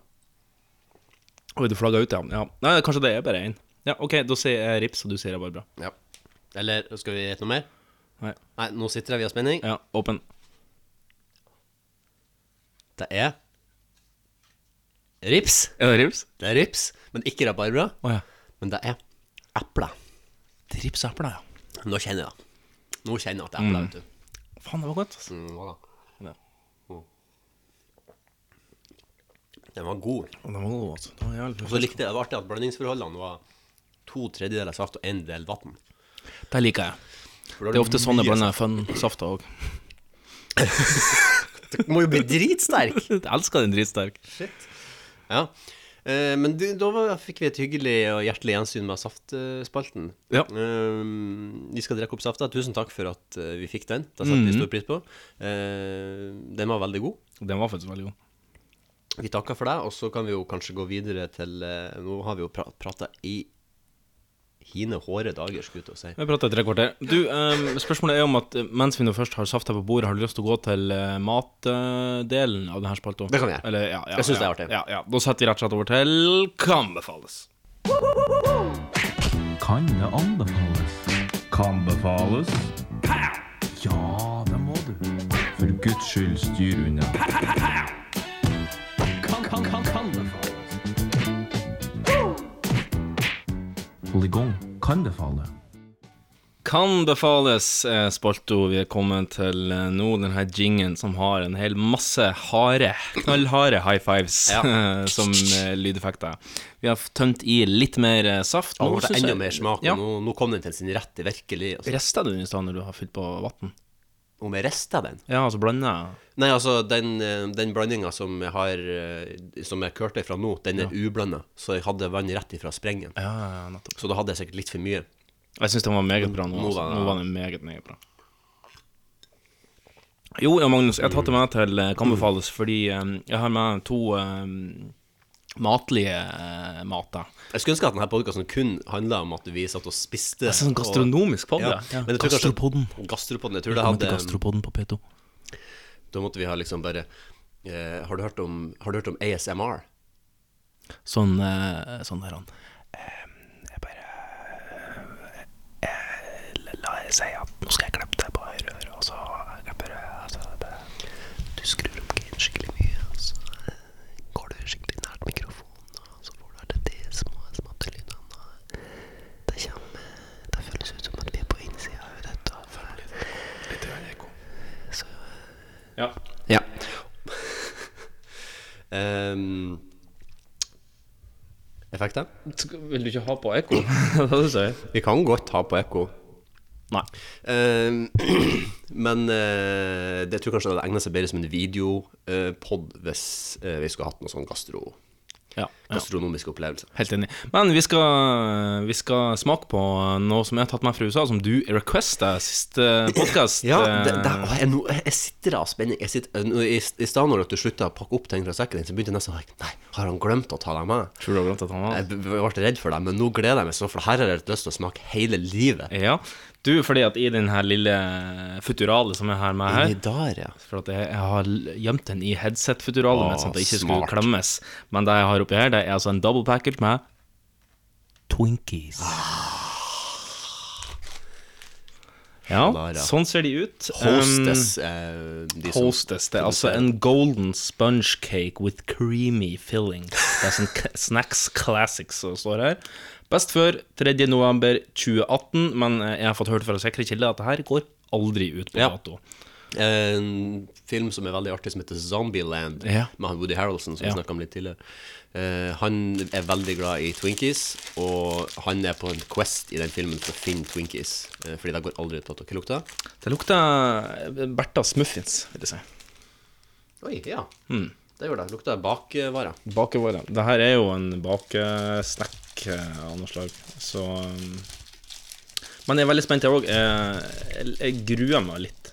B: Oi, du flagga ut, ja. ja. Nei, kanskje det er bare én. Ja, OK, da sier jeg rips, og du sier jeg bare bra.
C: Ja. Eller skal vi gjette noe mer?
B: Nei.
C: Nei, nå sitter jeg, vi har spenning.
B: Ja, åpen.
C: Det er rips.
B: Er det rips?
C: Det er rips, men ikke rabarbra.
B: Å ja.
C: Men det er epler.
B: Det er rips og epler, ja.
C: Nå kjenner jeg det. Nå kjenner jeg at det er
B: Mm.
C: epler, vet du.
B: Faen, det var godt. ass.
C: Mm, hva da?
B: Ja.
C: Den var god.
B: Og det var god, altså. Det var jævlig
C: Og så
B: godt.
C: likte jeg det var artig at blandingsforholdene var to tredjedeler saft og en del vann.
B: Det liker jeg. Det er ofte sånn jeg blander fun-safta òg.
C: Du må jo bli dritsterk!
B: Jeg elsker den dritsterk.
C: Ja. Eh, men du, da var, fikk vi et hyggelig og hjertelig gjensyn med saftspalten.
B: Ja.
C: Eh, vi skal drikke opp safta. Tusen takk for at eh, vi fikk den.
B: Mhm.
C: Det setter vi stor pris på. Eh, den var veldig god.
B: Den var faktisk veldig god.
C: Vi takker for deg, og så kan vi jo kanskje gå videre til eh, Nå har vi jo pra prata i hine hårde dager, skulle jeg til å si.
B: Vi prater i tre kvarter. Du, ehm, spørsmålet er om at eh, mens vi nå først har safta på bordet, har du lyst til å gå til eh, matdelen av denne spalta?
C: Det kan vi gjøre.
B: Eller, ja, ja,
C: Jeg synes det
B: ja,
C: er artig.
B: Ja, ja. Da setter vi rett og slett over til Kan befales.
F: Kan det anbefales? Kan befales? Ja, det må du. For Guds skyld, styr unna. Kan, kan, kan, kan befales. Hold i gang. Kan befale.
B: Kan befales, eh, Spalto. Vi er kommet til eh, nå denne jingen som har en hel masse harde, knallharde high fives eh, som eh, lydeffekter. Vi har tømt i litt mer eh, saft.
C: Nå ble
B: synes
C: det enda
B: jeg-
C: mer smak. og
B: Ja.
C: Nå, nå kom den til sin rette, virkelig. Altså.
B: Rester du den i stedet når du har fylt på vann?
C: Om jeg rista den?
B: Ja, altså blander
C: Nei, altså, den, eh, den blandinga som jeg har eh, Som jeg kørte fra nå, den er ublanda. Så jeg hadde vann rett ifra sprengen.
B: Ja, ja, ja, nettopp.
C: Så da hadde jeg sikkert litt for mye.
B: Jeg syns den var meget bra nå.
C: Nå
B: Altså.
C: var det-
B: Nå var den meget, meget bra. Jo, ja, Magnus, jeg har tatt det med til eh, Kan befales fordi eh, jeg har med to eh, matlige eh, mater.
C: Jeg skulle ønske at denne podkasten kun handla om at vi satt og spiste.
B: Det er sånn
C: og-
B: gastronomisk podd,
C: Ja,
B: ja.
C: men jeg tror kanskje-
B: Gastropodden.
C: Gastropodden. Jeg tror det
B: Velkommen til
C: hadde
B: Gastropodden på P2.
C: Da måtte vi ha liksom bare eh, har, du hørt om, har du hørt om ASMR?
B: Sånn, eh, sånn der han eh, Jeg bare eh, La jeg si at nå skal jeg klippe det på høyre øre, og så klipper jeg altså, det- Du skrur opp gaten skikkelig mye, og så Ja.
C: Ja. um, effekter?
B: Skal- Vil du ikke ha på ekko? det er det du sier.
C: Vi kan godt ha på ekko.
B: Nei.
C: Um, men eh, det tror jeg kanskje det hadde egnet seg bedre som en videopod hvis eh, vi skulle hatt noe sånn gastro,
B: Ja, ja.
C: gastronomisk opplevelse.
B: Helt enig. Men vi skal, vi skal smake på noe som jeg har tatt med fra USA, som du eh, requesta siste podkast.
C: Ja, det, det, å, jeg, nå- jeg sitter av spenning. Jeg sitter, eh, nå, i, I stedet når du slutta å pakke opp ting fra sekken din, så begynte jeg nesten å tenke Nei, har han glemt å ta dem med?
B: Eh, Tror du har glemt at han var
C: Jeg b- ble redd for dem, men nå gleder jeg meg sånn, for her har jeg lyst til å smake hele livet.
B: Ja. Du, fordi at i den her lille futuralet som er her med her
C: I dag, ja.
B: For at jeg, jeg har l- gjemt den i headset-futuralet mitt, sånn at det ikke skulle
C: smart.
B: klemmes. Men det jeg har oppi her, det er altså en double package med Twinkies.
C: Ah.
B: Ja,
C: Klara.
B: sånn ser de ut.
C: Hostess. eh, de som
B: Hostess. Det er altså
C: produserer.
B: en golden sponge cake with creamy filling. Det er sånn k- Snacks Classics som står her. Best før 3. november 2018, men eh, jeg har fått hørt fra sikre kilder at det her går aldri ut på
C: Ja.
B: dato.
C: En film som er veldig artig, som heter Zombieland,
B: Ja.
C: med han Woody Harrelson, som vi
B: Ja.
C: snakket om litt tidligere. Eh, han er veldig glad i Twinkies, og han er på en quest i den filmen for å finne Twinkies, eh, fordi det går aldri ut på at dere lukter.
B: Det lukter Bertas muffins, vil jeg si.
C: Oi, ja.
B: Hmm.
C: Det gjør det. Lukter bakvare.
B: Bakevare. Det her er jo en bakesnack eh, av noe slag, så um, Men jeg er veldig spent, jeg òg. Jeg, jeg gruer meg litt.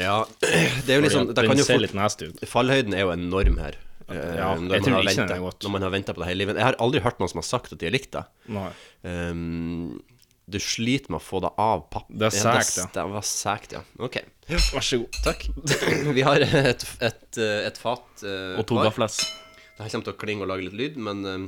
C: Ja, det er jo liksom
B: Fordi at
C: det kan
B: den
C: jo
B: ser
C: fort-
B: litt nasty ut.
C: Fallhøyden er jo enorm her. Eh,
B: Ja,
C: når
B: jeg
C: man
B: tror ikke
C: har
B: den er
C: ventet-
B: godt.
C: Når man har venta på det hele livet. Jeg har aldri hørt noen som har sagt at de har likt det.
B: Nei.
C: Ehm, du sliter med å få det av papp.
B: Det er
C: Ja,
B: sækt,
C: det. Det var sækt, ja. Ok.
B: Vær så god. Takk.
C: Vi har et, et, et fat eh,
B: Og to
C: hver.
B: gafles.
C: Det her kommer til å klinge og lage litt lyd, men ehm,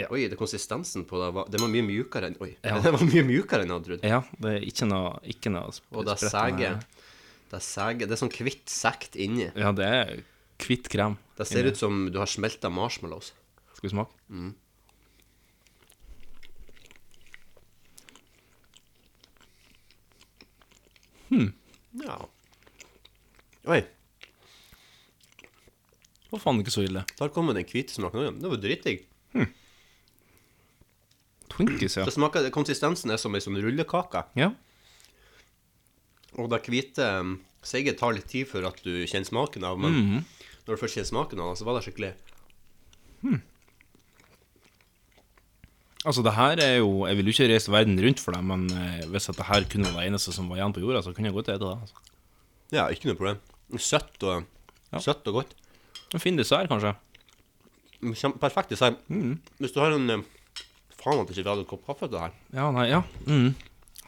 B: Ja.
C: Oi, det konsistensen på det var, det var mye mjukere enn Oi,
B: Ja.
C: det var mye mjukere enn jeg hadde trodd.
B: Ja, det er ikke noe, ikke noe sp-
C: Og det er
B: spretten
C: sæge.
B: her.
C: Det er sæge. Det er sånn kvitt sekt inni.
B: Ja, det er hvitt krem.
C: Det ser ut som du har smelta marshmallows.
B: Skal vi smake?
C: Ja. Oi,
B: Det var faen ikke så ille.
C: der kommer den hvite smaken. Oi, Det var dritdigg.
B: Twinkies, ja.
C: Det smaker, konsistensen er som ei sånn rullekake.
B: Ja,
C: Og det hvite um, seige tar litt tid før at du kjenner smaken av, men
B: Mhm.
C: når du først kjenner smaken av det, så var det skikkelig
B: altså det her er jo Jeg vil jo ikke reise verden rundt for det, men eh, hvis at det her kunne være det eneste som var igjen på jorda, så kunne jeg godt spise det. Altså.
C: Ja, ikke noe problem. Søtt og,
B: Ja.
C: søtt og godt.
B: En fin dessert, kanskje.
C: Kjem- Perfekt dessert.
B: Mhm.
C: Hvis du har en um, Faen at ikke vi hadde en kopp kaffe til det her.
B: Ja, nei, ja. Mm.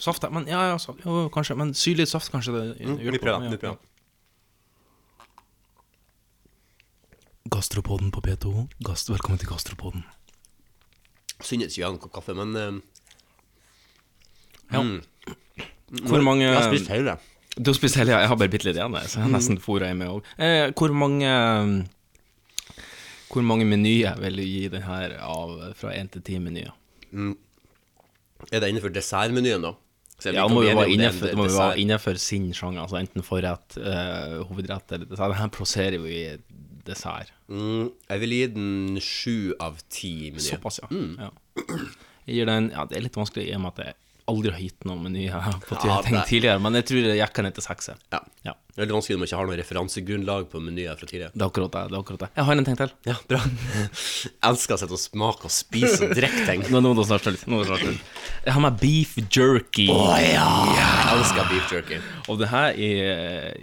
B: Saft, ja, men ja, ja, saft, jo, kanskje. Men syrlig saft, kanskje det hjelper.
C: Vi prøver.
B: Ja.
C: vi prøver.
B: Gastropoden på P2. Gast, velkommen til Gastropoden.
C: Synd at ikke vi hadde en kopp kaffe, men um,
B: Ja. Hvor mange
C: Jeg har spist hele.
B: Du har spist hele, ja. Jeg har bare bitte litt igjen, jeg, så jeg har nesten fôra i meg òg. Eh, hvor mange Hvor mange menyer vil du gi den her av eh, fra én til ti menyer?
C: Er det innenfor dessertmenyen, da? Så jeg
B: Ja,
C: liker
B: det må
C: å
B: jo
C: bli
B: være
C: enig om det
B: innenfor,
C: er
B: det
C: en
B: må jo være
C: dessert.
B: innenfor sin sjanger, altså enten forrett, eh, hovedrett eller dessert. Den her plasserer jo i dessert.
C: Mm, jeg vil gi den sju av ti menyer.
B: Såpass, ja. ja. Jeg gir den, ja, det er litt vanskelig i og med at jeg aldri har gitt noen menyer på
C: Ja,
B: ting
C: det-
B: tidligere, men jeg tror jeg jekker ned til sekser.
C: Ja.
B: Ja.
C: Det er veldig vanskelig når man ikke har noe referansegrunnlag på menyer fra tidligere.
B: Det er akkurat det. det er akkurat det. Jeg har en ting til.
C: Ja, bra. Jeg elsker å sitte og smake og spise og drikke ting.
B: Nå, nå er det snart slutt. Nå er det snart slutt. Jeg har med beef jerky.
C: Jeg elsker beef jerky.
B: Og det her i,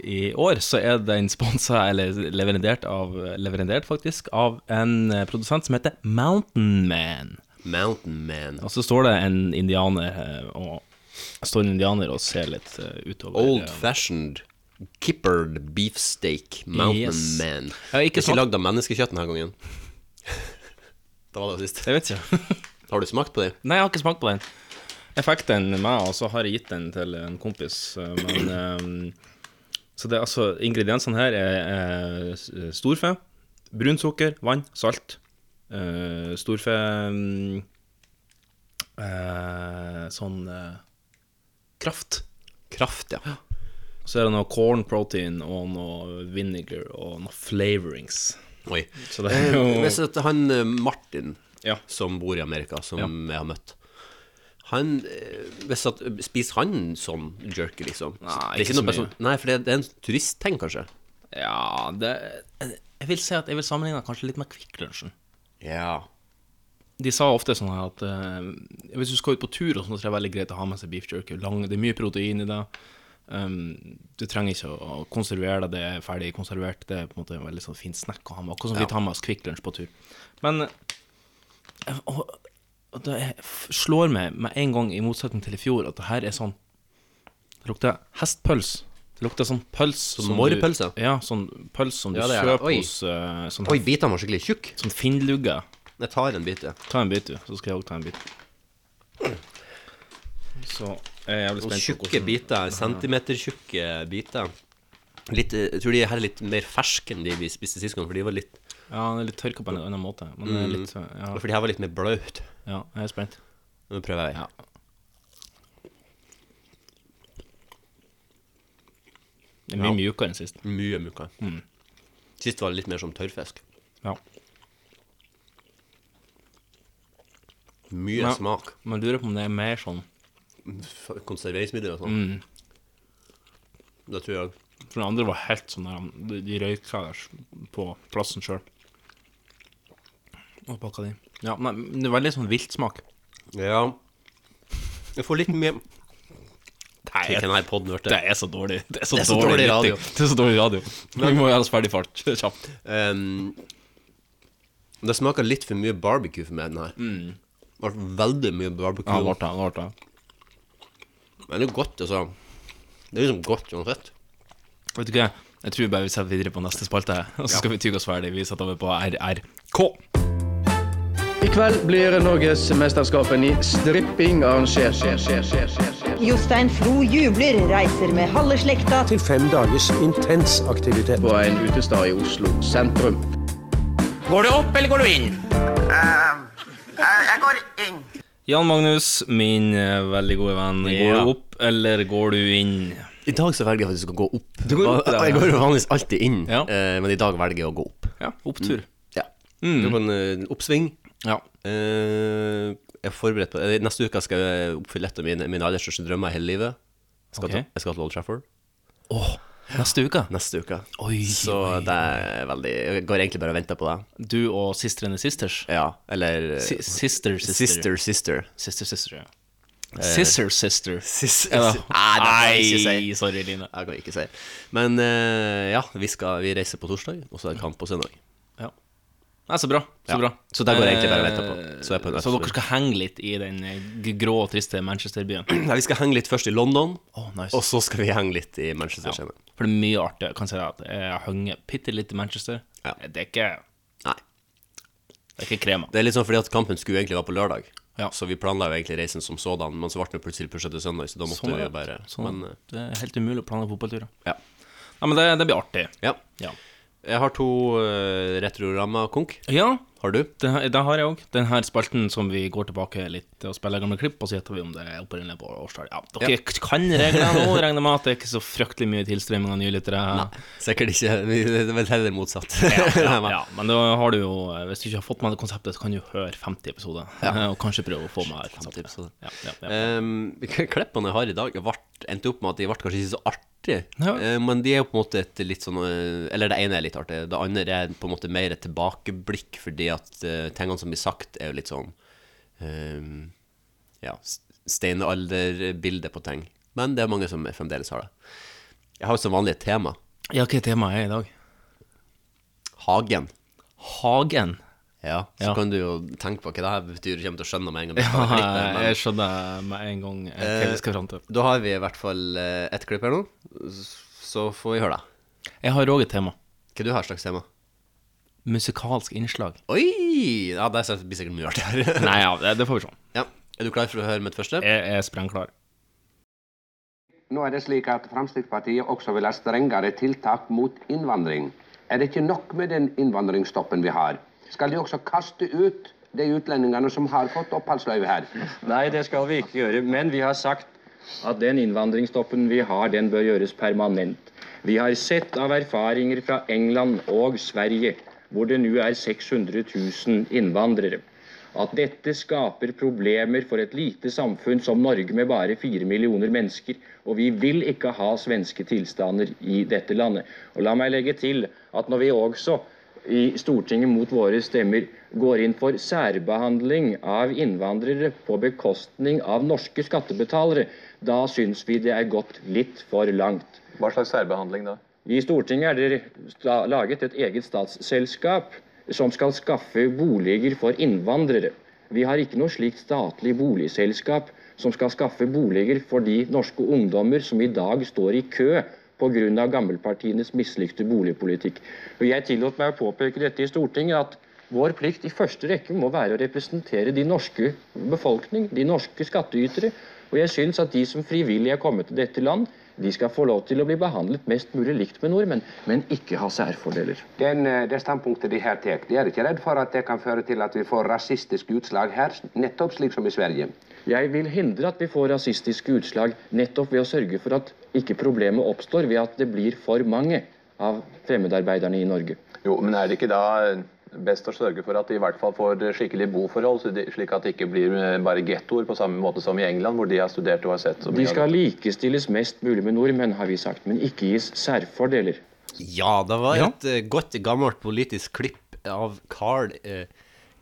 B: i år så er den sponsa, eller leverandert av, leverandert faktisk, av en eh, produsent som heter Mountain Man.
C: Mountain Man.
B: Og så står det en indianer eh, og står en indianer og ser litt eh, utover.
C: Old fashioned kippered beefsteak Mountain
B: Yes.
C: Man.
B: har ikke
C: Det er
B: smakt-
C: ikke lagd av menneskekjøtt denne gangen. Da var det sist.
B: Jeg vet ikke.
C: Har du smakt på det?
B: Nei, jeg har ikke smakt på den. Jeg fikk den med, og så har jeg gitt den til en kompis. eh, Men ehm, Så det er altså Ingrediensene her er, eh, s- storfe, brunt sukker, vann, salt. eh, storfe mm, eh, Sånn eh, kraft.
C: Kraft, ja.
B: Så er det noe corn protein og noe vinegar og noe flavorings.
C: Oi.
B: Så det er jo-
C: Eh, Hvis at han eh, Martin
B: Ja.
C: som bor i Amerika, som
B: Ja.
C: jeg har møtt han, eh, hvis at, Spiser han sånn jerky, liksom?
B: Nei,
C: det
B: ikke
C: er ikke noe
B: så mye.
C: person, Nei, for det, det er en turistting, kanskje?
B: Ja, det Jeg vil si at jeg vil sammenligne kanskje litt med Kvikk Lunsjen.
C: Ja.
B: De sa ofte sånn her at eh, hvis du skal ut på tur, og sånn, så er det veldig greit å ha med seg beef jerky. Lang, det er mye protein i det. Um, du trenger ikke å konservere det, det er ferdig konservert. Det er på en måte en veldig sånn fin snack å ha med, akkurat som vi tar med oss Kvikk Lunsj på tur. Men eh, og, og det er- slår meg med en gang, i motsetning til i fjor, at det her er sånn Det lukter hestpøls. Det lukter sånn pøls som du-
C: mårepølse?
B: Ja, sånn pøls som du
C: Ja, det er det.
B: kjøper
C: Oi.
B: hos eh, sånn,
C: Oi, bitene var skikkelig tjukke.
B: sånn finnlugge.
C: Jeg tar en bit, ja.
B: Ta en bit, du. Så skal jeg òg ta en bit. Så jeg er jævlig
C: Noen
B: spent på
C: tjukke
B: hvordan
C: biter. Centimetertjukke biter. Litt, eh, jeg tror de her er litt mer ferske enn de vi spiste sist gang, for de var litt
B: Ja, den er litt tørka på en annen måte. Men det er litt så- ja,
C: For de her var litt mer blaut.
B: ja, jeg er spent.
C: Nå prøver jeg.
B: Ja. Det er mye mjukere enn sist.
C: Mye mukka.
B: Mm.
C: Sist var det litt mer som tørrfisk.
B: Ja.
C: Mye
B: Ja.
C: smak.
B: Men jeg lurer på om det er mer sånn
C: F- Konserveringsmidler og sånn.
B: Mm.
C: Det tror jeg.
B: For den andre var helt sånn der De, de røyka på plassen sjøl. Og pakka de. Ja, nei, men det er veldig sånn viltsmak.
C: Ja. Jeg får litt mer Nei,
B: jeg-
C: den her podden ble
B: Det er så dårlig. Det er så,
C: Det er så
B: dårlig,
C: dårlig
B: radio.
C: radio.
B: Det er så dårlig radio. Vi må gjøre oss ferdig fart. Kjapt.
C: Ehm, Det smaker litt for mye barbecue for meg, den her. Det ble veldig mye barbecue.
B: Mm. Ja, det ble det. det ble det.
C: Men det er jo godt, altså. Det er liksom godt uansett.
B: Vet du hva? Jeg tror bare vi setter videre på neste spalte, og så skal vi tygge oss ferdig. Vi setter over på RRK.
G: I kveld blir Norgesmesterskapen i stripping arrangert.
H: Jostein Flo jubler, reiser med halve slekta
I: til fem dagers intens aktivitet.
G: På en utestad i Oslo sentrum.
B: Jan Magnus, min eh, veldig gode venn. Går
C: Ja.
B: du opp, eller går du inn?
C: I dag så velger jeg faktisk å gå opp.
B: går opp, ja.
C: jeg går jo vanligvis alltid inn,
B: Ja.
C: eh, men i dag velger jeg å gå opp.
B: Ja, opptur.
C: Ja. Det var en eh, oppsving.
B: Mm. Ja.
C: Eh, jeg er forberedt på eh, Neste uke skal jeg oppfylle et av mine, mine aller største drømmer i hele livet. Jeg skal,
B: Ok.
C: til, jeg skal til Old Trafford
B: Neste uke.
C: neste uke.
B: Oi,
C: så det er veldig Jeg går egentlig bare og venter på det.
B: Du og Sistrene Sisters.
C: Ja, eller eh,
B: Si- Sister, sister. Eh,
C: Sister, sister.
B: Sister, sister, ja. Sister, sister.
C: Sis-
B: Ja.
C: Nei, det kan jeg ikke si.
B: Nei, sorry, Line.
C: Jeg kan ikke si. Men eh, ja, vi, skal, vi reiser på torsdag, og så er det kamp på søndag.
B: Ja. Nei, så bra. Så
C: Ja.
B: bra. Eh,
C: Så der går jeg egentlig bare og venter på. Så jeg er på en
B: Så
C: absolutt.
B: dere skal henge litt i den eh, g- grå og triste Manchester-byen?
C: Nei, vi skal henge litt først i London,
B: Oh, nice.
C: og så skal vi henge litt i Manchester
B: ja.
C: senere.
B: For det er mye artig. Jeg kan si at jeg har hengt bitte litt i Manchester. Eh,
C: Ja.
B: Det er ikke
C: Nei.
B: det er ikke krema.
C: Det er litt sånn fordi at kampen skulle egentlig være på lørdag,
B: Ja.
C: så vi planla jo egentlig reisen som sådan, men så ble den jo plutselig pusha til søndag, så da måtte
B: Sånn er
C: vi
B: det.
C: jo bare
B: Sånn,
C: Men eh,
B: det er helt umulig å planlegge fotballturer.
C: ja.
B: Ja, men det, det blir artig.
C: ja.
B: Ja.
C: Jeg har to uh, retrorammer, Konk.
B: ja
C: Har du?
B: det, her- det har jeg òg. Denne spalten som vi går tilbake litt og spiller gamle klipp, og så gjetter vi om det er opprinnelig på årstall. Ja, dere
C: Ja.
B: kan reglene nå, regner jeg med at det er ikke så fryktelig mye tilstrømming av nye lyttere.
C: Sikkert ikke. Vi- Det er vel heller motsatt.
B: ja, ja, men da har du jo eh, Hvis du ikke har fått med det konseptet, så kan du jo høre 50 episoder. eh, Og kanskje prøve å få med
C: 50
B: konseptet.
C: episoder.
B: Ja, ja, ja.
C: Ehm, Klippene jeg har i dag, vart- endte opp med at de ble kanskje ikke så artige. Ehm,
B: Ja.
C: men de er jo på en måte et litt sånn eh, Eller det ene er litt artig. Det andre er på en måte mer et tilbakeblikk, fordi at eh, tingene som blir sagt, er jo litt sånn ehm, Ja, s- steinalderbilde på ting. Men det er mange som fremdeles har det. Jeg har jo som vanlig et tema.
B: ja, hva er temaet er i dag?
C: Hagen.
B: Hagen.
C: Ja, så
B: Ja.
C: kan du jo tenke på hva det her betyr. Du kommer til å skjønne med en gang.
B: Ja,
C: du tar klippet, men-
B: eh, jeg skjønner med en gang eh, hva vi skal fram til.
C: Da har vi i hvert fall eh, ett klipp her nå, s- så får vi høre det.
B: Jeg har òg et tema.
C: Hva du har slags tema?
B: Musikalsk innslag.
C: Oi! Ja, det er- blir sikkert mye artigere.
B: Nei, ja, det, det får vi se.
C: ja. Er du klar for å høre mitt første?
B: Jeg er sprengklar.
J: Nå er det slik at Fremskrittspartiet også vil ha strengere tiltak mot innvandring. Er det ikke nok med den innvandringsstoppen vi har? Skal de også kaste ut de utlendingene som har fått oppholdsløyve her?
K: Nei, det skal vi ikke gjøre. Men vi har sagt at den innvandringsstoppen vi har, den bør gjøres permanent. Vi har sett av erfaringer fra England og Sverige, hvor det nå er 600 000 innvandrere, at dette skaper problemer for et lite samfunn som Norge med bare fire millioner mennesker. Og vi vil ikke ha svenske tilstander i dette landet. Og la meg legge til at når vi også i Stortinget mot våre stemmer går inn for særbehandling av innvandrere på bekostning av norske skattebetalere, da syns vi det er gått litt for langt.
L: Hva slags særbehandling da?
K: I Stortinget er det sta- laget et eget statsselskap som skal skaffe boliger for innvandrere. Vi har ikke noe slikt statlig boligselskap som skal skaffe boliger for de norske ungdommer som i dag står i kø pga. gammelpartienes mislykte boligpolitikk. Og Jeg tillot meg å påpeke dette i Stortinget, at vår plikt i første rekke må være å representere de norske befolkning, de norske skattytere. Og jeg syns at de som frivillig er kommet til dette land, de skal få lov til å bli behandlet mest mulig likt med nordmenn, men ikke ha særfordeler.
J: Den, eh, det standpunktet de her tar, de er ikke redd for at det kan føre til at vi får rasistiske utslag her, nettopp slik som i Sverige.
K: Jeg vil hindre at vi får rasistiske utslag nettopp ved å sørge for at ikke problemet oppstår ved at det blir for mange av fremmedarbeiderne i Norge.
L: Jo, men er det ikke da eh, best å sørge for at de i hvert fall får eh, skikkelig boforhold, så de- slik at det ikke blir eh, bare gettoer på samme måte som i England, hvor de har studert og har sett så mye
K: De
L: av
K: skal likestilles mest mulig med nordmenn, har vi sagt, men ikke gis særfordeler.
C: Ja, det var
K: Ja.
C: et eh, godt gammelt politisk klipp av Carl eh,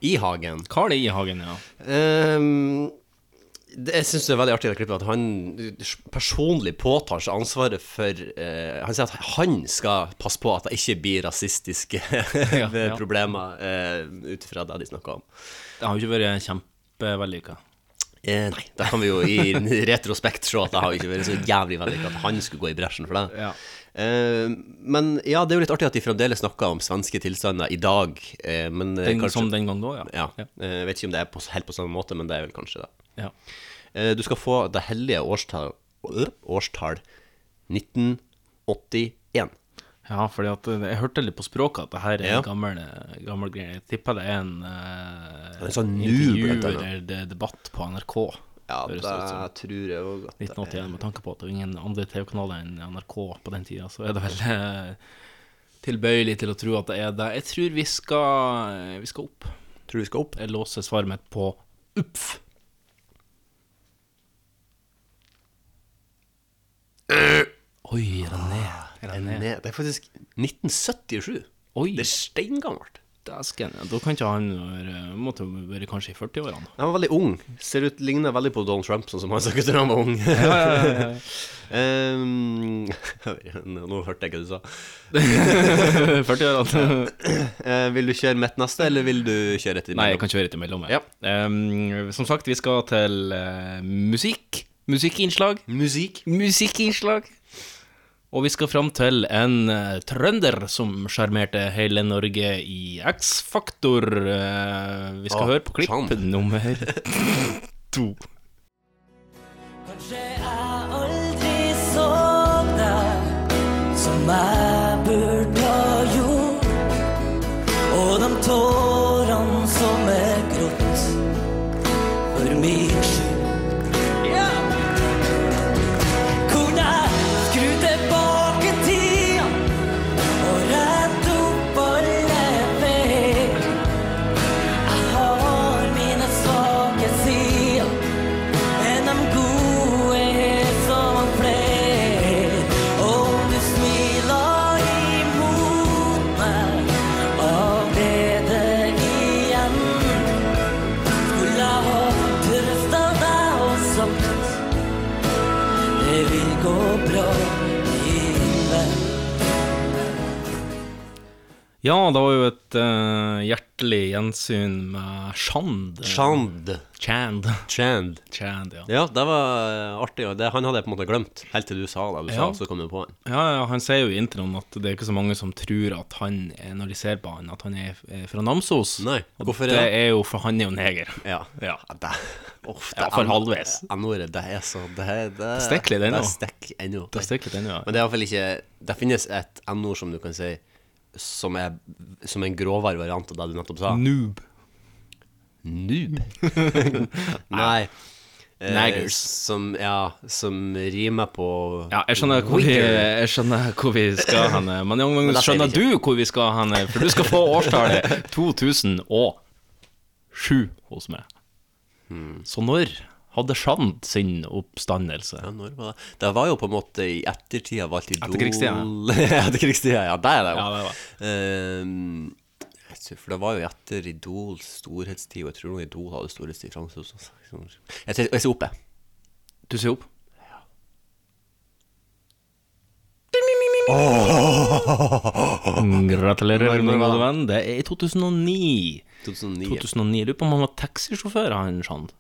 C: Ihagen.
B: Carl Ihagen, ja.
C: Ehm, det, jeg syns det er veldig artig i det klippet at han eh, personlig påtar seg ansvaret for eh, Han sier at han skal passe på at det ikke blir rasistiske
B: ja.
C: problemer uh, ut ifra det de snakker om.
B: Det har jo ikke vært kjempevellykka.
C: Eh, nei, da kan vi jo i retrospekt se at det har jo ikke vært så jævlig vellykka at han skulle gå i bresjen for det. Eh, men ja, det er jo litt artig at de fremdeles snakker om svenske tilstander i dag. eh, men, eh,
B: Den- som den gang da, ja.
C: Eh, jeg vet ikke om det er på, helt på samme måte, men det er vel kanskje det.
B: Ja.
C: Eh, du skal få det hellige årstall, øh, årstall 1981.
B: Ja, fordi at eh, jeg hørte litt på språket at det her er
C: Ja.
B: en gammel, eh, gammel greie. Jeg tipper det er en eh,
C: En sånn
B: intervju
C: nu, blant annet.
B: eller det- debatt på NRK.
C: Ja,
B: høres
C: det
B: ut som.
C: tror jeg òg at det er.
B: 1981, med tanke på at det var ingen andre TV-kanaler enn NRK på den tida, så er det vel eh, tilbøyelig til å tro at det er det. Jeg tror vi skal, vi skal opp.
C: Tror du vi skal opp?
B: Jeg låser svaret mitt på UPF. Eh, Oi, René. René.
C: René. Det er faktisk 1977. Det er steingammelt.
B: Dæsken. ja, Da kan ikke han være- måtte jo være kanskje i 40-årene.
C: Han var veldig ung. Ser ut, ligner veldig på Donald Trump, sånn som han snakket da han var ung.
B: Ja, ja, ja, ja.
C: Ehm, nå nå hørte jeg hva du sa.
B: 40-årene.
C: Eh, vil du kjøre mitt neste, eller vil du kjøre et imellom?
B: Nei, jeg kan kjøre et imellom. jeg. Ehm, som sagt, vi skal til eh, musikk. Musikkinnslag.
C: Musikk.
B: Musikkinnslag. Og vi skal fram til en eh, trønder som sjarmerte hele Norge i X-Faktor. Eh, vi skal
C: Å,
B: høre på klipp
C: sant.
B: nummer to.
M: Kanskje jeg aldri så deg som jeg burde ha gjort. Og de tårene som er grått for min skyld. Ja! Kunne jeg skru tilbake tida og rette opp alle feil? Jeg har mine svake sider. En av gode er som flere. Om du smiler imot meg av glede igjen, skulle jeg ha trøsta deg og sagt det vil gå bra, min venn.
B: Ja, det var jo et eh, hjertelig gjensyn med Shand.
C: Shand.
B: Chand.
C: Chand.
B: Chand, ja.
C: Ja, det var eh, artig. og Det, han hadde jeg på en måte glemt, helt til du sa det. Du
B: Ja.
C: sa, så kom jeg på han.
B: Ja, ja, han sier jo i introen at det er ikke så mange som tror at han, er- når de ser på han, at han er er fra Namsos. Nei,
C: hvorfor er
B: og det? er jo for han er jo neger.
C: Ja.
B: ja.
C: Det,
B: ja for halvveis.
C: N-ordet, det er så Det, er- det,
B: Det stikker litt ennå.
C: Det stikker ennå.
B: Det stikker litt ennå, ja.
C: Men det er iallfall ikke Det finnes et N-ord som du kan si som er som en grovere variant av det du nettopp sa.
B: Noob.
C: Noob? Nei. eh,
B: Naggers.
C: Som, ja, som rimer på
B: Ja, jeg skjønner hvor vi, jeg skjønner hvor vi skal hen. Men Jan
C: Men
B: Magnus,
C: da ser vi
B: skjønner
C: ikke.
B: du hvor vi skal hen? For du skal få årstallet 2007 hos meg.
C: Hmm.
B: Så når hadde Sjand sin oppstandelse?
C: Ja, når var det? Det var jo på en måte i ettertida valgt idol
B: Etterkrigstida.
C: Etterkrigstida, ja. Der er det jo.
B: Ja, det var.
C: Ehm, jeg tror- for det var jo etter Idols storhetstid, og jeg tror noen Idol hadde storhetstid fram til 2006. Jeg ser- jeg ser opp, jeg.
B: Du ser opp? Gratulerer, min gode venn. Det er i 2009.
C: 2009.
B: 2009. Jeg Lurer på om han var taxisjåfør, han Sjand.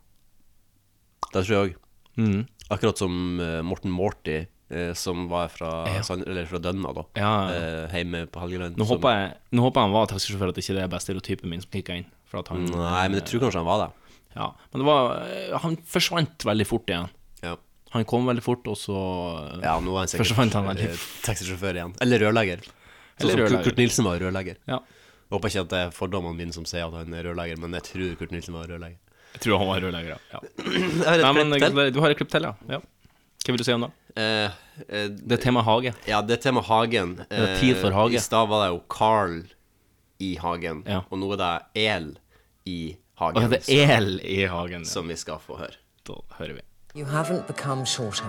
C: Det tror jeg òg. Hmm.
B: Mhm.
C: Akkurat som eh, Morten Morty, eh, som var fra, Sand- eller fra Dønna, da.
B: Ja, ja.
C: Eh, hjemme på Helgeland.
B: Nå
C: som-
B: håper, jeg, nå håper jeg han var taxisjåfør, at ikke det er bare stereotypen min som kicka inn. For at han,
C: Nei, men jeg tror kanskje han var det.
B: Ja, men det var eh, Han forsvant veldig fort igjen. Han kom veldig fort, og så eh,
C: Ja, nå er han sikkert
B: forsvant han veldig
C: eh, taxisjåfør igjen. Eller rørlegger. Sånn
B: Eller
C: som Kurt-
B: rørlegger.
C: Kurt Nilsen var rørlegger.
B: Ja.
C: Jeg Håper ikke at det er fordommene mine som sier at han er rørlegger, men jeg tror Kurt Nilsen var rørlegger.
B: Jeg tror han var rørlegger, ja.
C: Jeg har et
B: Nei, men
C: klipp til.
B: gratulerer, Du har et klipp til, ja. ja. Hva vil du si om det?
C: Eh, eh,
B: Det er tema hage.
C: Ja, det er tema hagen. Eh,
B: Det er tid for hage.
C: I stad var det jo Carl i hagen,
B: Ja.
C: og nå er det El i hagen.
B: Og det er el i hagen.
C: Som vi skal få høre.
B: Da hører vi.
N: You haven't become shorter.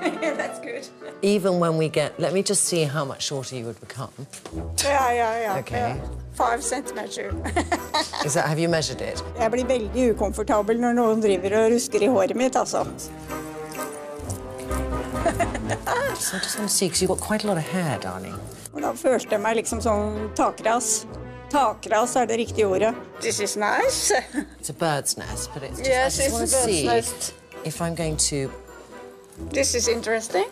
O: That's good.
N: Even when we get, let me just see how much shorter you would become.
O: Ja, ja, ja.
N: Ok.
O: ja. Five centimeter.
N: Is that, have you measured it?
O: Jeg blir veldig ukomfortabel når noen driver og rusker i håret mitt, altså.
N: So I just want to see, because you've got quite a lot of hair, darling.
O: Og da følte jeg meg liksom som takras. Takras er det riktige ordet. This is nice.
N: It's a bird's nest, but it's just,
O: Yes,
N: I just
O: it's
N: want
O: a
N: to
O: bird's
N: see
O: nest.
N: if I'm going to,
O: This is interesting.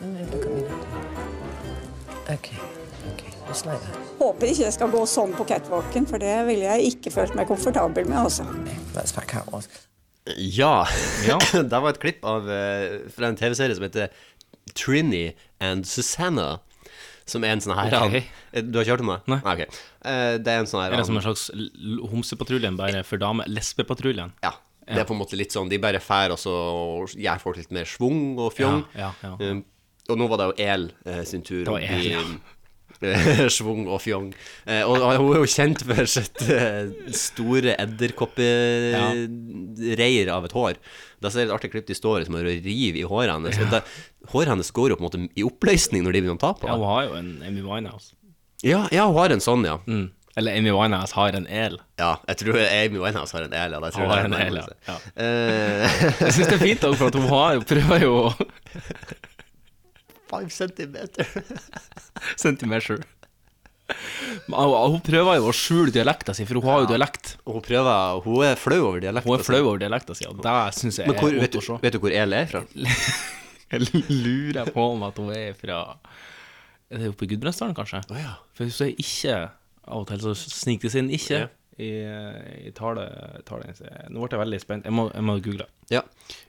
N: okay, okay, just like that.
O: Håper ikke det skal gå sånn på catwalken, for det ville jeg ikke følt meg komfortabel med, altså.
N: That's what cat was.
C: Ja. det var et klipp av, eh, fra en TV-serie som heter Trini and Susanna. Som er en sånn her
B: Ok.
C: Eh, Du har ikke hørt om det? Nei. ok. Eh, det er en sånn her
B: Er det som en slags l- homsepatruljen, bare for dame? Lesbepatruljen?
C: Ja. Det er på en måte litt sånn De bare fær og så gjør folk litt mer schwung og fjong.
B: Ja, ja, ja.
C: Um, og nå var det jo El eh, sin tur
B: Det var El, ja.
C: schwung og fjong. Eh, og, og hun er jo kjent for sitt eh, store edderkoppereir av et hår. Da ser jeg et artig klipp de står liksom og river i håret hennes. Og det, håret hennes går jo på en måte i oppløsning når de begynner å ta på
B: Ja, hun
C: det.
B: har jo en Amy Winehouse.
C: Ja, ja, hun har en sånn, ja.
B: Mm. Eller Amy Winehouse har en el.
C: Ja, jeg tror Amy Winehouse har en el, ja. Jeg tror
B: Hun
C: det
B: har
C: er
B: en el, ja.
C: nærmere seg.
B: ja.
C: Eh,
B: Jeg syns det er fint òg, for at hun har jo prøver jo å
C: Five centimeter.
B: Centimeasure. Men Hun hun prøver jo å skjule dialekta si, for hun har jo dialekt.
C: Hun prøver, hun er flau over dialekta
B: Hun er flau over dialekta si, og det syns jeg
C: Men hvor,
B: er
C: vet,
B: vondt å
C: du,
B: se.
C: vet du hvor El er fra?
B: Jeg lurer på om at hun er fra Er det oppe i Gudbrandsdalen, kanskje? For hun sier ikke Av og til så sniker det seg inn ikke i, i tale, tale. Nå ble jeg veldig spent. Jeg må, jeg må google.
C: Ja.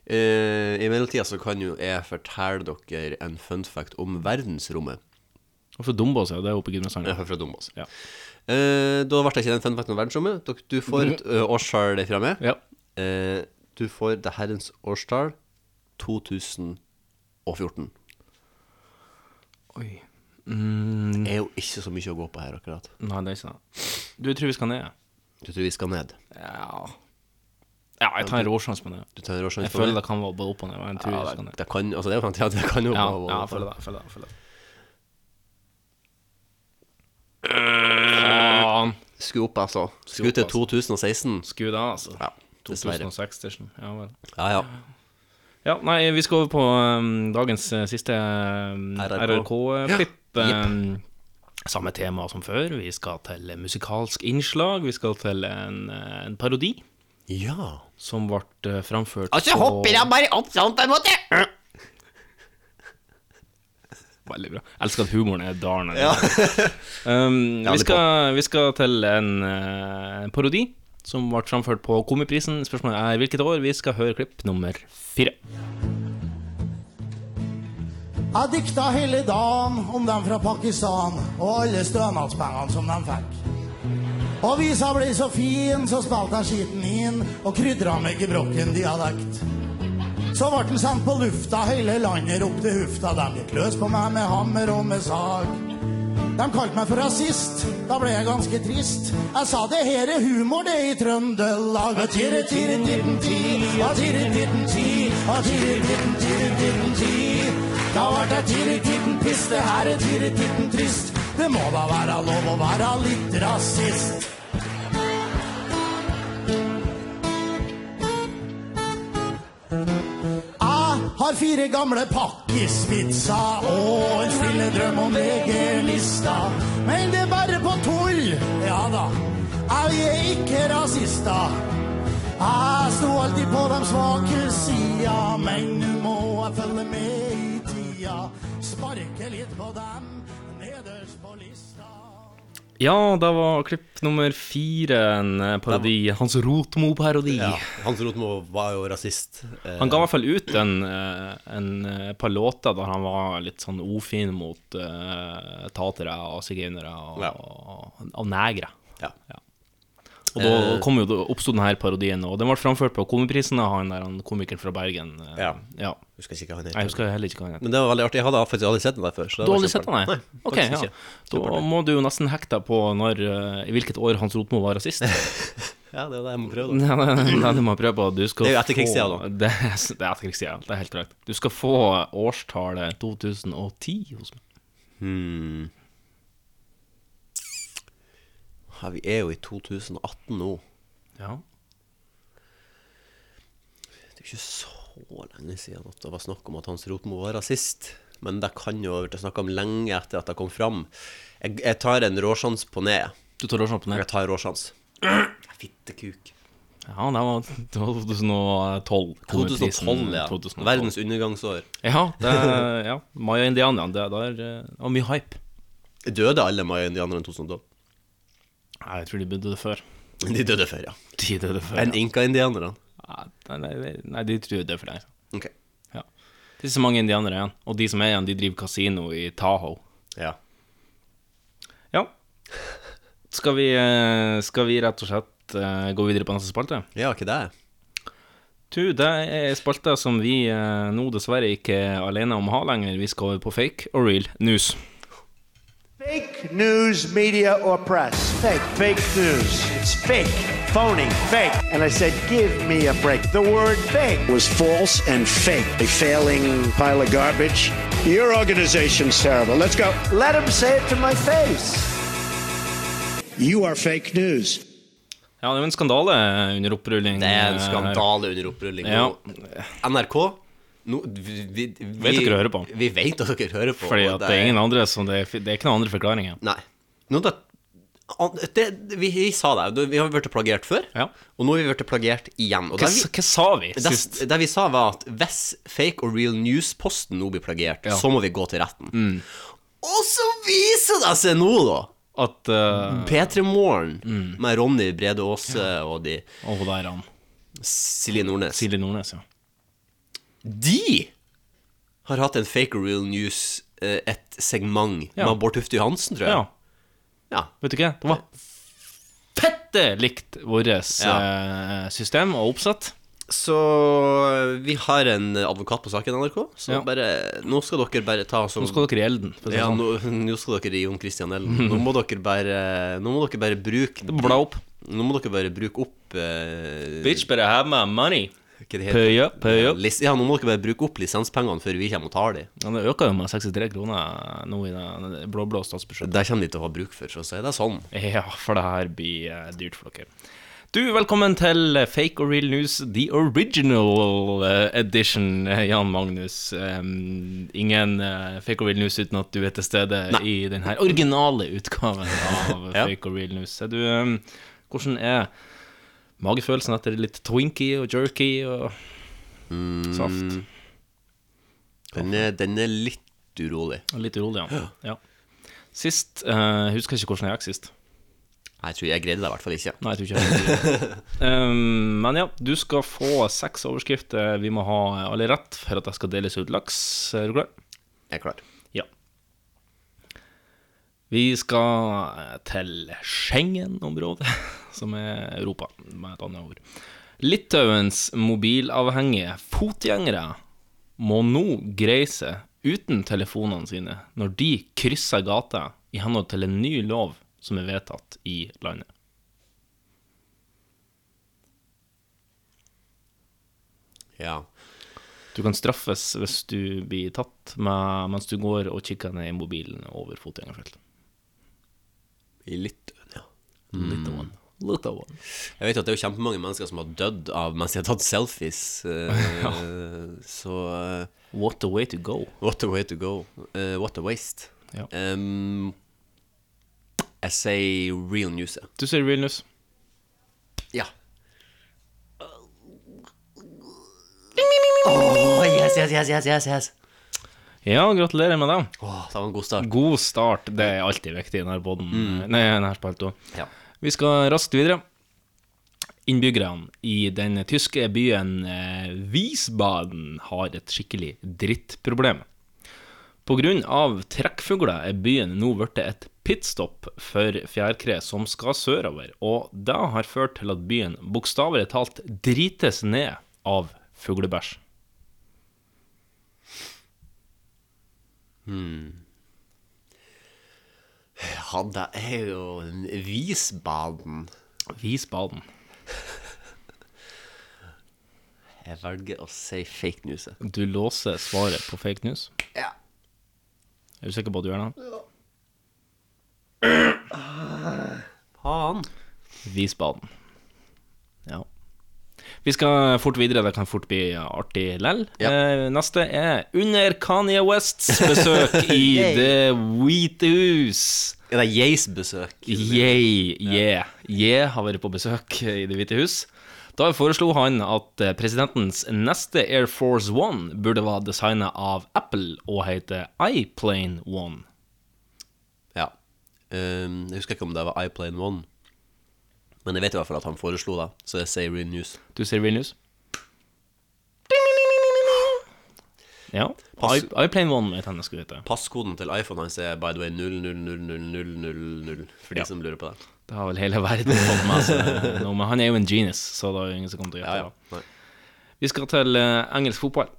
C: Eh, I mellomtida så kan jo jeg fortelle dere en fun fact om verdensrommet.
B: Og fra Dombås, ja. Det er oppe i Gudbrandsdalen.
C: Jeg er fra Dombås. Eh, da ble det ikke den fun facten om verdensrommet. Dere- Du får et ø, årstall fra meg. Eh, du får det herrens årstall 2014.
B: Oi. Mm.
C: Det er jo ikke så mye å gå på her akkurat.
B: Nei, det er ikke det. Du tror vi skal ned?
C: Du tror vi skal ned?
B: Ja. Ja, jeg tar en råsjanse på det.
C: Du tar en råsjanse
B: jeg
C: på
B: føler
C: det?
B: det kan være både opp og ned. men Jeg tror
C: Ja,
B: vi
C: det,
B: skal ned.
C: det kan Altså, det er jo sant, ja, det kan jo
B: Ja,
C: gå-
B: ja, jeg føler det. jeg Føler det, jeg føler det.
C: Faen. Skulle opp, altså. Skulle til
B: opp,
C: 2016.
B: Skulle da, altså.
C: Ja, dessverre.
B: 2006 station. Ja, vel.
C: Ja, ja.
B: Ja, nei, vi skal over på um, dagens eh, siste um,
C: RRK.
B: RRK-klipp.
C: Ja, jepp.
B: Um, samme tema som før. Vi skal til musikalsk innslag. Vi skal til en, eh, en parodi.
C: Ja.
B: Som ble eh, framført
C: Altså,
M: Og så hopper han bare opp sånn på en måte.
B: Veldig bra. Jeg elsker at humoren er darn.
M: Ja.
B: um,
M: Ja,
B: vi,
M: litt
B: skal, vi skal til en eh, parodi som ble framført på Komiprisen. Spørsmålet er hvilket år. Vi skal høre klipp nummer fire.
P: Jeg dikta hele dagen om dem fra Pakistan og alle stønadspengene som de fikk. Og visa ble så fin, så spilte jeg skiten inn og krydra med gebrokken dialekt. Så ble han sendt på lufta, hele landet ropte hufta. De gikk løs på meg med hammer og med sag. De kalte meg for rasist, da ble jeg ganske trist. Jeg sa det her er humor, det i Trøndelag. Og tiri, tiri, titten, ti, og tiri, titten, ti, og tiri, titten, tiri, titten, ti. Da vart jeg tiri, titten, piss, det her er tiri, titten, trist. Det må da være lov å være litt rasist. Jeg har fire gamle pakkisvitser og en stille drøm om VG-lista. Men det er bare på tull, ja da. Jeg er ikke rasister. Jeg sto alltid på de svake sida, men nå må jeg følge med i tida. Sparke litt på dem nederst på lista.
B: Ja, da var klipp nummer fire en eh, parodi. Hans Rotmo-parodi.
C: Ja, Hans Rotmo var jo rasist. Eh,
B: Han ga i hvert fall ut en, eh, en eh, par låter der han var litt sånn ofin mot eh, tatere og sigøynere og, og, og negre. Ja. Og da
C: Eh,
B: kom jo, da oppsto denne parodien, og den ble framført på Komiprisen av han der han komikeren fra Bergen. eh,
C: Ja.
B: ja.
C: Husker ikke hva han heter.
B: Nei, Jeg husker heller ikke hva han heter.
C: Men det var veldig artig. Jeg hadde faktisk aldri sett den der før. så det
B: Du
C: var
B: har aldri sett den,
C: kjempeartig.
B: nei? Ok,
C: faktisk
B: ja.
C: ikke.
B: Da
C: Kjempeartig.
B: må du jo nesten hekte deg på når, eh, i hvilket år Hans Rotmo var rasist.
C: Ja, det er det jeg må prøve,
B: Ja,
C: da.
B: det, det du må prøve på. Du skal
C: Det er jo etterkrigstida,
B: få-
C: da.
B: Det, er- det er etterkrigstida, det er helt korrekt. Du skal få årstallet 2010 hos meg.
C: Hmm. Ja, vi er jo i 2018 nå.
B: Ja.
C: Det er jo ikke så lenge siden at det var snakk om at Hans Rotmo var rasist. Men det kan jo ha vært snakk om lenge etter at det kom fram. Jeg, jeg tar en råsjans på ned.
B: Du tar råsjans på ned?
C: Jeg tar råsjans. Fittekuk.
B: Ja, det var 2012. kom ut prisen.
C: 2012, ja.
B: 2012.
C: Verdens undergangsår.
B: Ja, det, ja. Maya-indianerne. Det, der, eh, det var mye hype.
C: Døde alle maya-indianerne i 2012?
B: Nei, Jeg tror de døde før.
C: De døde før, ja.
B: De døde før,
C: Enn
B: ja.
C: inka-indianerne?
B: Nei, nei, nei, de tror jeg dør for det.
C: Ok.
B: Ja. Det er så mange indianere igjen. Og de som er igjen, de driver kasino i Tahoe.
C: Ja.
B: Ja. Skal vi, eh, skal vi rett og slett eh, gå videre på neste spalte?
C: Ja, ikke det?
B: Du, det er spalta som vi eh, nå dessverre ikke er alene om å ha lenger. Vi skal over på fake og real news.
Q: Fake news, media, or press. Fake. Fake news. It's fake. Phony. Fake. And I said, give me a break. The word fake was false and fake. A failing pile of garbage. Your organization's terrible. Let's go. Let them say it to my face. You are fake news.
B: Ja, det er jo en skandale eh, under opprulling. eh,
C: Det er en skandale under opprulling.
B: Ja.
C: NRK nå, vi, vi, vi,
B: Vet dere hører på.
C: Vi vet at dere hører på.
B: Fordi
C: og
B: at det er ingen andre som Det er, det er ikke noen andre forklaringer.
C: Nei. Nå da, an- det, vi, vi sa det, jo, vi har blitt plagiert før, og nå har vi blitt plagiert igjen. Og
B: Hva,
C: det vi-
B: hva sa vi
C: det,
B: sist?
C: det vi sa, var at hvis fake og real news-posten nå blir plagiert,
B: Ja.
C: så må vi gå til retten.
B: Mm.
C: Og så viser det seg nå, da,
B: at eh, Mm.
C: P3 Morgen med Ronny Brede Aase og de
B: Og der han.
C: Silje Nordnes.
B: Silje Nordnes, ja.
C: De har hatt en fake or real news, eh, et segment
B: Ja.
C: med Bård Tufte Johansen, tror jeg.
B: Ja.
C: Ja.
B: Vet du hva? Det var fette likt vårt eh, system og oppsett.
C: Så eh, vi har en advokat på saken, NRK. Så
B: Ja.
C: bare, nå skal dere bare ta som
B: Nå skal dere i elden. for å si det
C: Ja,
B: sånn.
C: nå, nå skal dere i Jon Christian Elden. Nå må dere bare Nå må dere bare bruke
B: Bla opp.
C: Nå må dere bare bruke opp eh,
B: Bitch, better have my money.
C: hva det heter?
B: Pay up, pay up.
C: Lis- Ja, nå må dere bare bruke opp lisenspengene før vi kommer og tar dem.
B: Ja, det øker jo med 63 kroner nå i det blå-blå statsbudsjettet.
C: Det kommer de til å ha bruk for, så å si det sånn.
B: Ja, for det her blir eh, dyrt for dere. Du, velkommen til eh, Fake or real news, the original eh, edition, eh, Jan Magnus. Em, ingen eh, fake or real news uten at du er til stede i den her originale utgaven av
C: Ja.
B: Fake or real news. Er du, em, hvordan er magefølelsen etter litt Twinkie og jerky og saft?
C: Den er, den er litt urolig.
B: Litt urolig, ja. ja. Sist eh, Husker jeg ikke hvordan jeg gikk sist.
C: Jeg tror jeg greide det i hvert fall ikke.
B: Nei, jeg tror ikke jeg gjorde det. um, Men ja, du skal få seks overskrifter vi må ha alle rett for at det skal deles ut laks. Er du klar?
C: Jeg er klar.
B: Ja. Vi eh, skal til Schengen-området, som er Europa, med et annet ord. Litauens mobilavhengige fotgjengere må nå greie seg uten telefonene sine når de krysser gata i henhold til en ny lov som er vedtatt i landet.
C: Ja.
B: Du kan straffes hvis du blir tatt med, mens du går og kikker ned i mobilen over fotgjengerfelt.
C: I Litauen, ja.
B: Mm. Litauen. Litauen.
C: Jeg vet at det er jo kjempemange mennesker som har dødd av mens de har tatt selfies. eh,
B: Ja.
C: Så eh,
B: What a way to go.
C: What a way to go. Eh, what a waste.
B: Ja.
C: Em, jeg sier real news. jeg.
B: Du sier real news.
C: Ja. Oh, yes, yes, yes, yes, yes, yes.
B: Ja, gratulerer med det.
C: Åh, det var en god start.
B: God start. Det er alltid viktig i denne podden.
C: Mm.
B: Nei, denne spalta.
C: Ja.
B: Vi skal raskt videre. Innbyggerne i den tyske byen eh, Wiesbaden har et skikkelig drittproblem. Pga. trekkfugler er byen nå blitt et pitstop for fjærkre som skal sørover, og det har ført til at byen bokstavelig talt drites ned av fuglebæsj.
C: Hmm. Ja, det er jo en Wiesbaden.
B: Wiesbaden.
C: Jeg velger å si fake news. jeg.
B: Du låser svaret på fake news?
C: Ja.
B: Er du sikker på at du gjør det?
C: Faen.
B: Visbaden. Ja. Vi skal fort videre, det kan fort bli artig lell. Eh, neste er under Kanye Wests besøk i
C: Yay.
B: The Hvite hus.
C: Er det Yeis besøk?
B: Yay, yeah. Yeah har vært på besøk i Det hvite hus. Da foreslo han at eh, presidentens neste Air Force One burde være designet av Apple og hete iPlane One.
C: Ja. Ehm, jeg husker ikke om det var iPlane 1, men jeg vet i hvert fall at han foreslo det, så jeg sier real news.
B: Du ser real news? Ja.
C: Pass-
B: I- iPlane One vet han jeg skulle hete.
C: Passkoden til iPhone hans er by the way 0000000, for de
B: Ja.
C: som lurer på det.
B: Det har vel hele verden fått med seg nå, men han er jo en genius, så det er jo ingen som kommer til å gjette. det.
C: Nei.
B: Vi skal til eh, engelsk fotball.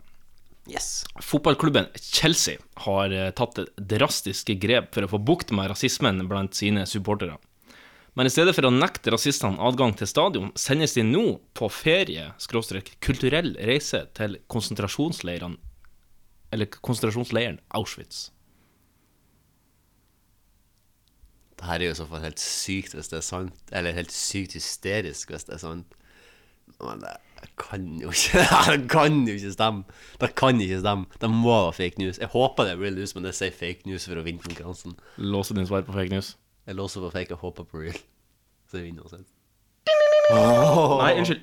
C: Yes.
B: Fotballklubben Chelsea har eh, tatt drastiske grep for å få bukt med rasismen blant sine supportere. Men i stedet for å nekte rasistene adgang til stadion, sendes de nå på ferie, skråstrek, kulturell reise til konsentrasjonsleirene, eller konsentrasjonsleiren Auschwitz.
C: Det her er jo i så fall helt sykt hvis det er sant, eller helt sykt hysterisk hvis det er sant. Men det kan jo ikke Det kan jo ikke stemme! Det kan ikke stemme. Det må være fake news. Jeg håper det er real news, men jeg sier fake news for å vinne konkurransen.
B: Låser din svar på fake news?
C: Jeg låser på fake og håper på real. Så jeg vinner uansett.
B: Nei, unnskyld.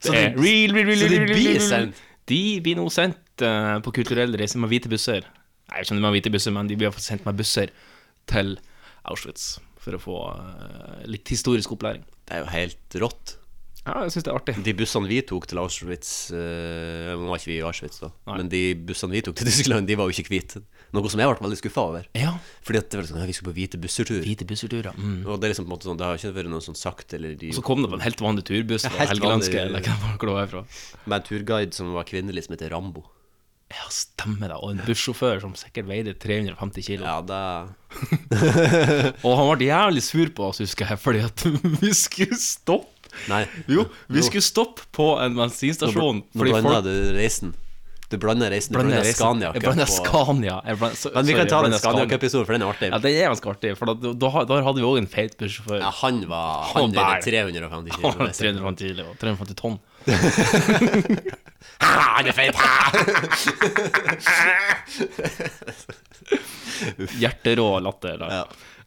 C: Så
B: Det er
C: det-
B: Eh, real, real, real,
C: så
B: real,
C: det
B: real,
C: blir
B: real.
C: sendt?
B: De blir nå sendt eh, på kulturell reise med hvite busser. Nei, jeg skjønner med hvite busser, men de blir i hvert fall sendt med busser til Auschwitz for å få eh, litt historisk opplæring.
C: Det er jo helt rått.
B: Ja, jeg syns det er artig.
C: De bussene vi tok til Auschwitz eh, Nå var ikke vi i Auschwitz, da.
B: Nei.
C: Men de bussene vi tok til Tyskland, de var jo ikke hvite. Noe som jeg ble veldig skuffa over.
B: Ja.
C: Fordi at det var sånn, ja, vi skulle på hvite bussertur.
B: Hvite busserturer. Mm.
C: Og det er liksom på en måte sånn, det har ikke vært noe sånn sagt eller de,
B: Og så kom det på en helt vanlig turbuss fra
C: Helt
B: Helgelandske,
C: vanlig.
B: eller hva hvor det var fra.
C: Med en turguide som var kvinnelig, som heter Rambo.
B: Ja, stemmer det. Og en bussjåfør som sikkert veide 350 kilo.
C: Ja, det
B: Og han ble jævlig sur på oss, husker jeg, fordi at vi skulle stoppe.
C: Nei.
B: Jo, vi
C: Nå-
B: skulle stoppe på en bensinstasjon.
C: Nå blander du reisen. Du blander reisen. Du
B: Blander
C: blander
B: reisen.
C: Scania.
B: Jeg blander
C: Cup og-
B: Scania. Jeg blander, så,
C: Men vi kan
B: sorry, jeg
C: ta den
B: blander
C: Scania Cup-historien, for den er artig.
B: Ja, det er ganske artig, for da, da, da hadde vi òg en feit bussjåfør.
C: Ja, han var
B: Han
C: Han
B: var-
C: veide 350 kilo.
B: Han var 350 kilo, 350 tonn.
C: Ha, Han er feit!
B: Hjerterå latter. Da.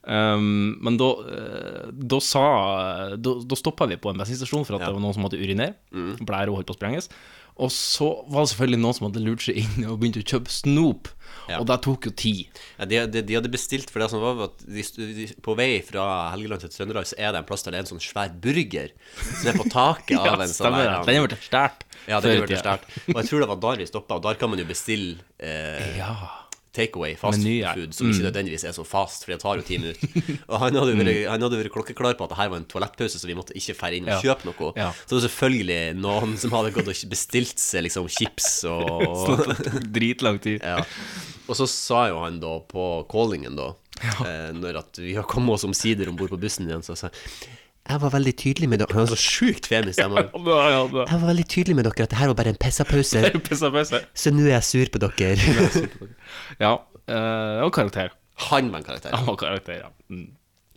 B: Um, men da, eh, da sa Da, da stoppa vi på en bensinstasjon for at det var noen som måtte urinere.
C: Mm.
B: Blæra holdt på å sprenges. Og så var det selvfølgelig noen som hadde lurt seg inn og begynt å kjøpe snop. Og det tok jo tid.
C: Ja, de, de, de hadde bestilt for det som var at de, stu- de, På vei fra Helgeland til Trøndelag Så er det en plass der det er en sånn svær burger Som er på taket av
B: Ja,
C: en sånn
B: stemmer
C: der,
B: det. Den har vært stjålet
C: Ja, den har
B: før i
C: vært
B: tida.
C: stjålet. Og jeg tror det var der vi stoppet Og der kan man jo bestille eh,
B: Ja.
C: takeaway, fast
B: Menyer.
C: food, som
B: Mm. Mm.
C: ikke nødvendigvis er så fast, for det tar jo ti minutter. Og han hadde jo vært, han hadde vært klokkeklar på at det her var en toalettpause, så vi måtte ikke fære inn og
B: Ja.
C: kjøpe noe.
B: Ja.
C: Så det var selvfølgelig noen som hadde gått og bestilt seg liksom chips og
B: Sånn at det tok dritlang tid.
C: Ja. Og så sa jo han da på callingen, da, eh, når at vi har kommet oss omsider om bord på bussen igjen, så sa han jeg var veldig tydelig med dere Han var så sjukt femi stemme. Jeg var veldig tydelig med dere at det her var bare en pissapause.
B: Det er pissapause.
C: Så nå er jeg sur på dere.
B: Ja. eh, og karakter.
C: Han var en karakter.
B: Han var karakter, ja. Mm.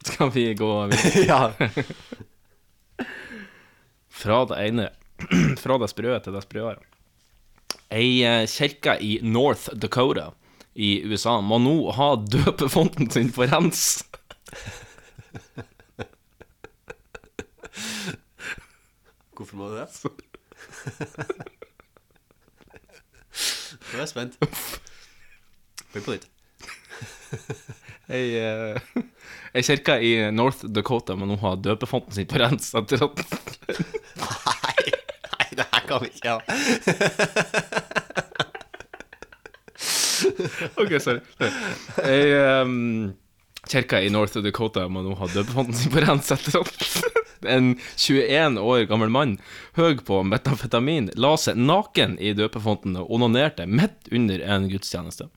B: Skal vi gå videre? Fra det ene Fra det sprø til det sprøere. Ei eh, kirke i North Dakota i USA må nå ha døpefonten sin på rens.
C: Hvorfor må du det? Nå er jeg spent. Begynn på nytt.
B: Ei, eh, ei kirke i North Dakota må nå ha døpefonten sin på rens etter at
C: Nei, nei, det her kan vi ikke ha.
B: OK, sorry. Ei ehm, kirke i North Dakota må nå ha døpefonten sin på rens etter at en 21 år gammel mann, høy på metamfetamin, la seg naken i døpefonten og onanerte midt under en gudstjeneste.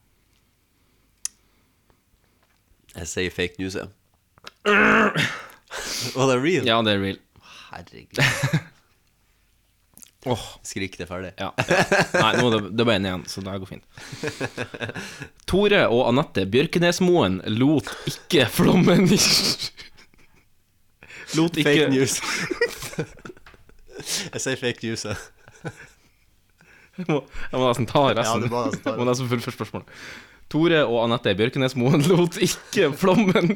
C: Jeg sier fake news, jeg. Og det er real?
B: Ja, det er real.
C: Herregud. Skrik det ferdig.
B: Ja, ja. Nei, nå er det, det er bare en igjen, så det her går fint. Tore og Anette Bjørkenesmoen lot ikke flommen i Lot ikke
C: Fake news. jeg sier fake news, jeg.
B: Jeg må, jeg må nesten ta resten.
C: Ja, du må nesten ta det.
B: Jeg må nesten fullføre spørsmålet. Tore og Anette Bjørkenesmoen lot ikke flommen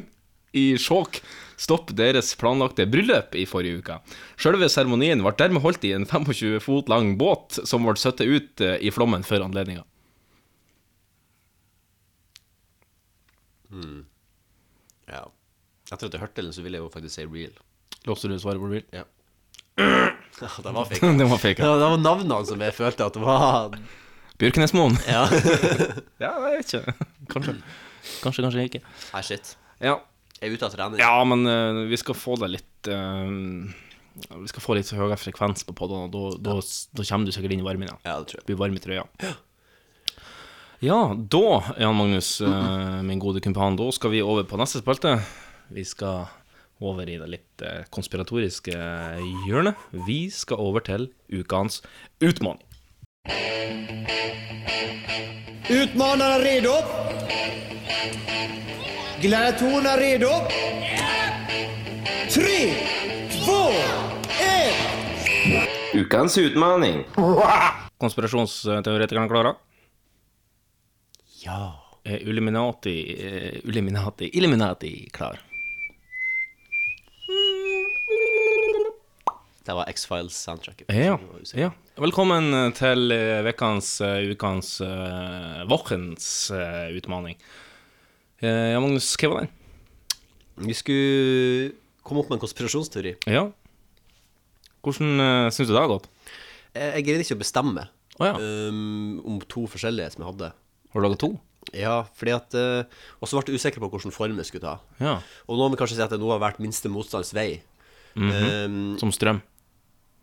B: i Skjåk stoppe deres planlagte bryllup i forrige uke. Selve seremonien ble dermed holdt i en 25 fot lang båt som ble satt ut eh, i flommen før anledninga.
C: Mm. Ja. Etter at jeg hørte den, så ville jeg jo faktisk si real.
B: Låste du svaret på mobil?
C: Ja. Ja, det var fake.
B: Det var fake, ja.
C: ja. Det var navnene som jeg følte at det var
B: Bjørkenesmoen?
C: Ja.
B: ja, jeg vet ikke. Kanskje. Kanskje, kanskje ikke.
C: Nei, Ah, shit.
B: Ja.
C: Jeg er ute av trening.
B: Ja, men eh, vi skal få det litt eh, Vi skal få litt høyere frekvens på podene, og da- da da kommer du sikkert inn i varmen igjen.
C: Ja, det tror jeg.
B: Blir varm i trøya. Ja, da, Jan Magnus, eh, min gode kumpan, da skal vi over på neste spalte. Vi skal over i det litt eh, konspiratoriske hjørnet. Vi skal over til ukens utmaning.
R: Utmanarna redo? Gladiatorerna redo? Tre, två, ett!
B: Ukens utmaning. Konspirasjonsteoretikerne klarer?
C: Ja.
B: Er Illuminati eh, Illuminati Illuminati klar?
C: Det var X-Files-soundtracket.
B: Ja. ja. Velkommen til eh, vekkans, eh, ukens, eh, vårens eh, utmaning. Eh, Ja, Magnus, hva var den?
C: Vi skulle komme opp med en konspirasjonsteori.
B: Ja. Hvordan uh, syns du det har gått?
C: Jeg, jeg greide ikke å bestemme
B: Å ja.
C: um, om to forskjellige som jeg hadde.
B: Har du laga to?
C: Ja, fordi at eh, Og så ble jeg usikker på hvilken form jeg skulle ta.
B: Ja.
C: Og nå må vi kanskje si at det nå har vært minste motstands vei.
B: Mhm.
C: Um,
B: Som strøm.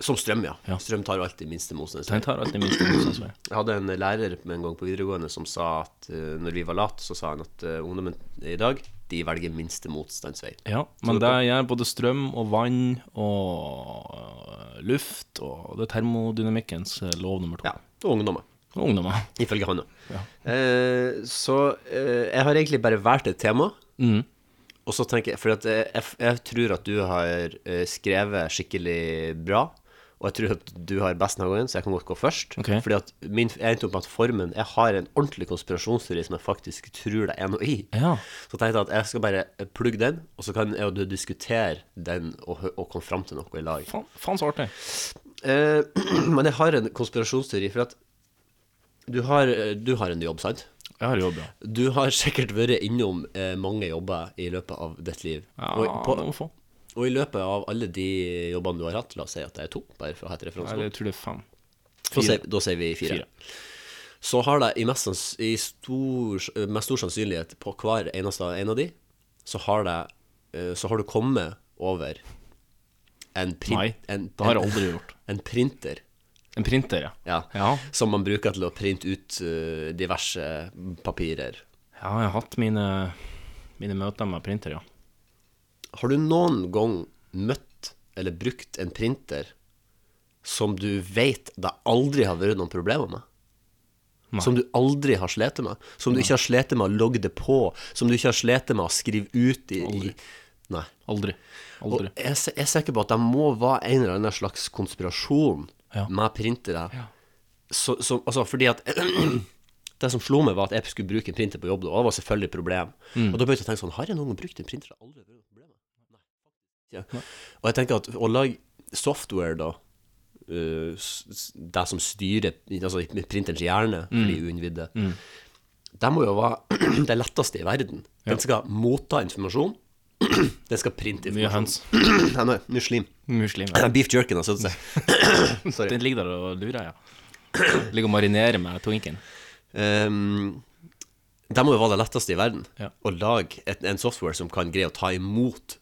C: som strøm, ja. Strøm tar jo alltid minste motstands vei.
B: Den tar alltid minste motstands vei.
C: Jeg hadde en lærer med en gang på videregående som sa at eh, når vi var late, så sa han at eh, ungdommen i dag, de velger minste motstands vei.
B: Ja, men det gjør både strøm og vann og eh, luft, og det er termodynamikkens eh, lov nummer to.
C: Og ungdommer.
B: Og ungdommer.
C: Ifølge han, ja. Eh, så eh, jeg har egentlig bare valgt et tema.
B: Mhm.
C: Og så tenker jeg, for at eh, jeg, jeg tror at du har eh, skrevet skikkelig bra. Og jeg tror at du har best denne gangen, så jeg kan godt gå først.
B: Ok.
C: Fordi at min, jeg endte opp med at formen Jeg har en ordentlig konspirasjonsteori som jeg faktisk tror det er noe i.
B: Ja.
C: Så tenkte jeg at jeg skal bare plugge den, og så kan jeg og du diskutere den og, hø- og komme fram til noe i lag.
B: Faen, faen så artig.
C: Eh, men jeg har en konspirasjonsteori, for at du har, eh, du har en jobb, sant?
B: Jeg har jobb, ja.
C: Du har sikkert vært innom eh, mange jobber i løpet av ditt liv.
B: Ja, det må få.
C: og i løpet av alle de jobbene du har hatt, la oss si at det er to, bare for å ha et referansepunkt.
B: Eller jeg tror det er fem.
C: Da
B: Fire.
C: sier, da sier vi fire. så har de i, mest, sanns- i stor, eh, med stor sannsynlighet på hver eneste en av de, så har, de, eh, så har du kommet over en print...
B: Nei,
C: en,
B: det har jeg aldri gjort.
C: En printer.
B: En printer, ja.
C: Som man bruker til å printe ut eh, diverse papirer.
B: Ja, jeg har hatt mine, mine møter med printer, ja.
C: Har du noen gang møtt eller brukt en printer som du vet det aldri har vært noen problemer med?
B: Nei.
C: Som du aldri har slitt med? Som du
B: Nei.
C: ikke har slitt med å logge det på? Som du ikke har slitt med å skrive ut i Aldri. I, nei.
B: Aldri. Aldri.
C: Og jeg, er se- jeg er sikker på at det må være en eller annen slags konspirasjon
B: Ja.
C: med printere. Så, så, altså, fordi at Det som slo meg, var at jeg skulle bruke en printer på jobb, da, og det var selvfølgelig et problem.
B: Mm.
C: Og da begynte jeg å tenke sånn Har jeg noen gang brukt en printer? Aldri vært noe problem. Nei, faktisk ikke. Og jeg tenker at å lage software, da eh, s- s- Det som styrer altså, printerens hjerne, for de
B: Mm.
C: uinnvidde
B: Mm.
C: Det må jo være det letteste i verden.
B: Ja.
C: Den skal motta informasjon. Den skal printe
B: Mye
C: informasjon. Nei, nei, muslim.
B: Muslim, ja.
C: Beef jerky, altså. Sorry.
B: Den ligger der og lurer, ja. Ligger og marinerer med twinken.
C: Um, det må jo være det letteste i verden
B: Ja.
C: å lage et, en software som kan greie å ta imot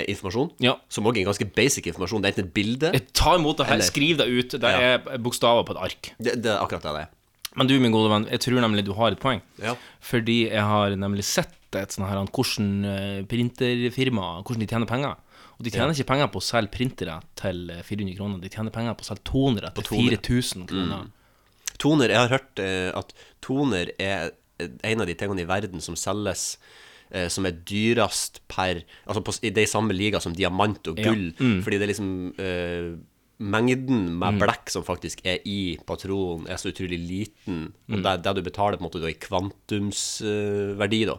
C: eh, informasjon.
B: Ja.
C: Som også er ganske basic informasjon. Det er enten et bilde
B: Ta imot det her,
C: Eller-
B: skriv det ut. Det er bokstaver på et ark.
C: Det, det er akkurat det det er.
B: Men du, min gode venn, jeg tror nemlig du har et poeng.
C: Ja.
B: Fordi jeg har nemlig sett et sånn her han, hvordan eh, printerfirma Hvordan de tjener penger. Og de tjener
C: Ja.
B: ikke penger på å selge printere til eh, 400 kroner, de tjener penger på å selge toner til 4000 kroner.
C: Mm. Toner, Jeg har hørt eh, at toner er en av de tingene i verden som selges eh, som er dyrest per Altså på, s- i de samme liga som diamant og
B: Ja.
C: gull.
B: Mm.
C: Fordi det er liksom eh, Mengden med
B: Mm.
C: blekk som faktisk er i patronen, er så utrolig liten. Og
B: Mm.
C: det, det du betaler på en måte da i kvantumsverdi, da,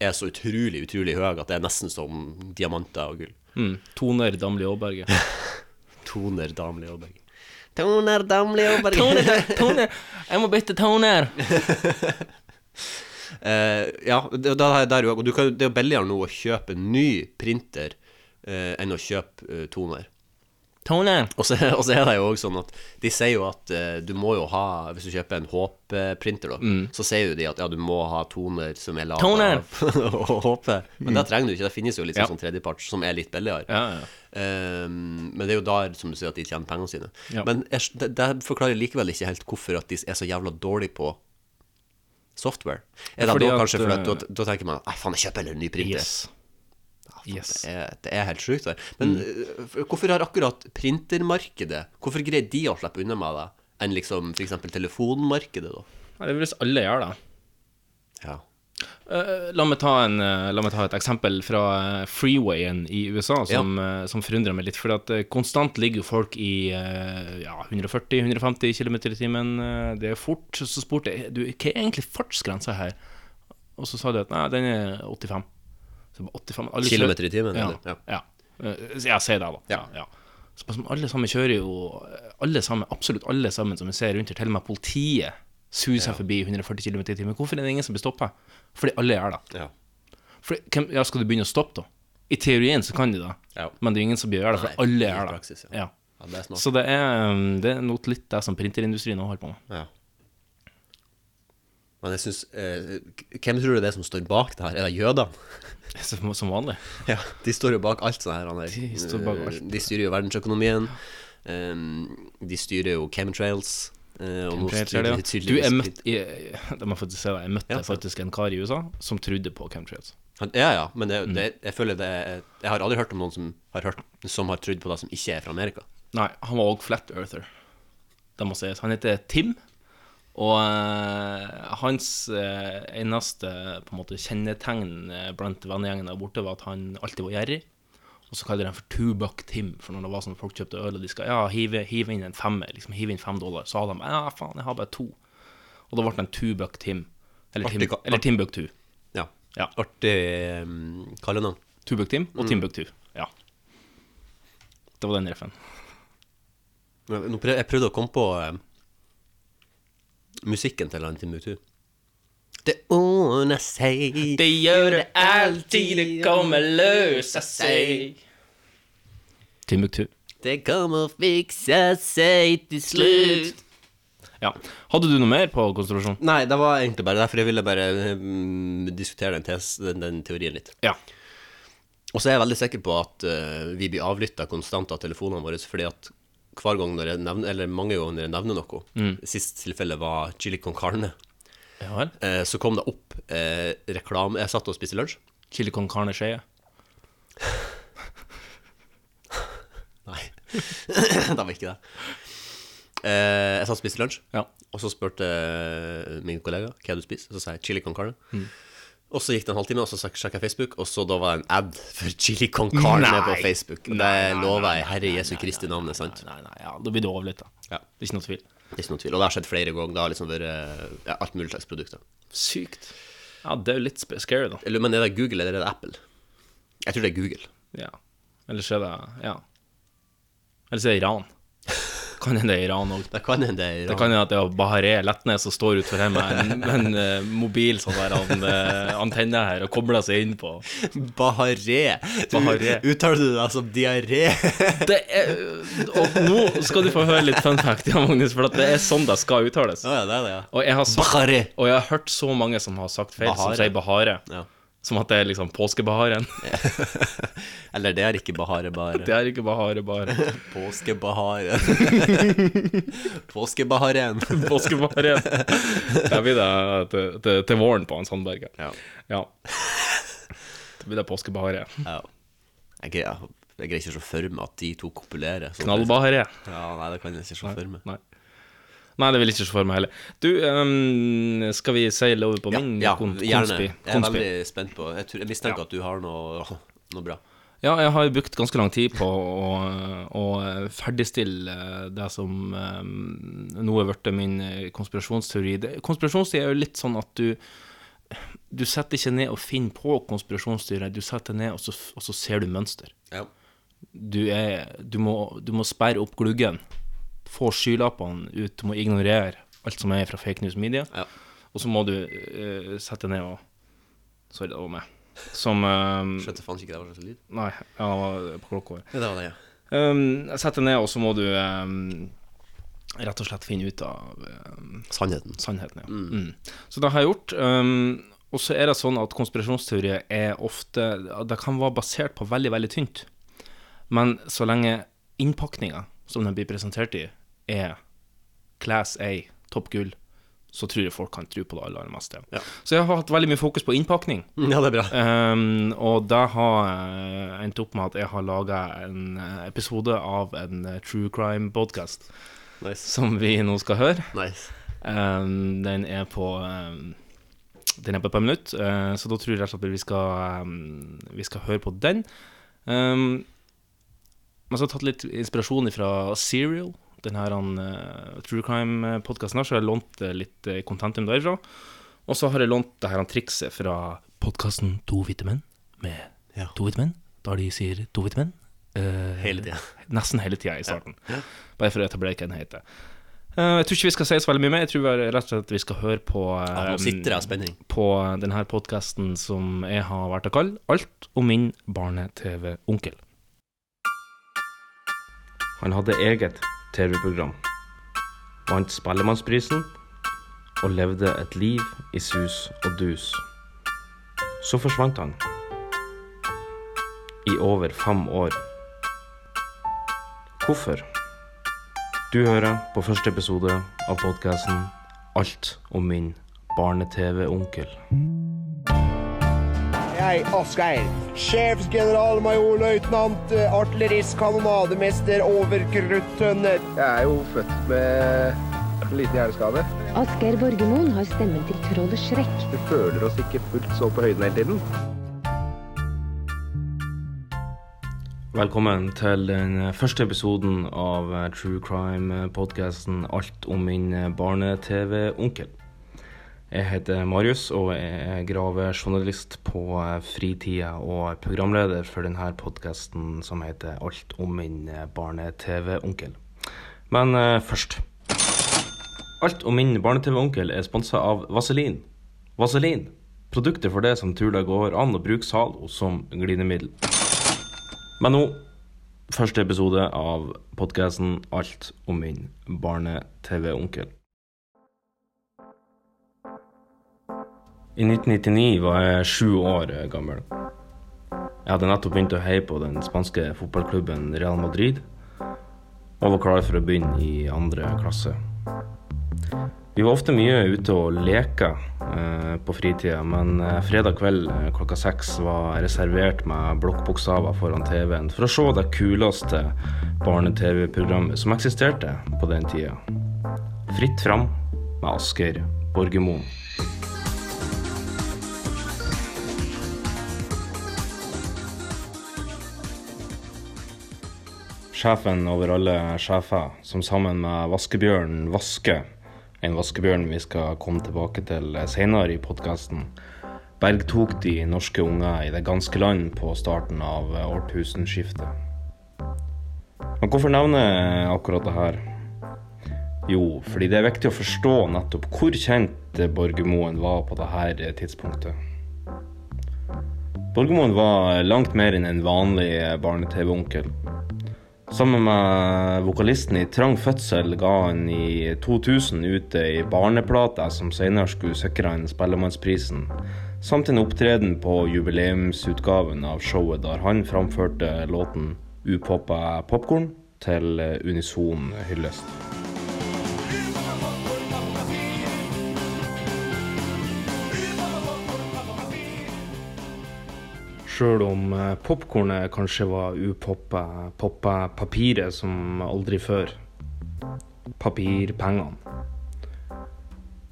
C: er så utrolig, utrolig høy at det er nesten som diamanter og gull.
B: Mm. Toner Damli Aaberge.
C: Toner Damli Aaberge.
M: Toner, damle, jobber.
B: Toner, toner! Jeg må bytte toner!
C: Eh, ja, det, det, er der, jo- og du kan, det er jo billigere nå å kjøpe en ny printer eh, enn å kjøpe eh, toner.
B: Toner!
C: Og så, og så er det jo også sånn at de sier jo at eh, du må jo ha Hvis du kjøper en HP-printer, da,
B: Mm.
C: så sier jo de at ja, du må ha toner som er laga
B: Toner! Mm.
C: av HP. Men det trenger du ikke. Det finnes jo litt
B: Ja.
C: sånn tredjeparts som er litt billigere.
B: Ja, ja.
C: Eh, men det er jo der, som du sier, at de tjener pengene sine.
B: Ja.
C: Men jeg, det, det forklarer likevel ikke helt hvorfor at de er så jævla dårlige på software. Er det
B: Fordi
C: da
B: at,
C: kanskje fordi at
B: eh,
C: da, da tenker man Nei, faen, jeg kjøper heller en ny printer.
B: Yes. Ah,
C: Ja, faen, Det, er, det er helt sjukt. det. Men eh, for- hvorfor har akkurat printermarkedet Hvorfor greier de å slippe unna med det, enn liksom f.eks. telefonmarkedet, da?
B: Nei, det er vel hvis alle gjør det.
C: Ja.
B: Eh, la, meg ta en, eh, la meg ta et eksempel fra eh, freewayen i USA som, eh, som forundrer meg litt. For at eh, konstant ligger jo folk i eh, ja, 140-150 km i timen. eh, det er fort. Så spurte jeg du, hva er egentlig fartsgrensa her? Og så sa de at nei, den er 85. Så jeg bare, 85 alle kjører-
C: Kilometer i timen,
B: Ja.
C: eller? Ja.
B: ja. Eh, Jeg sier det, da. Ja. Ja, Så bare sånn, alle sammen kjører jo Alle sammen, absolutt alle sammen som vi ser rundt her, til og med politiet suser forbi 140 km i timen. Hvorfor er det ingen som blir stoppa? Fordi alle gjør det.
C: Ja.
B: Fordi, hvem, ja, skal du begynne å stoppe, da? I teorien så kan de det, men det er jo ingen som blir gjør det, for
C: Nei,
B: alle
C: i
B: gjør det.
C: praksis, ja.
B: Ja.
C: Ja, det er smart.
B: så det er, um, det er noe litt det som printerindustrien nå holder på med.
C: Ja. Men jeg syns Hvem tror du det er som står bak det her? Er det jødene?
B: Som, som vanlig.
C: Ja, de står jo bak alt sånn her. Han der. Eh,
B: De står bak alt.
C: De styrer jo verdensøkonomien. Um, de styrer jo chemtrails. eh, og nå
B: Chemtrails er det,
C: styrer de
B: ja.
C: tydeligvis
B: Du, jeg møtte, jeg, jeg, må faktisk si det, jeg møtte faktisk en kar i USA som trodde på chemtrails.
C: Han- Ja, ja, men
B: Mm.
C: det, det, jeg føler det er- Jeg har aldri hørt om noen som har, hørt, som har trodd på det som ikke er fra Amerika.
B: Nei, han var òg flat earther. Det må sies. Han heter Tim. Og eh, hans eh, eneste på en måte, kjennetegn eh, blant vennegjengen der borte, var at han alltid var gjerrig. Og så kaller de han for Two Buck Tim, for når det var sånn folk kjøpte øl, og de skal ja, hive, hive inn en femmer, liksom hive inn fem dollar, så hadde de ja, faen, jeg har bare to. Og da ble han Two Buck Tim. Eller,
C: Artig
B: Tim,
C: ka-
B: eller Timbuktu.
C: Ja.
B: ja.
C: Artig um, kallenavn.
B: Two Buck Tim og
C: Mm.
B: Timbuktu. Ja. Det var den reffen.
C: Nå- nå prøv- Jeg prøvde å komme på eh, musikken til han Timbuktu. Det ordner seg
B: Det gjør det alltid, det kommer løse seg. Timbuktu.
C: Det kommer fikse seg til slutt.
B: Ja. Hadde du noe mer på konstellasjon?
C: Nei, det var egentlig bare derfor jeg ville bare mm, diskutere den, tes, den, den teorien litt.
B: Ja.
C: Og så er jeg veldig sikker på at eh, vi blir avlytta konstant av telefonene våre, fordi at hver gang når jeg nevner, eller mange ganger når jeg nevner noe,
B: Mm.
C: sist tilfelle var chili con carne,
B: Ja vel.
C: eh, så kom det opp eh, reklame Jeg satt og spiste lunsj.
B: Chili con carne skje.
C: Nei, det var ikke det. Eh, jeg satt og spiste lunsj, og så spurte eh, min kollega hva du spiser. Så sa jeg chili con carne.
B: Mm.
C: Og så gikk det en halvtime, og så sjekka jeg Facebook, og så da var det en ad for chili con carne
B: Nei.
C: på Facebook. Og det lover jeg Herre Jesu Kristi navnet, sant?
B: Nei, nei, ja, Da blir du overlytta.
C: Ja.
B: Det er ikke noe tvil.
C: Det er ikke noe tvil. Og det har skjedd flere ganger. Det har liksom vært ja, alt mulig slags produkter.
B: Sykt. Ja, det er jo litt sp- scary, da.
C: Eller, men er det Google, eller er det Apple? Jeg tror det er Google.
B: Ja. Ellers er det Ja. Ellers er det Iran. Kan hende det er Iran òg.
C: Det kan hende det er Iran.
B: Det kan hende at det er Bahareh Letnes som står utenfor her med en, med en eh, mobil sånn der an, eh, antenne her og kobler seg inn på
C: Baharé. Du
B: Baharé.
C: uttaler du deg som diaré.
B: det er, og nå skal du få høre litt fun fact, ja, Magnus, for at det er sånn det skal uttales.
C: ja, det er det, ja.
B: Og jeg har, sagt,
C: Bahare.
B: og jeg har hørt så mange som har sagt feil, som
C: Bahare.
B: sier Bahare.
C: Ja.
B: Som at det er liksom påskebaharen.
C: Eller det er ikke Bahare, bare.
B: Det er ikke Bahare, bare.
C: Påskebaharen. Påskebaharen.
B: Påskebaharen. Der blir det til, til, til våren på Hans Sandberg.
C: Ja.
B: ja. Det blir det påskebahare.
C: Ja. Jeg greier, jeg greier ikke å se for meg at de to kopulerer. sånn.
B: Knallbahare.
C: Ja, nei, det kan jeg ikke se for meg.
B: Nei. Nei, det vil jeg ikke se for meg heller. Du, ehm, skal vi seile over på min
C: Ja,
B: kon-
C: gjerne.
B: konspi?
C: Jeg er
B: konspi?
C: veldig spent på Jeg, tror, jeg mistenker at du har noe, noe bra.
B: Ja, jeg har jo brukt ganske lang tid på å, å eh, ferdigstille det som eh, nå er blitt min eh, konspirasjonsteori. Det- Konspirasjonsteori er jo litt sånn at du du setter ikke ned og finner på konspirasjonsteorier, du setter ned, og så, og så ser du mønster.
C: Ja.
B: Du, er, du, må, du må sperre opp gluggen, få skylappene ut, du må ignorere alt som er fra fake news media, og så må du eh, sette ned og Sorry, det var meg. Som eh,
C: Skjønte faen ikke det var slags lyd.
B: Nei, ja, det var på klokka vår.
C: Mm. Ja, det var det, ja.
B: Um, Sett deg ned, og så må du um, rett og slett finne ut av um,
C: Sannheten.
B: Sannheten, ja.
C: Mm.
B: Mm. Så det har jeg gjort. Um, og så er det sånn at konspirasjonsteorier er ofte Det kan være basert på veldig, veldig tynt. Men så lenge innpakninga som den blir presentert i, er class A, topp gull, så tror jeg folk kan tro på det aller, aller meste. Så jeg har hatt veldig mye fokus på innpakning.
C: Ja, det er bra.
B: Ehm, og det har eh, endt opp med at jeg har laga en eh, episode av en eh, true crime-podkast som vi nå skal høre. Ehm, den er på ehm, Den er på et par minutter, eh, så da tror jeg rett og slett at vi skal, ehm, vi skal høre på den. Um, men så har jeg tatt litt inspirasjon fra Serial. Den her han, eh, True Crime-podkasten her, så har jeg lånt eh, litt eh, contentum derifra. Og så har jeg lånt det her han trikset fra podkasten To hvite menn, med to hvite menn, der de sier to hvite menn. eh,
C: Hele tiden.
B: Nesten hele tida i starten. Bare for å etablere hva den heter. Eh, jeg tror ikke vi skal si så veldig mye mer. Jeg tror bare rett og slett vi skal høre på
C: Ja, nå
B: eh,
C: sitter jeg av spenning.
B: På denne podkasten som jeg har vært å kalle Alt om min barne-TV-onkel. Han hadde eget TV-program, vant Spellemannsprisen og levde et liv i sus og dus. Så forsvant han. I over fem år. Hvorfor? Du hører på første episode av podkasten Alt om min barne-TV-onkel.
R: Jeg, Asgeir, sjefsgeneralmajorløytnant, eh, artillerist, kanonademester, overkruttønne. Jeg er jo født med en liten hjerneskade.
S: Asgeir Borgermoen har stemmen til trollet Shrek.
R: Vi føler oss ikke fullt så på høyden hele tiden.
B: Velkommen til den første episoden av eh, True Crime-podkasten Alt om min eh, barne-TV-onkel. Jeg heter Marius og jeg er gravejournalist på eh, fritida og programleder for denne podkasten som heter Alt om min eh, barne-TV-onkel. Men eh, først Alt om min barne-TV-onkel er sponsa av Vaselin. Vaselin. Produktet for det som tror det går an å bruke Zalo som glidemiddel. Men nå, første episode av podkasten Alt om min barne-TV-onkel. I 1999 var jeg sju år eh, gammel. Jeg hadde nettopp begynt å heie på den spanske fotballklubben Real Madrid og var klar for å begynne i andre klasse. Vi var ofte mye ute og leka eh, på fritida, men eh, fredag kveld eh, klokka seks var jeg reservert med blokkbokstaver foran TV-en for å se det kuleste barne-TV-programmet som eksisterte på den tida. Fritt fram med Asker Borgermoen. sjefen over alle sjefer, som sammen med vaskebjørnen Vaske, en vaskebjørn vi skal komme tilbake til senere i podkasten, bergtok de norske unger i det ganske land på starten av årtusenskiftet. Men hvorfor nevner jeg akkurat det her? Jo, fordi det er viktig å forstå nettopp hvor kjent Borgermoen var på dette tidspunktet. Borgermoen var langt mer enn en vanlig barne-TV-onkel. Sammen med vokalisten i Trang fødsel ga han i 2000 ut ei barneplate som senere skulle sikre han Spellemannsprisen, samt en opptreden på jubileumsutgaven av showet der han framførte låten 'Upoppa popkorn' til unison hyllest. Sjøl om eh, popkornet kanskje var upoppa, poppa papiret som aldri før. Papirpengene.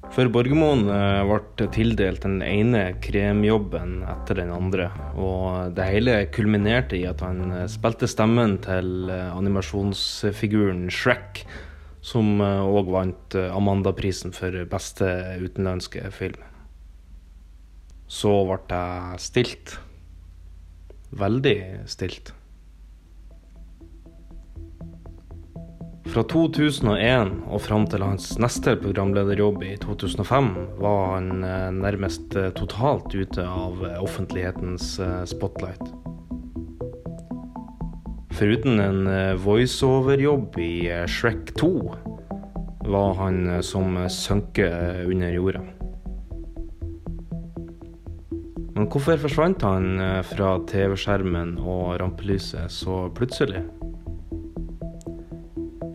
B: For Borgermoen eh, ble tildelt den ene kremjobben etter den andre, og det hele kulminerte i at han eh, spilte stemmen til eh, animasjonsfiguren Shrek, som òg vant eh, Amanda-prisen for beste utenlandske film. Så ble jeg stilt veldig stilt. Fra 2001 og fram til hans neste programlederjobb i 2005 var han eh, nærmest eh, totalt ute av eh, offentlighetens eh, spotlight. Foruten en eh, voiceover-jobb i eh, Shrek 2 var han eh, som sønket under jorda. Men hvorfor forsvant han eh, fra TV-skjermen og rampelyset så plutselig?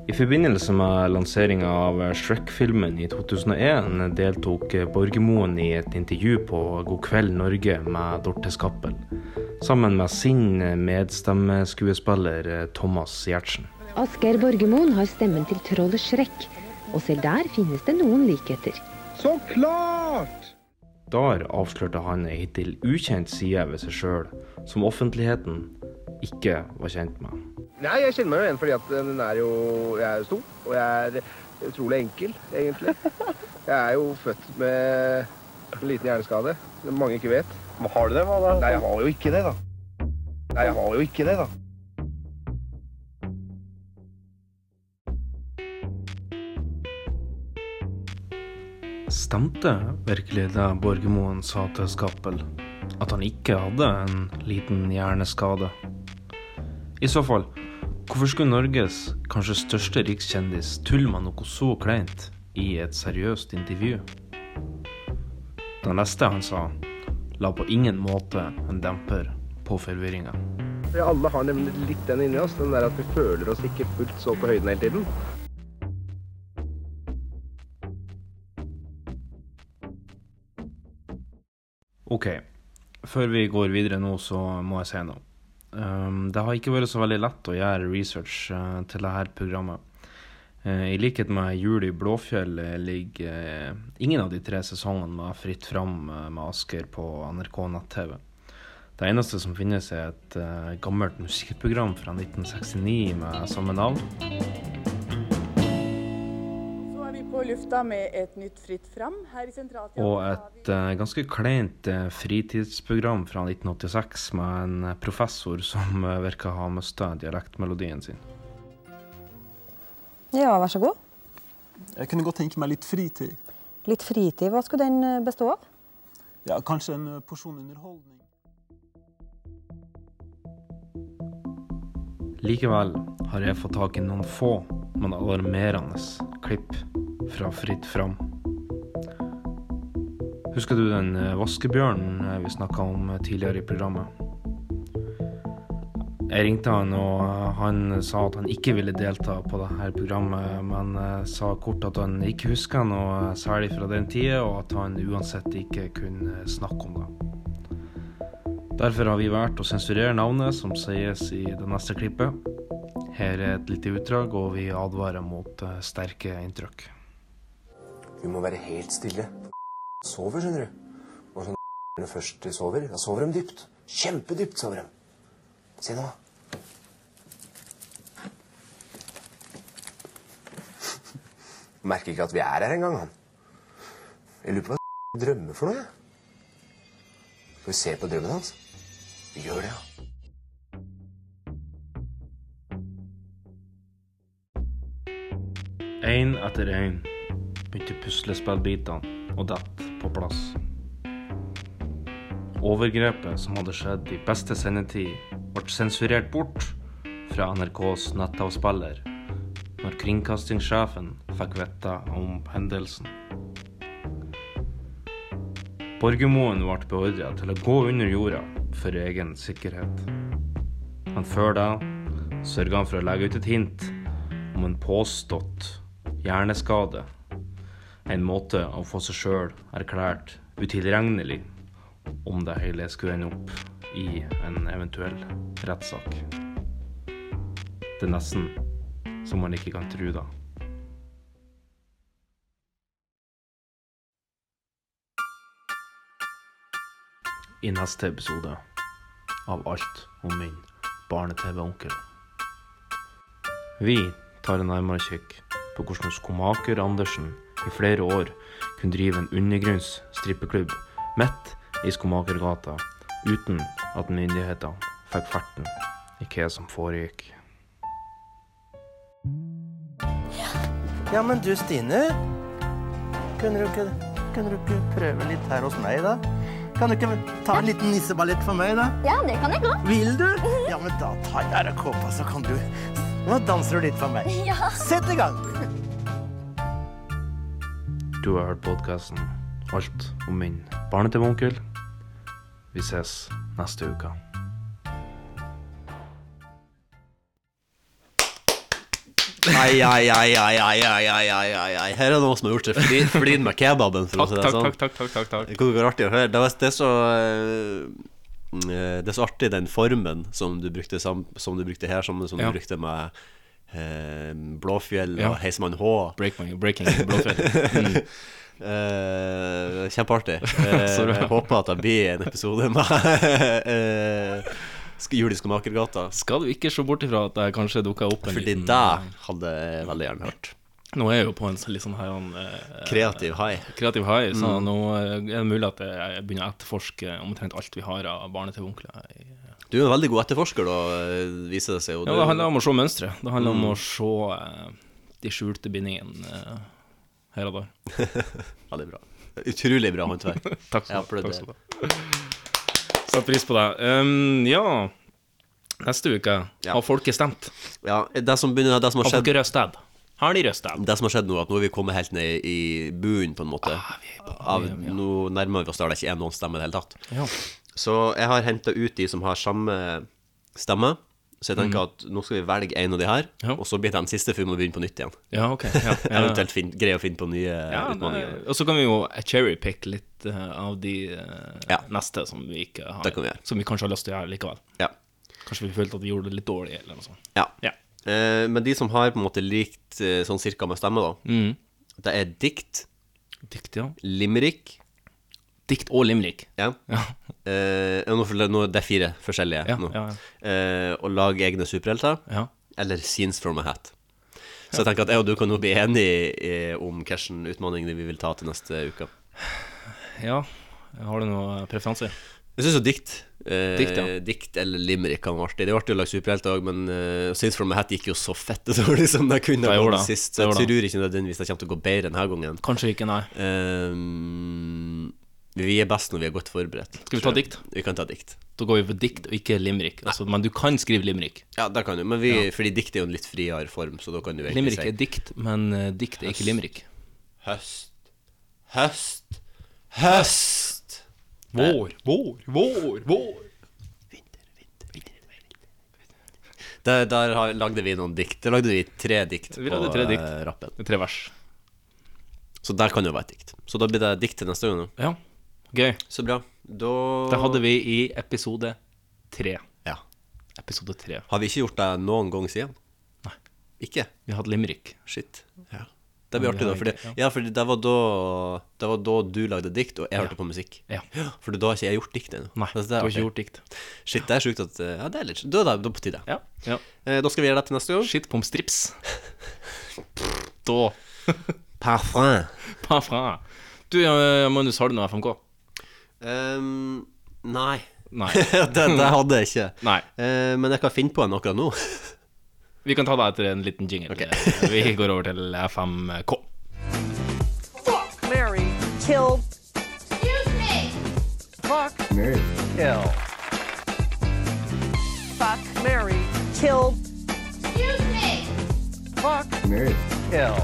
B: I forbindelse med lanseringa av Shrek-filmen i 2001 deltok Borgermoen i et intervju på God kveld Norge med Dorte Skappel, sammen med sin medstemmeskuespiller eh, Thomas Giertsen.
S: Asgeir Borgermoen har stemmen til trollet Shrek, og selv der finnes det noen likheter.
R: Så klart!
B: Der avslørte han ei hittil ukjent side ved seg sjøl, som offentligheten ikke var kjent med.
R: Nei, jeg kjenner meg jo igjen fordi at den er jo Jeg er jo stor, og jeg er utrolig enkel, egentlig. Jeg er jo født med en liten hjerneskade som mange ikke vet. Har du det, hva da? Nei, jeg har jo ikke det, da. Nei, jeg har jo ikke det, da.
B: Stemte virkelig det Borgermoen sa til Skappel? At han ikke hadde en liten hjerneskade? I så fall, hvorfor skulle Norges kanskje største rikskjendis tulle med noe så kleint i et seriøst intervju? Det neste han sa, la på ingen måte en demper på forvirringa.
R: Vi alle har nemlig litt den inni oss, den der at vi føler oss ikke fullt så på høyden hele tiden.
B: Ok, før vi går videre nå, så må jeg si noe. Ehm, det har ikke vært så veldig lett å gjøre research eh, til dette programmet. Eh, I likhet med Jul i Blåfjell eh, ligger eh, ingen av de tre sesongene med Fritt fram eh, med Asker på NRK nett-TV. Det eneste som finnes, er et eh, gammelt musikkprogram fra 1969 med samme navn.
T: Så er vi på lufta med et nytt Fritt fram her i sentralteatret.
B: Og et eh, ganske kleint eh, fritidsprogram fra 1986 med en eh, professor som eh, virker å ha mista dialektmelodien sin.
U: Ja, vær så god.
V: Jeg kunne godt tenke meg litt fritid.
U: Litt fritid, hva skulle den eh, bestå av?
V: Ja, Kanskje en eh, porsjon underholdning.
B: Likevel har jeg fått tak i noen få, men alarmerende klipp fra Fritt fram. Husker du den eh, vaskebjørnen eh, vi snakka om eh, tidligere i programmet? Jeg ringte han, og eh, han sa at han ikke ville delta på det her programmet, men eh, sa kort at han ikke husker noe særlig fra den tida, og at han uansett ikke kunne eh, snakke om det. Derfor har vi valgt å sensurere navnet som sies i det neste klippet. Her er et lite utdrag, og vi advarer mot eh, sterke inntrykk.
W: Du må være helt stille. Sover, skjønner du. Og så når først de sover, da sover de dypt. Kjempedypt sover de. Se nå. Merker ikke at vi er her engang, han. Jeg lurer på hva drømmer for noe, jeg. Skal vi se på drømmen hans? Vi gjør det, ja.
B: Én etter én begynte puslespillbitene å dette på plass. Overgrepet som hadde skjedd i beste sendetid, ble sensurert bort fra NRKs nettavspiller når kringkastingssjefen fikk vite om hendelsen. Borgermoen ble beordret til å gå under jorda for egen sikkerhet. Men før det sørget han for å legge ut et hint om en påstått hjerneskade. En måte å få seg sjøl erklært utilregnelig om det hele skulle ende opp i en eventuell rettssak. Det er nesten som man ikke kan tro, da. I neste episode av Alt om min barne-TV-onkel. Vi tar en nærmere kikk på hvordan skomaker Andersen i flere år kunne drive en undergrunns strippeklubb midt i Skomakergata uten at myndighetene fikk ferten i hva som foregikk.
R: Ja, men du, Stine. Kunne du ikke, kunne du ikke prøve litt her hos meg, da? Kan du ikke ta en liten nisseballett for meg, da?
X: Ja, det kan jeg Mhm. gå.
R: Vil du? Ja, men da tar jeg av deg kåpa, så kan du Nå danser du litt for meg.
X: Ja.
R: Sett i gang.
B: Du har hørt podkasten Alt om min barne-TV-onkel. Vi ses neste uke.
C: Ai, ai, ai, ai, ai, ai, ai, ai, ai, ai. Her er noen som har gjort det. Flin, flin med kebaben, for å
P: Takk,
C: si det
P: takk,
C: sånn.
P: takk, takk, takk, takk, takk.
C: Det kunne vært artig å høre. Det, var, det, er så, eh, eh, det er så artig den formen som du brukte, sam, som du brukte her, som, som
P: Ja.
C: du brukte med eh, Blåfjell
P: Ja.
C: og Heismann H.
P: Breaking- breaking Blåfjell. Mm.
C: Eh, kjempeartig. Eh,
P: Sorry.
C: jeg håper at det blir en episode med uh, Jul i Skomakergata.
P: Skal du ikke se bort ifra at jeg kanskje dukka opp en
C: Fordi
P: liten
C: det hadde jeg veldig gjerne hørt.
P: Nå er jeg jo på en sånn- litt sånn her eh,
C: Kreativ high.
P: Kreativ high, så
C: Mm.
P: nå eh, er det mulig at jeg begynner å etterforske omtrent alt vi har av barne-TV-onkler. i-
C: Du er en veldig god etterforsker, da, eh, viser det seg jo.
P: Ja,
C: Du-
P: det handler om å se mønstre. Det handler om
C: Mm.
P: å se eh, de skjulte bindingene eh, her og der.
C: Veldig bra. Utrolig bra håndverk.
P: Takk
C: Jeg
P: skal du ha.
C: applauderer.
P: Takk skal du ha. Satt pris på det. Um, ja, neste uke har folket stemt.
C: Ja, det som, begynner, det som har
P: Har
C: skjedd
P: folket røstet? Har de røstet?
C: Det som har skjedd nå, er at nå er vi kommet helt ned i bunnen, på en måte.
P: Ah,
C: Av, nå nærmer vi oss der det ikke er noen stemme i det hele tatt.
P: Ja.
C: Så jeg har henta ut de som har samme stemme. Så jeg tenker
P: Mm.
C: at nå skal vi velge en av de her, og så blir den siste før vi må begynne på nytt igjen.
P: Ja, ok, ja, ja.
C: Eventuelt fin, greie å finne på nye
P: Ja,
C: utfordringer.
P: det- og så kan vi jo cherrypick litt eh, av de eh, neste som vi ikke har
C: Det kan vi gjøre.
P: Som vi kanskje har lyst til å gjøre likevel.
C: Ja.
P: Kanskje vi følte at vi gjorde det litt dårlig, eller noe sånt.
C: Ja. Eh, men de som har på en måte likt eh, sånn cirka med stemme, da,
P: Mm.
C: det er dikt,
P: Dikt, ja.
C: limerick
P: Dikt og limerick.
C: Ja. Eh, ja, nå, føler jeg- nå, det er fire forskjellige
P: Ja,
C: nå.
P: ja,
C: Eh, og lage egne superhelter.
P: Ja.
C: Eller scenes from a hat. Så jeg tenker at jeg og du kan jo bli enige eh, om hvilken utfordring vi vil ta til neste uke.
P: Ja. Har du noen preferanser?
C: Jeg syns jo dikt. eh,
P: Dikt, ja.
C: dikt eller limerick kan være artig. Det er jo artig å lage superhelter òg, men uh, Scenes from a hat gikk jo så fette dårlig som det kunne
P: Det
C: ha
P: gjorde
C: gått
P: det.
C: sist.
P: Det
C: Så jeg
P: gjorde det.
C: tror ikke nødvendigvis det kommer til å gå bedre denne gangen. Ehm,
P: Kanskje ikke, nei.
C: vi er best når vi er godt forberedt.
P: Skal vi ta
C: tror jeg.
P: dikt?
C: Vi kan ta dikt.
P: Da går vi for dikt og ikke limerick. Altså, men du kan skrive limerick.
C: Ja, det kan du, men vi, fordi dikt er jo en litt friere form, så da kan du egentlig
P: Limerick
C: si
P: er dikt, men eh, dikt er ikke limerick.
C: Høst, høst, Høst.
P: Vår, vår, vår, vår.
C: Der, der har- lagde vi noen dikt. Der lagde vi tre dikt
P: Vi
C: på
P: lagde tre dikt.
C: eh, rappen.
P: Tre vers.
C: Så der kan det jo være et dikt. Så da blir det dikt til neste gang. da.
P: Ja. Gøy.
C: Så bra. Da
P: Det hadde vi i episode tre.
C: Ja.
P: Episode tre.
C: Har vi ikke gjort det noen gang siden?
P: Nei.
C: Ikke?
P: Vi hadde limerick.
C: Shit.
P: Ja.
C: Det blir
P: Men
C: artig,
P: vi
C: da.
P: har
C: Fordi,
P: ikke-
C: ja, fordi det var da Det var da du lagde dikt, og jeg hørte på musikk.
P: Ja.
C: For da har ikke jeg gjort dikt ennå.
P: Nei,
C: Altså, det
P: du
C: er
P: har ikke
C: artig.
P: gjort dikt.
C: Shit, det er sjukt at eh, Ja, det er litt Da er det da på tide.
P: Ja. Ja.
C: Eh, da skal vi gjøre det til neste gang.
P: Shit pommes strips. da
C: Parfum.
P: Parfum. Du, eh, Magnus, har du noe FMK?
C: Ehm, nei.
P: Nei.
C: det, det hadde jeg ikke.
P: Nei.
C: Eh, men jeg kan finne på en akkurat nå.
P: Vi kan ta det etter en liten jingle. Eh, Vi går over til FMK.
S: Fuck, Mary, kill. Excuse me. Fuck,
P: Mary.
S: kill. Fuck, Mary, kill. Excuse me. Fuck,
P: Mary.
S: kill.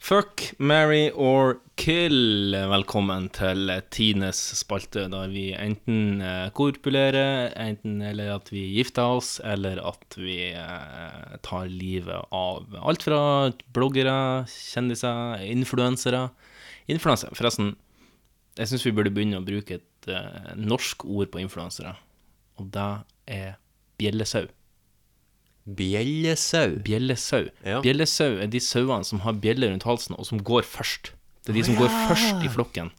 P: Fuck, marry or kill. Velkommen til Tines spalte, der vi enten eh, korpulerer, enten eller at vi gifter oss, eller at vi eh, tar livet av alt fra bloggere, kjendiser, influensere Influenser, forresten. Jeg syns vi burde begynne å bruke et eh, norsk ord på influensere, og det er bjellesau.
C: Bjellesau.
P: Bjellesau.
C: Ja.
P: Bjellesau er de sauene som har bjeller rundt halsen, og som går først. Det er de som
C: Å,
P: går
C: ja.
P: først i flokken.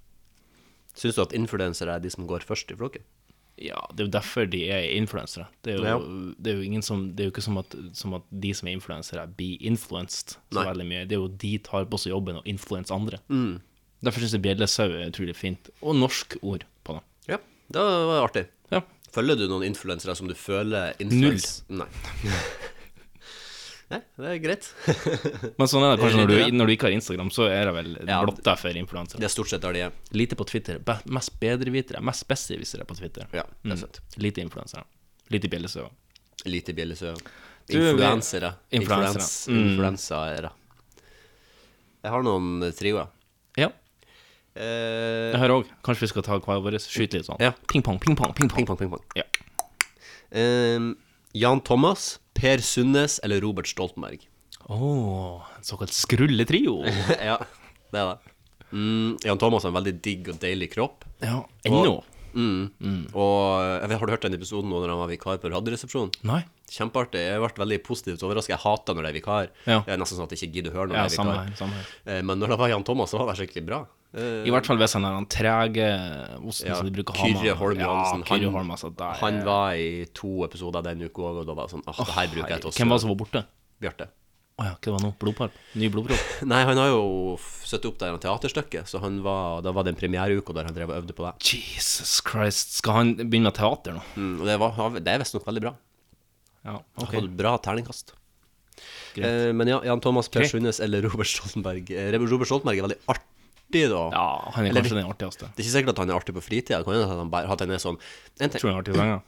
C: Syns du at influensere er de som går først i flokken?
P: Ja, det er jo derfor de er influensere. Det er jo,
C: Ja.
P: det er jo, ingen som, det er jo ikke som at, som at de som er influensere, blir influenced så
C: Nei.
P: veldig mye. Det er jo de tar på seg jobben og influenser andre.
C: Mm.
P: Derfor syns jeg bjellesau er utrolig fint. Og norsk ord på det.
C: Ja, det var artig. Følger du noen influensere som du føler influens- Nei. Nei, det er greit.
P: Men sånn er det kanskje når
C: litt
P: du, når du ikke har Instagram, så er det vel
C: Ja.
P: blotta for influensere.
C: Det er stort sett der de er.
P: Lite på Twitter. Be mest bedrevitere. Mest besserwissere på Twitter.
C: Ja, det er sant.
P: Mm. Lite influensere. Lite bjellesau.
C: Lite bjellesø.
P: Du, vi-
C: Influensere.
P: Influensere.
C: Influens-
P: Mm.
C: Influensere. Jeg har noen eh, trioer.
P: Ja.
C: Eh,
P: Jeg hører òg. Kanskje vi skal ta hver vår? Skyte litt sånn.
C: Ja.
P: Ping-pong, ping-pong, ping-pong. Ja.
C: eh, Jan Thomas, Per Sundnes eller Robert Stoltenberg?
P: Å, en såkalt skrulletrio.
C: ja, det er det. Mm, Jan Thomas har en veldig digg og deilig kropp.
P: Ja,
C: Og- Mm. Og jeg vet, Har du hørt den episoden nå når han var vikar på Radioresepsjonen?
P: Nei.
C: Kjempeartig. Jeg ble veldig positivt overrasket. Jeg hater når det er vikar.
P: Ja.
C: Det er nesten sånn at jeg ikke gidder å høre når
P: Ja,
C: det er
P: samme
C: vikar.
P: her, samme her.
C: Eh, Men når det var Jan Thomas, så var det skikkelig bra. Eh,
P: I hvert fall hvis han er den trege osten
C: ja,
P: som de bruker å ha med.
C: Kyrre Holm Johansen.
P: Ja, Kyrre
C: han,
P: Holm, altså. Der.
C: han var i to episoder den uka òg, og da var det sånn Åh, det her bruker jeg til oss.
P: Hvem var det som var borte?
C: Bjarte.
P: Å ja, hva var det nå? Blodpropp? Ny blodpropp?
C: Nei, han har jo f- satt opp det her teaterstykket, så han var, da var det en premiereuke der han drev og øvde på det.
P: Jesus Christ, skal han begynne med teater nå?
C: Mm, og det, var, det er visstnok veldig bra.
P: Ja,
C: Han
P: ok.
C: har fått bra terningkast.
P: Greit.
C: Eh, men ja, Jan Thomas Per
P: Greit.
C: Sundnes eller Robert Stoltenberg. Eh, Robert Stoltenberg er veldig artig, da.
P: Ja, han er
C: Eller-
P: kanskje den artigste.
C: Det er ikke sikkert at han er artig på fritida. Det Kan hende at han bare at han er sånn en ting-
P: Tror du han er artig i senga?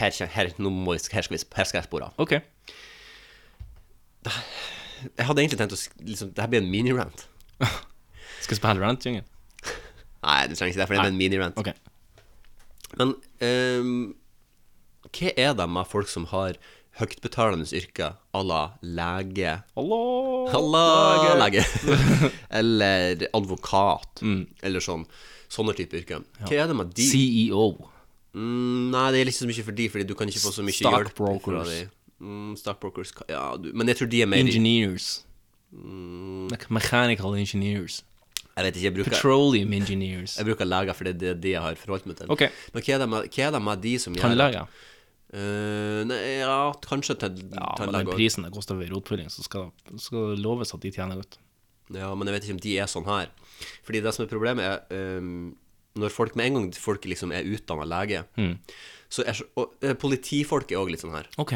C: Her, kjen- her, nå må jeg, her, skal vi, her skal jeg spore av.
P: Ok.
C: Jeg hadde egentlig tenkt å sk- liksom, Det her blir en mini-rant.
P: Skal jeg spille rant, Jungen?
C: Nei, du trenger ikke det, for det
P: Nei.
C: blir en mini-rant.
P: Ok.
C: Men ehm, hva er det med folk som har høytbetalende yrker à la lege
P: Hallo!
C: Halla,
P: Lege. Mm.
C: lege. Eller advokat. Eller sånn. Sånne type yrker. Hva er det med de
P: CEO.
C: Mm, nei, det er liksom så mye for de, fordi du kan ikke få så mye hjelp fra
P: Stockbrokers.
C: de. Mm, Stockbrokers. ka- Ja, du, men jeg tror de er mer i-
P: Engineers.
C: Mm,
P: Like mechanical engineers.
C: Jeg vet ikke, jeg bruker
P: Petroleum engineers.
C: Jeg bruker leger, for det er det de jeg har forholdt meg til.
P: Ok.
C: Men hva er det med, hva er det med de som gjør
P: Tannleger.
C: Eh, nei, ja, kanskje til
P: Ja, men den prisen det koster ved rotfylling, så skal, skal det loves at de tjener godt.
C: Ja, men jeg vet ikke om de er sånn her. Fordi det som er problemet, er ehm, når folk med en gang folk liksom er utdanna lege
P: Mm.
C: så er, så- og, eh, Politifolk er òg litt sånn her.
P: Ok.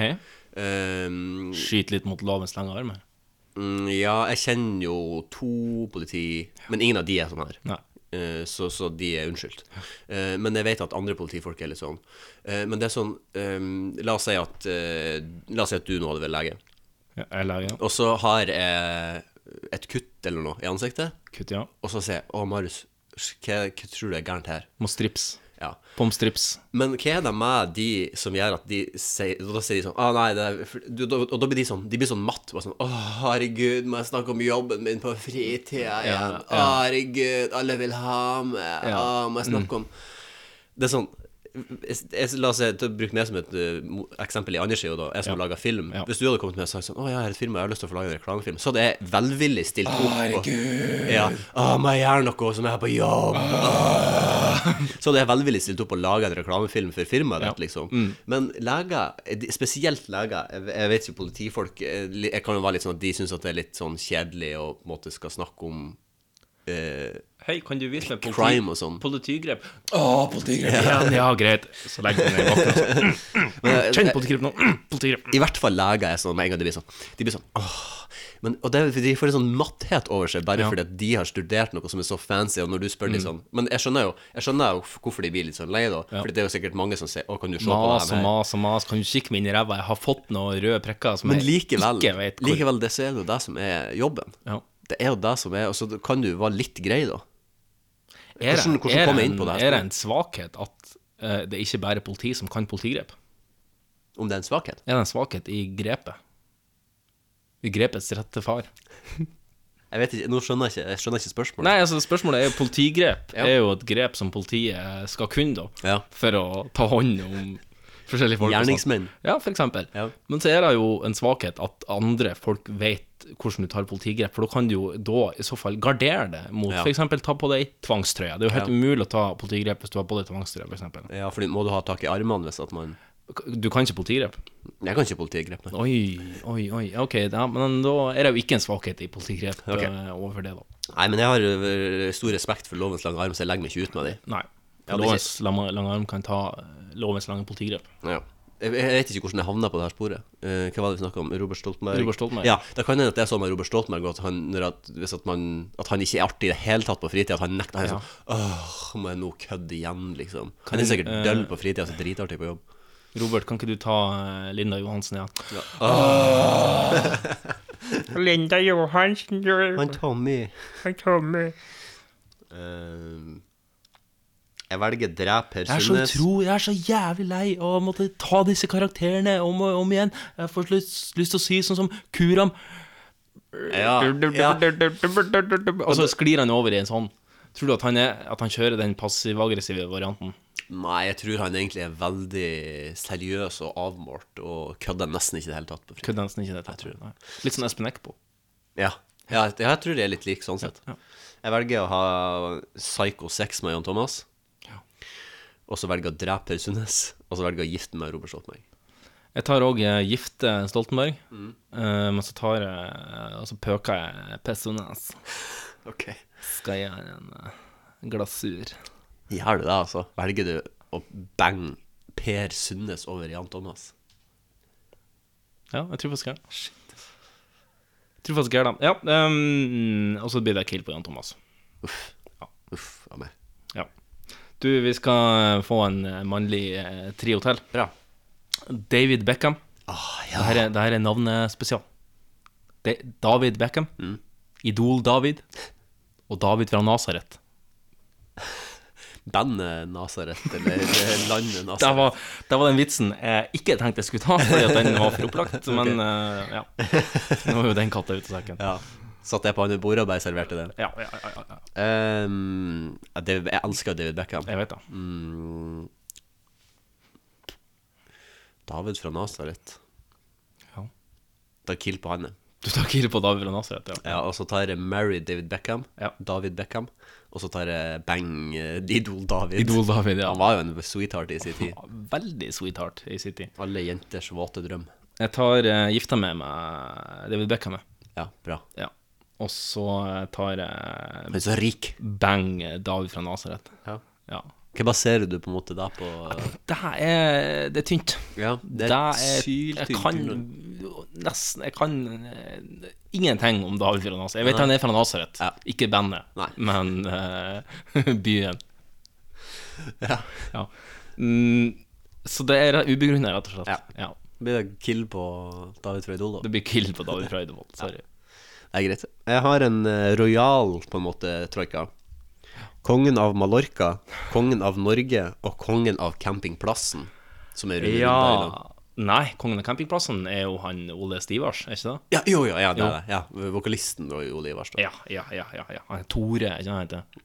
C: Ehm,
P: Skyt litt mot lovens lange armer.
C: mm, ja, jeg kjenner jo to politi, men ingen av de er sånn her.
P: Nei.
C: Eh, så, så de er unnskyldt. Eh, men jeg vet at andre politifolk er litt sånn. Eh, men det er sånn ehm, La oss si at eh, La oss si at du nå hadde vært lege.
P: Ja, eller, ja.
C: Og så har jeg et kutt eller noe i ansiktet.
P: Kutt, ja.
C: Og så sier jeg Å, Marius, hva, hva tror du er gærent her?
P: Må strips.
C: Ja.
P: Pommes strips.
C: Men hva er det med de som gjør at de sier Da sier de sånn Å, nei, det er for- du, da, Og da blir de sånn De blir sånn matt. Bare sånn Å, herregud, må jeg snakke om jobben min på fritida
P: Ja,
C: igjen?
P: ja.
C: Å, herregud, eh, alle vil ha meg.
P: Ja. Mm.
C: Å, må jeg snakke om Det er sånn jeg, jeg, la oss si, til å bruke meg som et eh, mo- eksempel i andre sida, da. Jeg som lager film. Hvis du hadde kommet med og sagt sånn Å, jeg har et firma, jeg har lyst til å få lage en reklamefilm, så hadde jeg velvillig stilt
S: Å,
C: opp. og-
S: herregud.
C: Ja. Å, må jeg gjøre noe som er på jobb? Ah. Så hadde jeg velvillig stilt opp og laga en reklamefilm for firmaet ditt, liksom.
P: Mm.
C: Men leger, de- spesielt leger, jeg, jeg vet jo politifolk eh, li- Jeg kan jo være litt sånn at de syns at det er litt sånn kjedelig å på en måte skal snakke om eh,
P: Hei, kan du vise meg politi-
C: crime og sånn.
P: politigrep?
C: Å, politigrep.
P: Ja, ja, greit. Så legger du ned i bakken.
C: Men- eh,
P: Kjenn politigrep nå. Politigrep.
C: I hvert fall leger er sånn med en gang de blir sånn. De blir sånn åh. Men, og det, er fordi de får en sånn matthet over seg bare
P: Ja.
C: fordi at de har studert noe som er så fancy, og når du spør de
P: Mm.
C: sånn Men jeg skjønner jo jeg skjønner jo hvorfor de blir litt sånn lei, da.
P: Ja.
C: Fordi det er jo sikkert mange som sier Å, kan du se på det
P: Mas
C: her?
P: og mas og mas. Kan du kikke meg inn i ræva? Jeg har fått noen røde prikker som
C: Men
P: jeg
C: likevel,
P: ikke vet hvor
C: likevel det så er det jo det som er jobben. Det er jo det som er Og så kan du være litt grei, da.
P: Er det-
C: Hvordan, hvordan
P: er
C: kom
P: det
C: jeg inn på
P: en-
C: det? her
P: Er
C: sporet?
P: det en svakhet at eh, det er ikke bare er politi som kan politigrep?
C: Om det er en svakhet?
P: Er det en svakhet i grepet? I grepets rette far?
C: Jeg vet ikke, nå skjønner jeg ikke, jeg skjønner ikke spørsmålet.
P: Nei, altså spørsmålet er jo politigrep.
C: Ja.
P: er jo et grep som politiet skal kunne, da. For å ta hånd om forskjellige folk. og sånt.
C: Gjerningsmenn.
P: Ja, for eksempel. Men så er det jo en svakhet at andre folk vet hvordan du tar politigrep, for da kan du jo da i så fall gardere det mot
C: Ja.
P: for eksempel ta på deg tvangstrøye. Det er jo helt
C: Ja.
P: umulig å ta politigrep hvis du har på deg tvangstrøye, for eksempel.
C: Ja, fordi må du ha tak i armene hvis at man
P: Du kan ikke politigrep?
C: Jeg kan ikke politigrep, nei.
P: Oi, oi, oi. Ok, ja, men da er det jo ikke en svakhet i politigrep
C: Ok.
P: eh, overfor det, da.
C: Nei, men jeg har ø, stor respekt for lovens lange arm, så jeg legger meg ikke ut med de.
P: Nei.
C: Ja, det er
P: lovens lange, lange arm kan ta eh, lovens lange politigrep.
C: Ja. Jeg, jeg vet ikke hvordan jeg havna på det her sporet. Eh, hva var det vi snakka om? Robert Stoltenberg?
P: Robert Stoltenberg.
C: Ja, Det kan hende at det er sånn med Robert Stoltenberg at han, når at, hvis at, man, at han ikke er artig i det hele tatt på fritida. At han nekter han er
P: Ja.
C: sånn Åh, må jeg nå kødde igjen, liksom?
P: Kan
C: han er
P: du,
C: sikkert
P: eh,
C: døll på fritida, så dritartig på jobb.
P: Robert, kan ikke du ta eh, Linda Johansen igjen?
S: Linda Johansen, du
C: Han Tommy.
S: Han Tommy.
C: Eh, jeg velger drep Per
P: Jeg er så
C: Sundnes.
P: utro, jeg er så jævlig lei av å måtte ta disse karakterene om og om igjen. Jeg får lyst, lyst til å si sånn som Kuram.
C: Ja, ja.
P: Og så sklir han over i en sånn. Tror du at han, er, at han kjører den passiv-aggressive varianten?
C: Nei, jeg tror han egentlig er veldig seriøs og avmålt og kødder nesten ikke i det hele tatt på fritida.
P: Kødder nesten ikke i det hele tatt. Nei. Litt sånn Espen Eckbo.
C: Ja. Ja, jeg, jeg tror det er litt lik sånn sett. Jeg velger å ha Psycho 6 med Jan Thomas. Og så velger jeg å drepe Per Sundnes. Og så velger jeg å gifte meg med Robert Stoltenberg.
P: Jeg tar òg gifte Stoltenberg,
C: Mm.
P: eh, men så tar jeg eh, Og så pøker jeg Pestones.
C: Ok.
P: Skal jeg gjøre en eh, glasur.
C: Gjør du det, altså? Velger du å bange Per Sundnes over Jan Thomas?
P: Ja, jeg tror faktisk jeg gjør det. Jeg tror faktisk jeg gjør det. Ja, ehm, og så blir det kill på Jan Thomas.
C: Uff. Uff av meg.
P: Ja. Du, vi skal få en eh, mannlig eh, trio til.
C: Bra. Ah,
P: David Beckham. Det her er, det her er navnespesial. Det er David Beckham. Idol-David. Og David fra Nasaret.
C: Bandet Nasaret, eller eh, landet
P: Det
C: Nasaret.
P: var, det var den vitsen jeg ikke tenkte jeg skulle ta, fordi at den var for opplagt. Men eh, ja. Nå er jo den katta ute av sekken.
C: Ja. Satt jeg på andre bordet og bare serverte den?
P: Ja, ja, ja, ja,
C: Ehm, ja, David- jeg elsker jo David Beckham.
P: Jeg vet det.
C: Mm. David fra Nasaret.
P: Ja.
C: Da kill på han. jeg.
P: Du tar kill på David fra Nasaret, ja.
C: Ja, og så tar jeg Mary David Beckham. David Beckham. Og så tar jeg Bang eh, Idol David.
P: Idol David, ja.
C: Han var jo en sweetheart i sin tid.
P: Veldig sweetheart i sin tid.
C: Alle jenters våte drøm.
P: Jeg tar eh, gifta med meg eh, David Beckham. jeg.
C: Ja, bra.
P: Ja. Og så eh, tar jeg
C: Men så rik.
P: Bang eh, David fra Nasaret.
C: Ja.
P: Ja.
C: Hva baserer du på en måte da på
P: Det her er, det er tynt.
C: Ja, det er syltynt
P: Jeg kan nesten Jeg kan eh, ingenting om David fra
B: altså.
P: Nasaret. Jeg vet han er fra Nasaret, ikke bandet, men eh, byen. Ja. Mm, så det er ubegrunna, rett og slett. Ja.
C: Blir det kill på David Frøydol, da?
B: Det blir kill på David Frøydol, sorry.
C: Det er greit. Jeg har en eh, rojal, på en måte, troika. Kongen av Mallorca, kongen av Norge og kongen av campingplassen, som er Rune Lundberg, da.
B: Ja Nei, Kongen av campingplassen er jo han Ole Stivars, er ikke det?
C: Ja, jo, jo, ja, det er det. Ja, vokalisten var jo Ole Ivars.
B: Ja, ja, ja, ja, ja. Han er Tore, ikke han heter?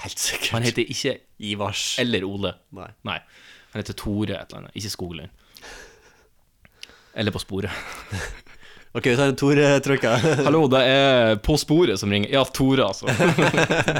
C: Helt sikkert.
B: Han heter ikke
C: Ivars.
B: Eller Ole.
C: Nei.
B: Han heter Tore et eller annet, ikke Skoglund. Eller På sporet.
C: Ok, vi tar en Tore-trykka.
B: Hallo, det er På sporet som ringer. Ja, Tore, altså.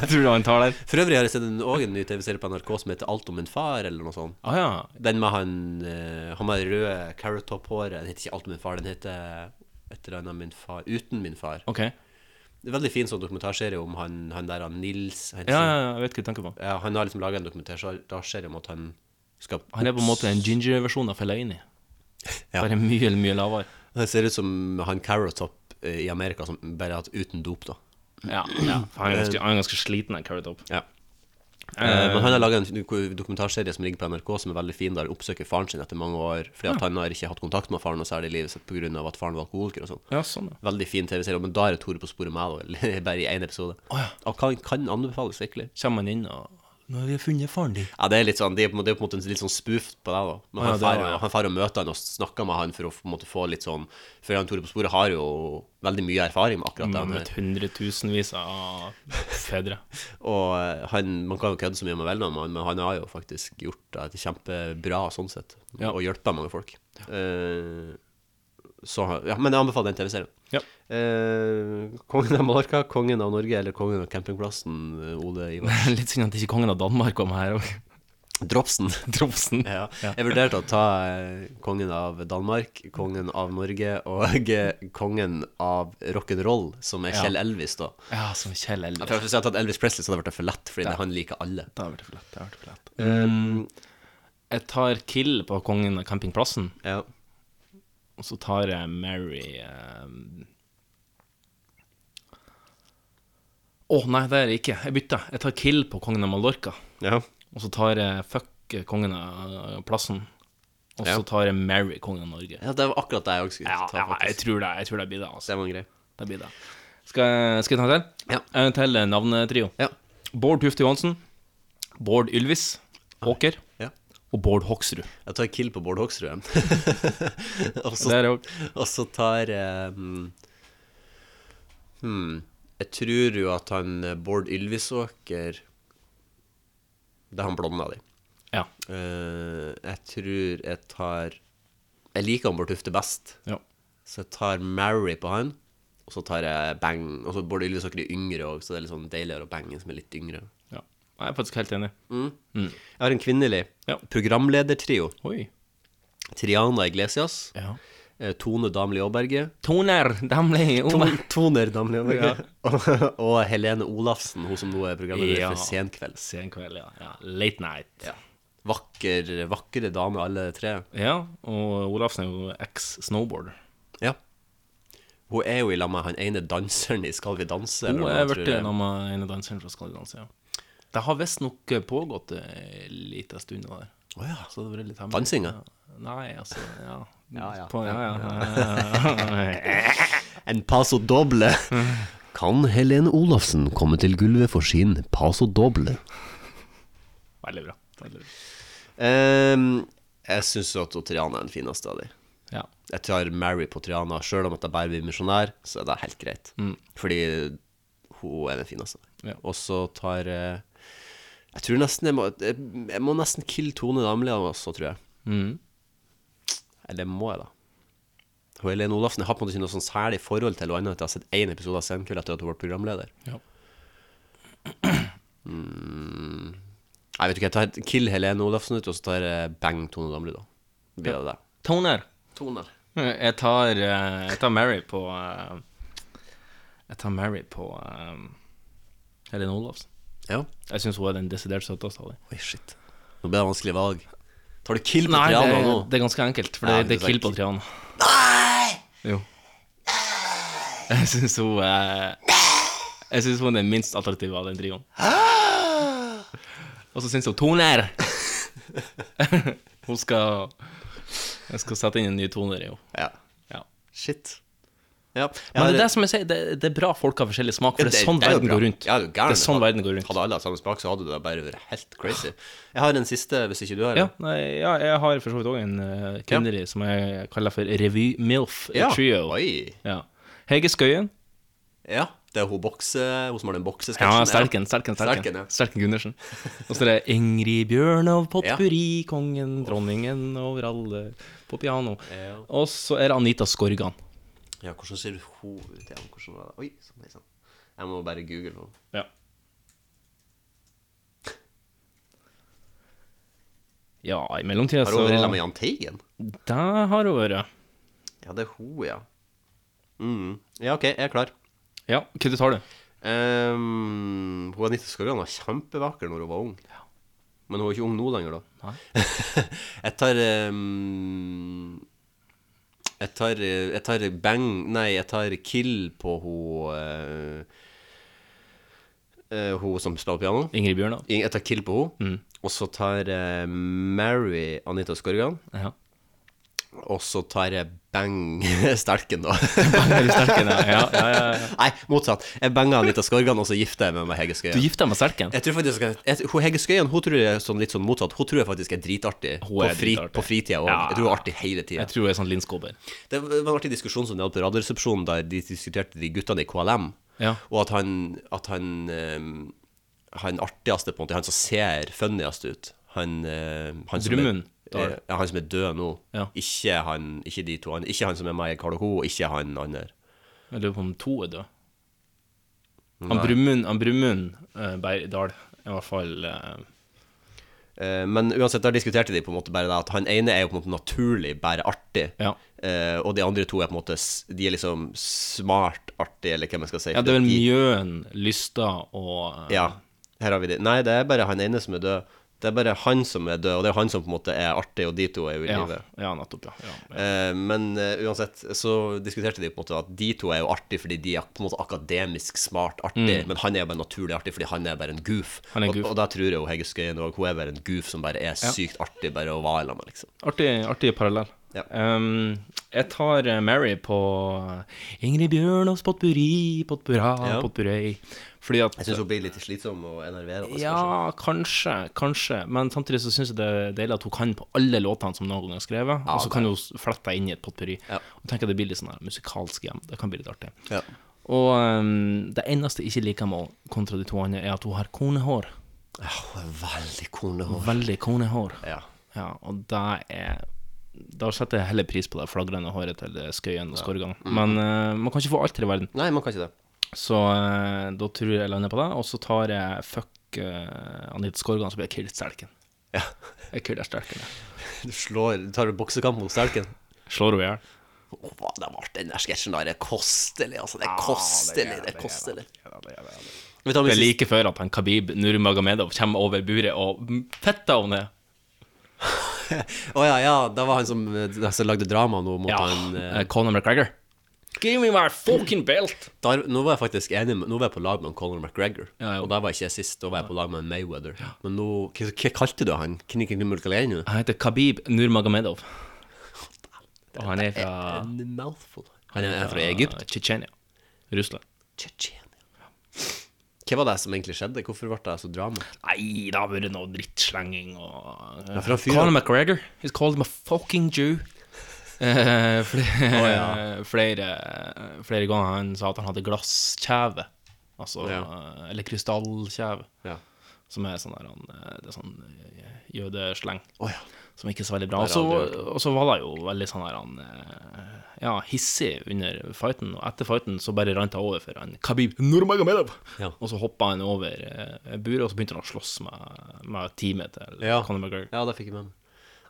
B: Tror du han tar den?
C: For øvrig har jeg sett en, også en ny TV-serie på NRK som heter Alt om min far, eller noe sånt.
B: Ah, ja.
C: Den med han eh, Han med det røde carrot top-håret. Den heter ikke Alt om min far, den heter et eller annet min far Uten min far.
B: Ok.
C: Det er veldig fin sånn dokumentarserie om han, han der han Nils han,
B: Ja, ja, jeg vet hva du tenker på.
C: Ja, han har liksom laga en dokumentarserie om at han skal
B: Han er på en måte en ginger-versjon av Fellaini. Bare mye, mye lavere.
C: Det ser ut som han Carrot Top eh, i Amerika som bare hatt uten dop, da. Eh,
B: Ja, ja. for Han er ganske, han er ganske sliten, den Carrot Top.
C: Ja. Eh, men han har laga en dok- dokumentarserie som ligger på NRK som er veldig fin, der han oppsøker faren sin etter mange år fordi at
B: Ja.
C: han har ikke hatt kontakt med faren noe særlig i livet sitt pga. at faren var alkoholiker og sånn.
B: Ja, sånn, ja.
C: Veldig fin TV-serie, men da er det Tore på sporet med, da, eller bare i én episode.
B: Å, ja.
C: Og kan, kan anbefales virkelig.
B: Kommer han inn og Nå har vi funnet faren din.
C: Ja, det er litt sånn, det er på en måte- det er på en måte en litt sånn spoof på deg, da.
B: Å,
C: Men
B: ja,
C: han
B: det
C: drar
B: var, ja.
C: han drar og møter han og snakker med han for å på en måte få litt sånn For han Tore på sporet har jo veldig mye erfaring med akkurat det.
B: Med
C: han er.
B: møtt hundretusenvis av fedre.
C: Og eh, han, man kan jo kødde så mye man vil om han, men han har jo faktisk gjort det til kjempebra sånn sett,
B: Ja.
C: og hjulpet mange folk. Eh, så, ja, men jeg anbefaler den TV-serien.
B: Ja.
C: Eh, kongen av Mallorca, kongen av Norge eller kongen av campingplassen, eh, Ole Ivars.
B: Litt synd at ikke kongen av Danmark kom her òg.
C: Dropsen.
B: Dropsen.
C: Ja.
B: Ja.
C: Jeg vurderte å ta eh, kongen av Danmark, kongen av Norge og eh, kongen av rock'n'roll, som er
B: Ja.
C: Kjell Elvis, da.
B: Ja, som Kjell
C: Ja,
B: Elvis.
C: for Hvis jeg hadde tatt Elvis Presley, så hadde det vært for lett, fordi
B: Ja.
C: han liker alle.
B: Det har vært for lett. Det har vært for lett. Um, jeg tar Kill på Kongen av campingplassen.
C: Ja.
B: Og så tar jeg Mary um, Å, nei, det er det ikke. Jeg bytter. Jeg tar Kill på Kongen av Mallorca.
C: Ja.
B: Og så tar jeg Fuck Kongen av plassen. Og så
C: Ja.
B: tar jeg Mary Kongen av Norge.
C: Ja, det var akkurat det jeg også skulle
B: Ja,
C: ta,
B: ja jeg,
C: faktisk.
B: tror det, jeg tror det blir det. Altså.
C: Det var en grei.
B: Det blir det. Skal, jeg- skal jeg ta en til? Ja. En til eh, navnetrio. Bård Tufte Johansen, Bård Ylvis, Håker og Bård Hoksrud.
C: Jeg tar kill på Bård Hoksrud, jeg. og, så,
B: Der
C: og så tar eh, hmm, hmm, Jeg tror jo at han eh, Bård Ylvisåker Det er han blonda di.
B: Ja.
C: Eh, jeg tror jeg tar Jeg liker han Bård Tufte best,
B: Ja.
C: så jeg tar Mary på han. Og så tar jeg Bang. Og så Bård Ylvisåker er yngre òg, så det er litt sånn deiligere å bange en som er litt yngre.
B: Ja. Jeg er faktisk helt enig.
C: Mm.
B: Mm.
C: Jeg har en kvinnelig programledertrio.
B: Oi.
C: Triana Iglesias.
B: Ja.
C: eh, Tone Damli Aaberge.
B: Toner Damli Aaberge.
C: Ton- Toner Damli Aaberge. og, og Helene Olafsen, hun som nå er programleder
B: Ja.
C: for Senkveld.
B: Senkveld, ja. Late night.
C: Vakker, vakre dame, alle tre.
B: Ja, og Olafsen er jo eks-snowboarder.
C: Ja. Hun er jo i lag med han ene danseren i Skal vi danse.
B: Hun
C: eller
B: er
C: noe, tror
B: blitt
C: jeg.
B: en av ene danseren fra Skal vi danse, ja. Det har visstnok pågått en liten stund nå der.
C: Å ja.
B: Så det har vært litt hemmelig.
C: Dansinga?
B: Ja. Nei, altså Ja.
C: Ja, ja.
B: På, ja, ja.
C: En paso doble. Kan Helene Olafsen komme til gulvet for sin paso doble?
B: Veldig bra. Veldig bra.
C: Ehm, jeg syns at hun Triana er den fineste av de.
B: Ja.
C: Jeg tar Mary på Triana. Sjøl om at jeg bare blir misjonær, så er det helt greit.
B: Mm.
C: Fordi hun er den fineste.
B: Ja.
C: Og så tar eh, Jeg tror nesten jeg må, eh, jeg må nesten kille Tone Damli av oss, så tror jeg.
B: Mm.
C: Eller må jeg, da? Hun Helene Olafsen jeg har på en måte ikke noe sånn særlig forhold til henne annet enn at jeg har sett én episode av Senkveld etter at hun ble programleder.
B: Ja.
C: Mm. Jeg vet ikke, jeg tar Kill Helene Olafsen ut, og så tar jeg Bang Tone Damli, da. Blir det det.
B: Toner.
C: Toner.
B: Jeg tar, eh, jeg tar Mary på eh, Jeg tar Mary på eh, Helene Olafsen.
C: Ja.
B: Jeg syns hun er den desidert søteste av dem.
C: Oi, shit. Nå ble det vanskelig valg. Tar du kill på
B: Nei, det,
C: Triana nå?
B: det er ganske enkelt, for
C: Ja,
B: det, det
C: du
B: er kill
C: tar
B: på Triana. Jo. Jeg syns hun er Jeg syns hun er den minst attraktive av den trioen. Og så syns hun Tone er Hun skal
P: Jeg skal sette inn en ny toner i henne.
C: Ja. Shit. Ja.
P: Men det er det som jeg sier, det, det er bra folk har forskjellig smak, for det er sånn
C: jo
P: verden
C: bra.
P: går rundt.
C: Ja, det er jo
P: Det er
C: gærent.
P: sånn verden går rundt.
C: Hadde alle hatt samme smak, så hadde det bare vært helt crazy. Jeg har en siste, hvis ikke du har
P: Ja,
C: en.
P: nei, ja, jeg har for så vidt òg en uh, kvinner i som jeg kaller for Revy-MILF
C: Ja,
P: Trio. Ja. Hege Skøyen.
C: Ja. Det er hun bokse, hun som har den boksesketsjen.
P: Ja, Sterken, Sterken, Sterken.
C: ja.
P: Sterken Gundersen. Og så er det Ingrid Bjørnov, potpurri, kongen, dronningen over alle, på piano.
C: Ja.
P: Og så er det Anita Skorgan.
C: Ja, hvordan ser hun ut igjen? Hvordan var det? Oi, sånn, nei, sånn. Jeg må bare google henne.
P: Ja. Ja, i mellomtida
C: Har
P: så
C: hun vært sammen med Jahn Teigen?
P: Det har hun vært.
C: Ja, det er hun, ja. Mm. Ja, OK, jeg er klar.
P: Ja, hva du tar du?
C: Um, hun Anita Skorgan var kjempevakker når hun var ung. Men hun er ikke ung nå lenger, da. jeg tar ehm, jeg, tar, eh, jeg tar bang Nei, jeg tar kill på hun eh, eh, Hun som spiller piano.
P: Ingrid Bjørnov.
C: Jeg tar kill på hun
P: Mm.
C: Og så tar jeg Mary Anita Skorgan.
P: Ja.
C: Og så tar jeg bang Sterken, da.
P: Banger Sterken, ja. Ja, ja, ja, ja.
C: Nei, motsatt. Jeg banga Anita Skorgan, og så gifter jeg meg med Hege Skøyen.
P: Du gifter deg med Sterken?
C: Jeg tror faktisk at jeg, hun Hege Skøyen hun tror jeg er sånn, litt sånn motsatt. Hun tror jeg faktisk er dritartig
P: Hun er
C: på, fri,
P: dritartig.
C: på fritida òg.
P: Ja.
C: Jeg tror hun er artig hele tida.
P: Jeg tror hun er sånn linskåper.
C: Det var en artig diskusjon som de hadde på Radioresepsjonen, der de diskuterte de guttene i KLM,
P: Ja.
C: og at han, at han ehm, Han artigste, på en måte, han som ser funniest ut, han, eh, han som er-
P: Drummen, da.
C: eh, Ja, han som er død nå.
P: Ja.
C: Ikke, han, ikke de to. Han, ikke han som er meg i Karl og Co., og ikke han andre.
P: Jeg lurer på om to er døde. Han
C: Nei.
P: Brumund, han Brumund eh, Bergdal, i hvert fall eh,
C: Eh, Men uansett, der diskuterte de på en måte bare det at han ene er jo på en måte naturlig bare artig, Eh, og de andre to er på en måte s- De er liksom smart artig, eller hva man skal si.
P: Ja, det er vel
C: De-
P: Mjøen, Lystad og eh,
C: Ja, her har vi det. Nei, det er bare han ene som er død. Det er bare han som er død, og det er han som på en måte er artig, og de to er jo i
P: Ja,
C: live.
P: ja, nettopp, ja.
C: Eh, men eh, uansett så diskuterte de på en måte at de to er jo artige fordi de er på en måte akademisk smart artig,
P: Mm.
C: men han er jo bare naturlig artig fordi han er bare en goof.
P: Han er en goof.
C: Og, og da tror jeg jo Hege Skøyen òg. Hun er bare en goof som bare er sykt artig bare å være sammen med, liksom.
P: Artig, artig parallell. Um, jeg tar eh, Mary på
B: eh,
P: Ingrid Bjørnovs potpurri, potpurra,
C: Ja.
P: potpurrei. Fordi at
C: Jeg syns hun blir litt slitsom og enerverende.
P: Ja, kanskje, kanskje. Men samtidig så syns jeg det er deilig at hun kan på alle låtene som noen gang er skrevet,
C: Ja,
P: og så
C: det-
P: kan hun s- flette deg inn i et potpurri. Og tenker det blir litt sånn her musikalsk hjem. Det kan bli litt artig.
C: Ja.
P: Og um, det eneste jeg ikke liker med henne kontra de to andre, er at hun har konehår.
C: Ja, hun er veldig konehår.
P: Veldig konehår.
C: Ja.
P: og det er da setter jeg heller pris på det flagrende håret til Skøyen og Skorgan.
C: Mm.
P: Men eh, man kan ikke få alt her i verden.
C: Nei, man kan ikke det.
P: Så eh, da tror jeg jeg lander på det. Og så tar jeg fuck eh, Anita Skorgan, så blir jeg Kird Stelken.
C: Ja.
P: Jeg killer Stelken.
C: Du
P: jeg.
C: slår, du tar en boksekamp mot Stelken.
P: Slår hun i hjel.
C: Åh, hva- det var den der sketsjen der. Det er kostelig, altså. Det er kostelig. Det er kostelig. Vi tar
P: Det
C: min siste-
P: er like før at han Khabib Nurmagomedov kommer over buret og fetter henne ned.
C: Å ja, ja. Da var han som, eh, som lagde drama nå mot han eh,
P: Conor McGregor. Give me my fucking belt!
C: Der, nå var jeg faktisk enig med, Nå var jeg på lag med han Conor McGregor.
P: Ja, ja.
C: Og der var jeg ikke jeg sist. Da var jeg på lag med han Mayweather. Men nå Hva, hva kalte du han? Knikken Mulkalenu?
P: Han heter Khabib Nurmagomedov. Og han er fra
C: En mouthful. Han er- er fra Egypt?
P: Tsjetsjenia. Russland.
C: Hva var det som egentlig skjedde? Hvorfor ble det så drama?
P: Nei, det har vært noe drittslenging og
C: Ja, for han fyren-
P: Conor McGregor is called him a fucking Jew. Eh, flere,
C: Å, ja.
P: flere, eh, flere ganger han sa at han hadde glasskjeve. Altså, eh, eller krystallkjeve. Som er sånn der han, eh, Det er sånn eh, jødesleng. Som ikke er så veldig bra.
C: Det har jeg aldri
P: Også- Og så var det jo veldig sånn der han eh, Ja, hissig under fighten. Og etter fighten så bare rant det over for han Khabib Nurmagomedov.
C: Ja.
P: Og så hoppa han over eh, buret, og så begynte han å slåss med, med teamet til Conor McGregor.
C: Ja, det fikk jeg med meg.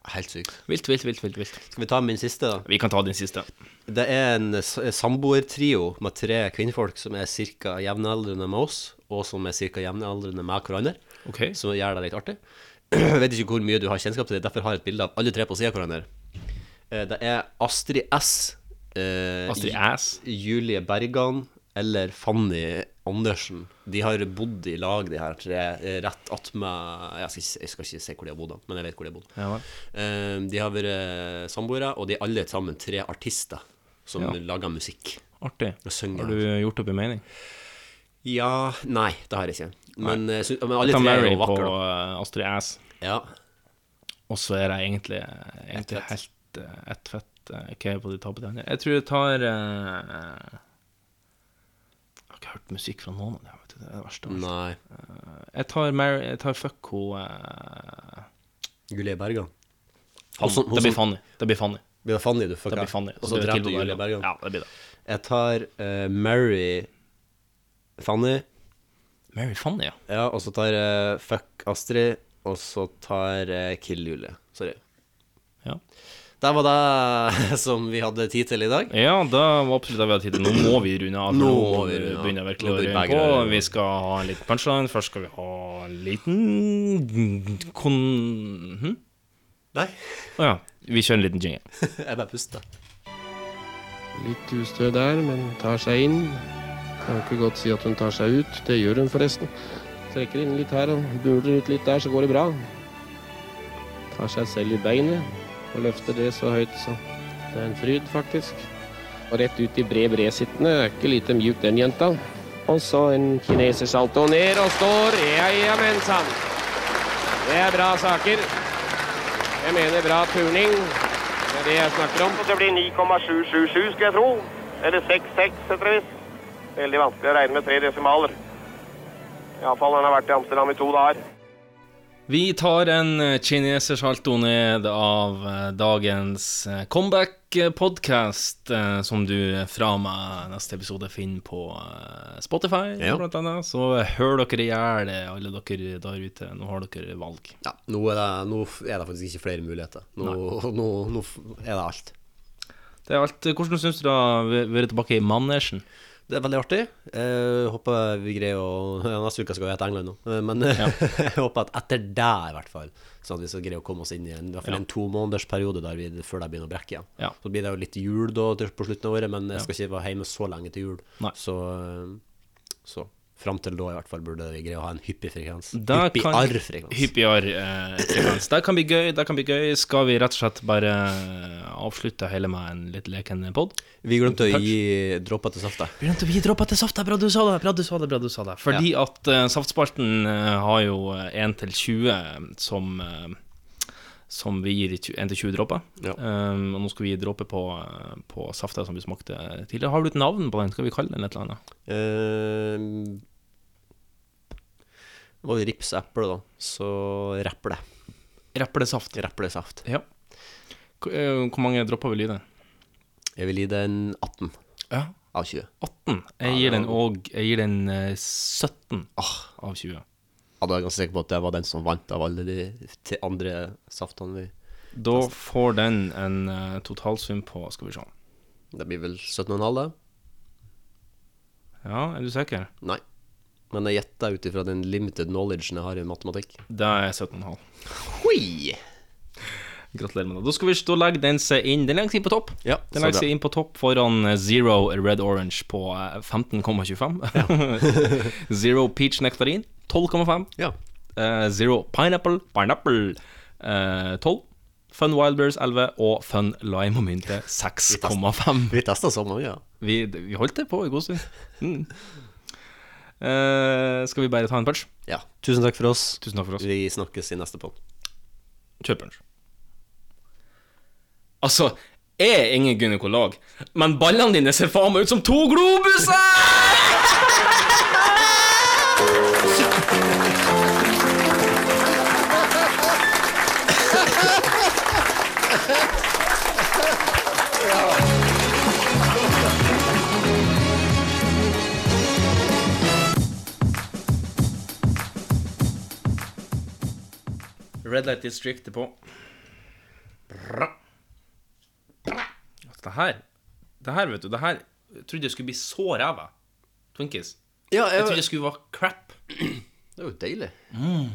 C: Helt sykt.
P: Vilt, vilt, vilt, vilt, vilt.
C: Skal vi ta min siste, da?
P: Vi kan ta din siste.
C: Det er en s- eh, samboertrio med tre kvinnfolk som er ca. jevnaldrende med oss, og som er ca. jevnaldrende med hverandre,
P: Ok.
C: som gjør det litt artig. Jeg vet ikke hvor mye du har kjennskap til det, derfor har jeg et bilde av alle tre på sida av hverandre. Eh, Det er Astrid S. eh,
P: Astrid
C: Ju-
P: Ass?
C: Julie Bergan, eller Fanny Andersen. De har bodd i lag, de her tre, eh, rett attmed jeg, skal ikke- jeg skal ikke si hvor de har bodd, men jeg vet hvor de har bodd.
B: Ja vel.
C: Eh, De har vært eh, samboere, og de er alle sammen tre artister som
B: Ja.
C: lager musikk.
B: Artig.
C: Og synger.
B: Har du gjort opp i mening?
C: Ja Nei, det har jeg ikke. Men,
B: Nei.
C: eh, sy- men alle
B: Dette
C: tre er
B: Mary
C: jo vakre.
B: på
C: da.
B: eh, Astrid S.
C: Ja.
B: Og så er jeg egentlig, eh, egentlig helt uh, ett fett eh, OK på de tapte hendene. Jeg tror jeg tar eh, Jeg har ikke hørt musikk fra noen av dem. vet du. Det er det verste. av alt.
C: Nei.
B: Eh, jeg tar Mary Jeg tar fuck ho eh,
C: Julie Bergan.
B: Fanny. Det blir Fanny. Det blir Fanny.
C: Blir det Fanny du fucker?
B: Det blir Fanny.
C: Og
B: Så
C: så
B: blir det
C: dreper du
B: Kilbo
C: Julie
B: Bergan.
C: Bergan?
B: Ja, det blir det.
C: Jeg tar eh, Mary Fanny.
B: Mary Fanny, ja.
C: Ja, og så tar jeg Fuck Astrid, og så tar jeg Kill Julie. Sorry.
B: Ja.
C: Der var det som vi hadde tid til i dag.
B: Ja, da var absolutt det vi hadde tid til. Nå må vi runde av. for
C: Nå
B: Nå
C: må vi runde av.
B: begynner jeg virkelig
C: Nå
B: å
C: blir
B: runde
C: begge
B: på.
C: røde.
B: Vi skal ha en liten punchline. Først skal vi ha en liten kon... Hm?
C: Nei.
B: Å ja. Vi kjører en liten jingle.
C: Jeg bare puster.
G: Litt ustø der, men tar seg inn. Kan ikke godt si at hun tar seg ut. Det gjør hun forresten. Trekker inn litt her og buler ut litt der, så går det bra. Tar seg selv i beinet og løfter det så høyt, så det er en fryd, faktisk. Og rett ut i bred bredsittende. Er ikke lite mjuk, den jenta. Og så en kinesersalto ned og står. Ja, ja, mensan. Det er bra saker. Jeg mener bra turning. Det er det jeg snakker om.
F: Det blir 9,777, skulle jeg tro. Eller 66, etter visst. Veldig vanskelig å regne med tre desimaler. Iallfall han har vært i Amsterdam i to dager.
B: Vi tar en kinesersalto ned av eh, dagens eh, comeback-podkast, eh, som du fra meg neste episode finner på eh, Spotify,
C: Ja.
B: blant annet. Så hør dere i hjel, eh, alle dere der ute. Nå har dere valg.
C: Ja, nå er, det, nå f- er det faktisk ikke flere muligheter. Nå, nå, nå f- er det alt.
B: Det er alt. Eh, Hvordan syns du det har vært tilbake i manesjen?
C: Det er veldig artig. Jeg håper vi greier å ja, Neste uke skal vi til England nå, Eh, men jeg håper at etter det, i hvert fall, sånn at vi skal greie å komme oss inn i en, i hvert fall
B: Ja.
C: en tomånedersperiode der vi, før det begynner å brekke igjen.
B: Ja.
C: Så blir det jo litt jul da til, på slutten av året, men jeg skal ikke være hjemme så lenge til jul.
B: Nei.
C: Så, eh, så fram til da, i hvert fall, burde vi greie å ha en hyppig frekvens.
B: Da
C: Hyppig
B: kan-
C: arr-frekvens.
B: Hyppig
P: eh,
B: arr-frekvens. det kan bli gøy. Det kan bli gøy. Skal vi rett og slett bare
P: eh,
B: avslutte hele med en litt leken pod?
C: Vi glemte å gi dropper til safta.
B: Begynte vi droppa til saft? Det er Bra du sa det, bra du sa det, bra du sa det. Fordi at eh, Saftspalten eh, har jo eh, 1 til 20 som eh, som vi gir i 20 1 til 20 dråper.
C: Ja.
B: Um, og nå skal vi gi dråper på, eh, på safta som vi smakte tidligere. Har du et navn på den? Skal vi kalle den et eller annet?
C: Eh, Det var jo ripseple, da. Så rapple.
B: Raplesaft.
C: Raplesaft.
B: Ja. Hvor eh, hvor mange dropper vil du gi den?
C: Jeg vil gi den 18
B: Ja.
C: av 20.
B: 18. Jeg gir den òg Jeg gir den eh, 17 av 20.
C: Ja, da er jeg ganske sikker på at det var den som vant av alle de te- andre saftene vi
B: Da får den en eh, totalsum på Skal vi se.
C: Det blir vel 17,5, da?
B: Ja, er du sikker?
C: Nei. Men jeg gjetter ut ifra den limited knowledgen jeg har i matematikk.
B: Det er 17,5.
C: Hoi!
B: Gratulerer med det. Da skal vi da legger den seg inn Den legger seg inn på topp.
C: Ja,
B: den
C: så
B: legger
C: bra.
B: seg inn på topp foran eh, Zero Red Orange på eh, 15,25. Zero Peach Nektarin 12,5.
C: Ja.
B: Eh, Zero Pineapple Pineapple eh, 12. Fun Wildberries 11 og Fun Lime og Mynte 6,5.
C: Vi testa så mange, ja.
B: Vi, vi holdt det på en god stund. Mm. Eh, skal vi bare ta en punch?
C: ja. Tusen takk for oss.
B: Tusen takk for oss.
C: Vi snakkes i neste pod.
B: Kjør punch. Altså, jeg er ingen gynekolog, men ballene dine ser faen meg ut som to globuser! Red Light District er på. Bra. Altså, det her Det her, vet du, det her jeg trodde jeg skulle bli så ræva. Twinkies.
C: Ja,
B: jeg... trodde jeg skulle være crap.
C: Det er jo deilig.
B: Mm.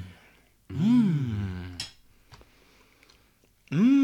B: Mm. Mm.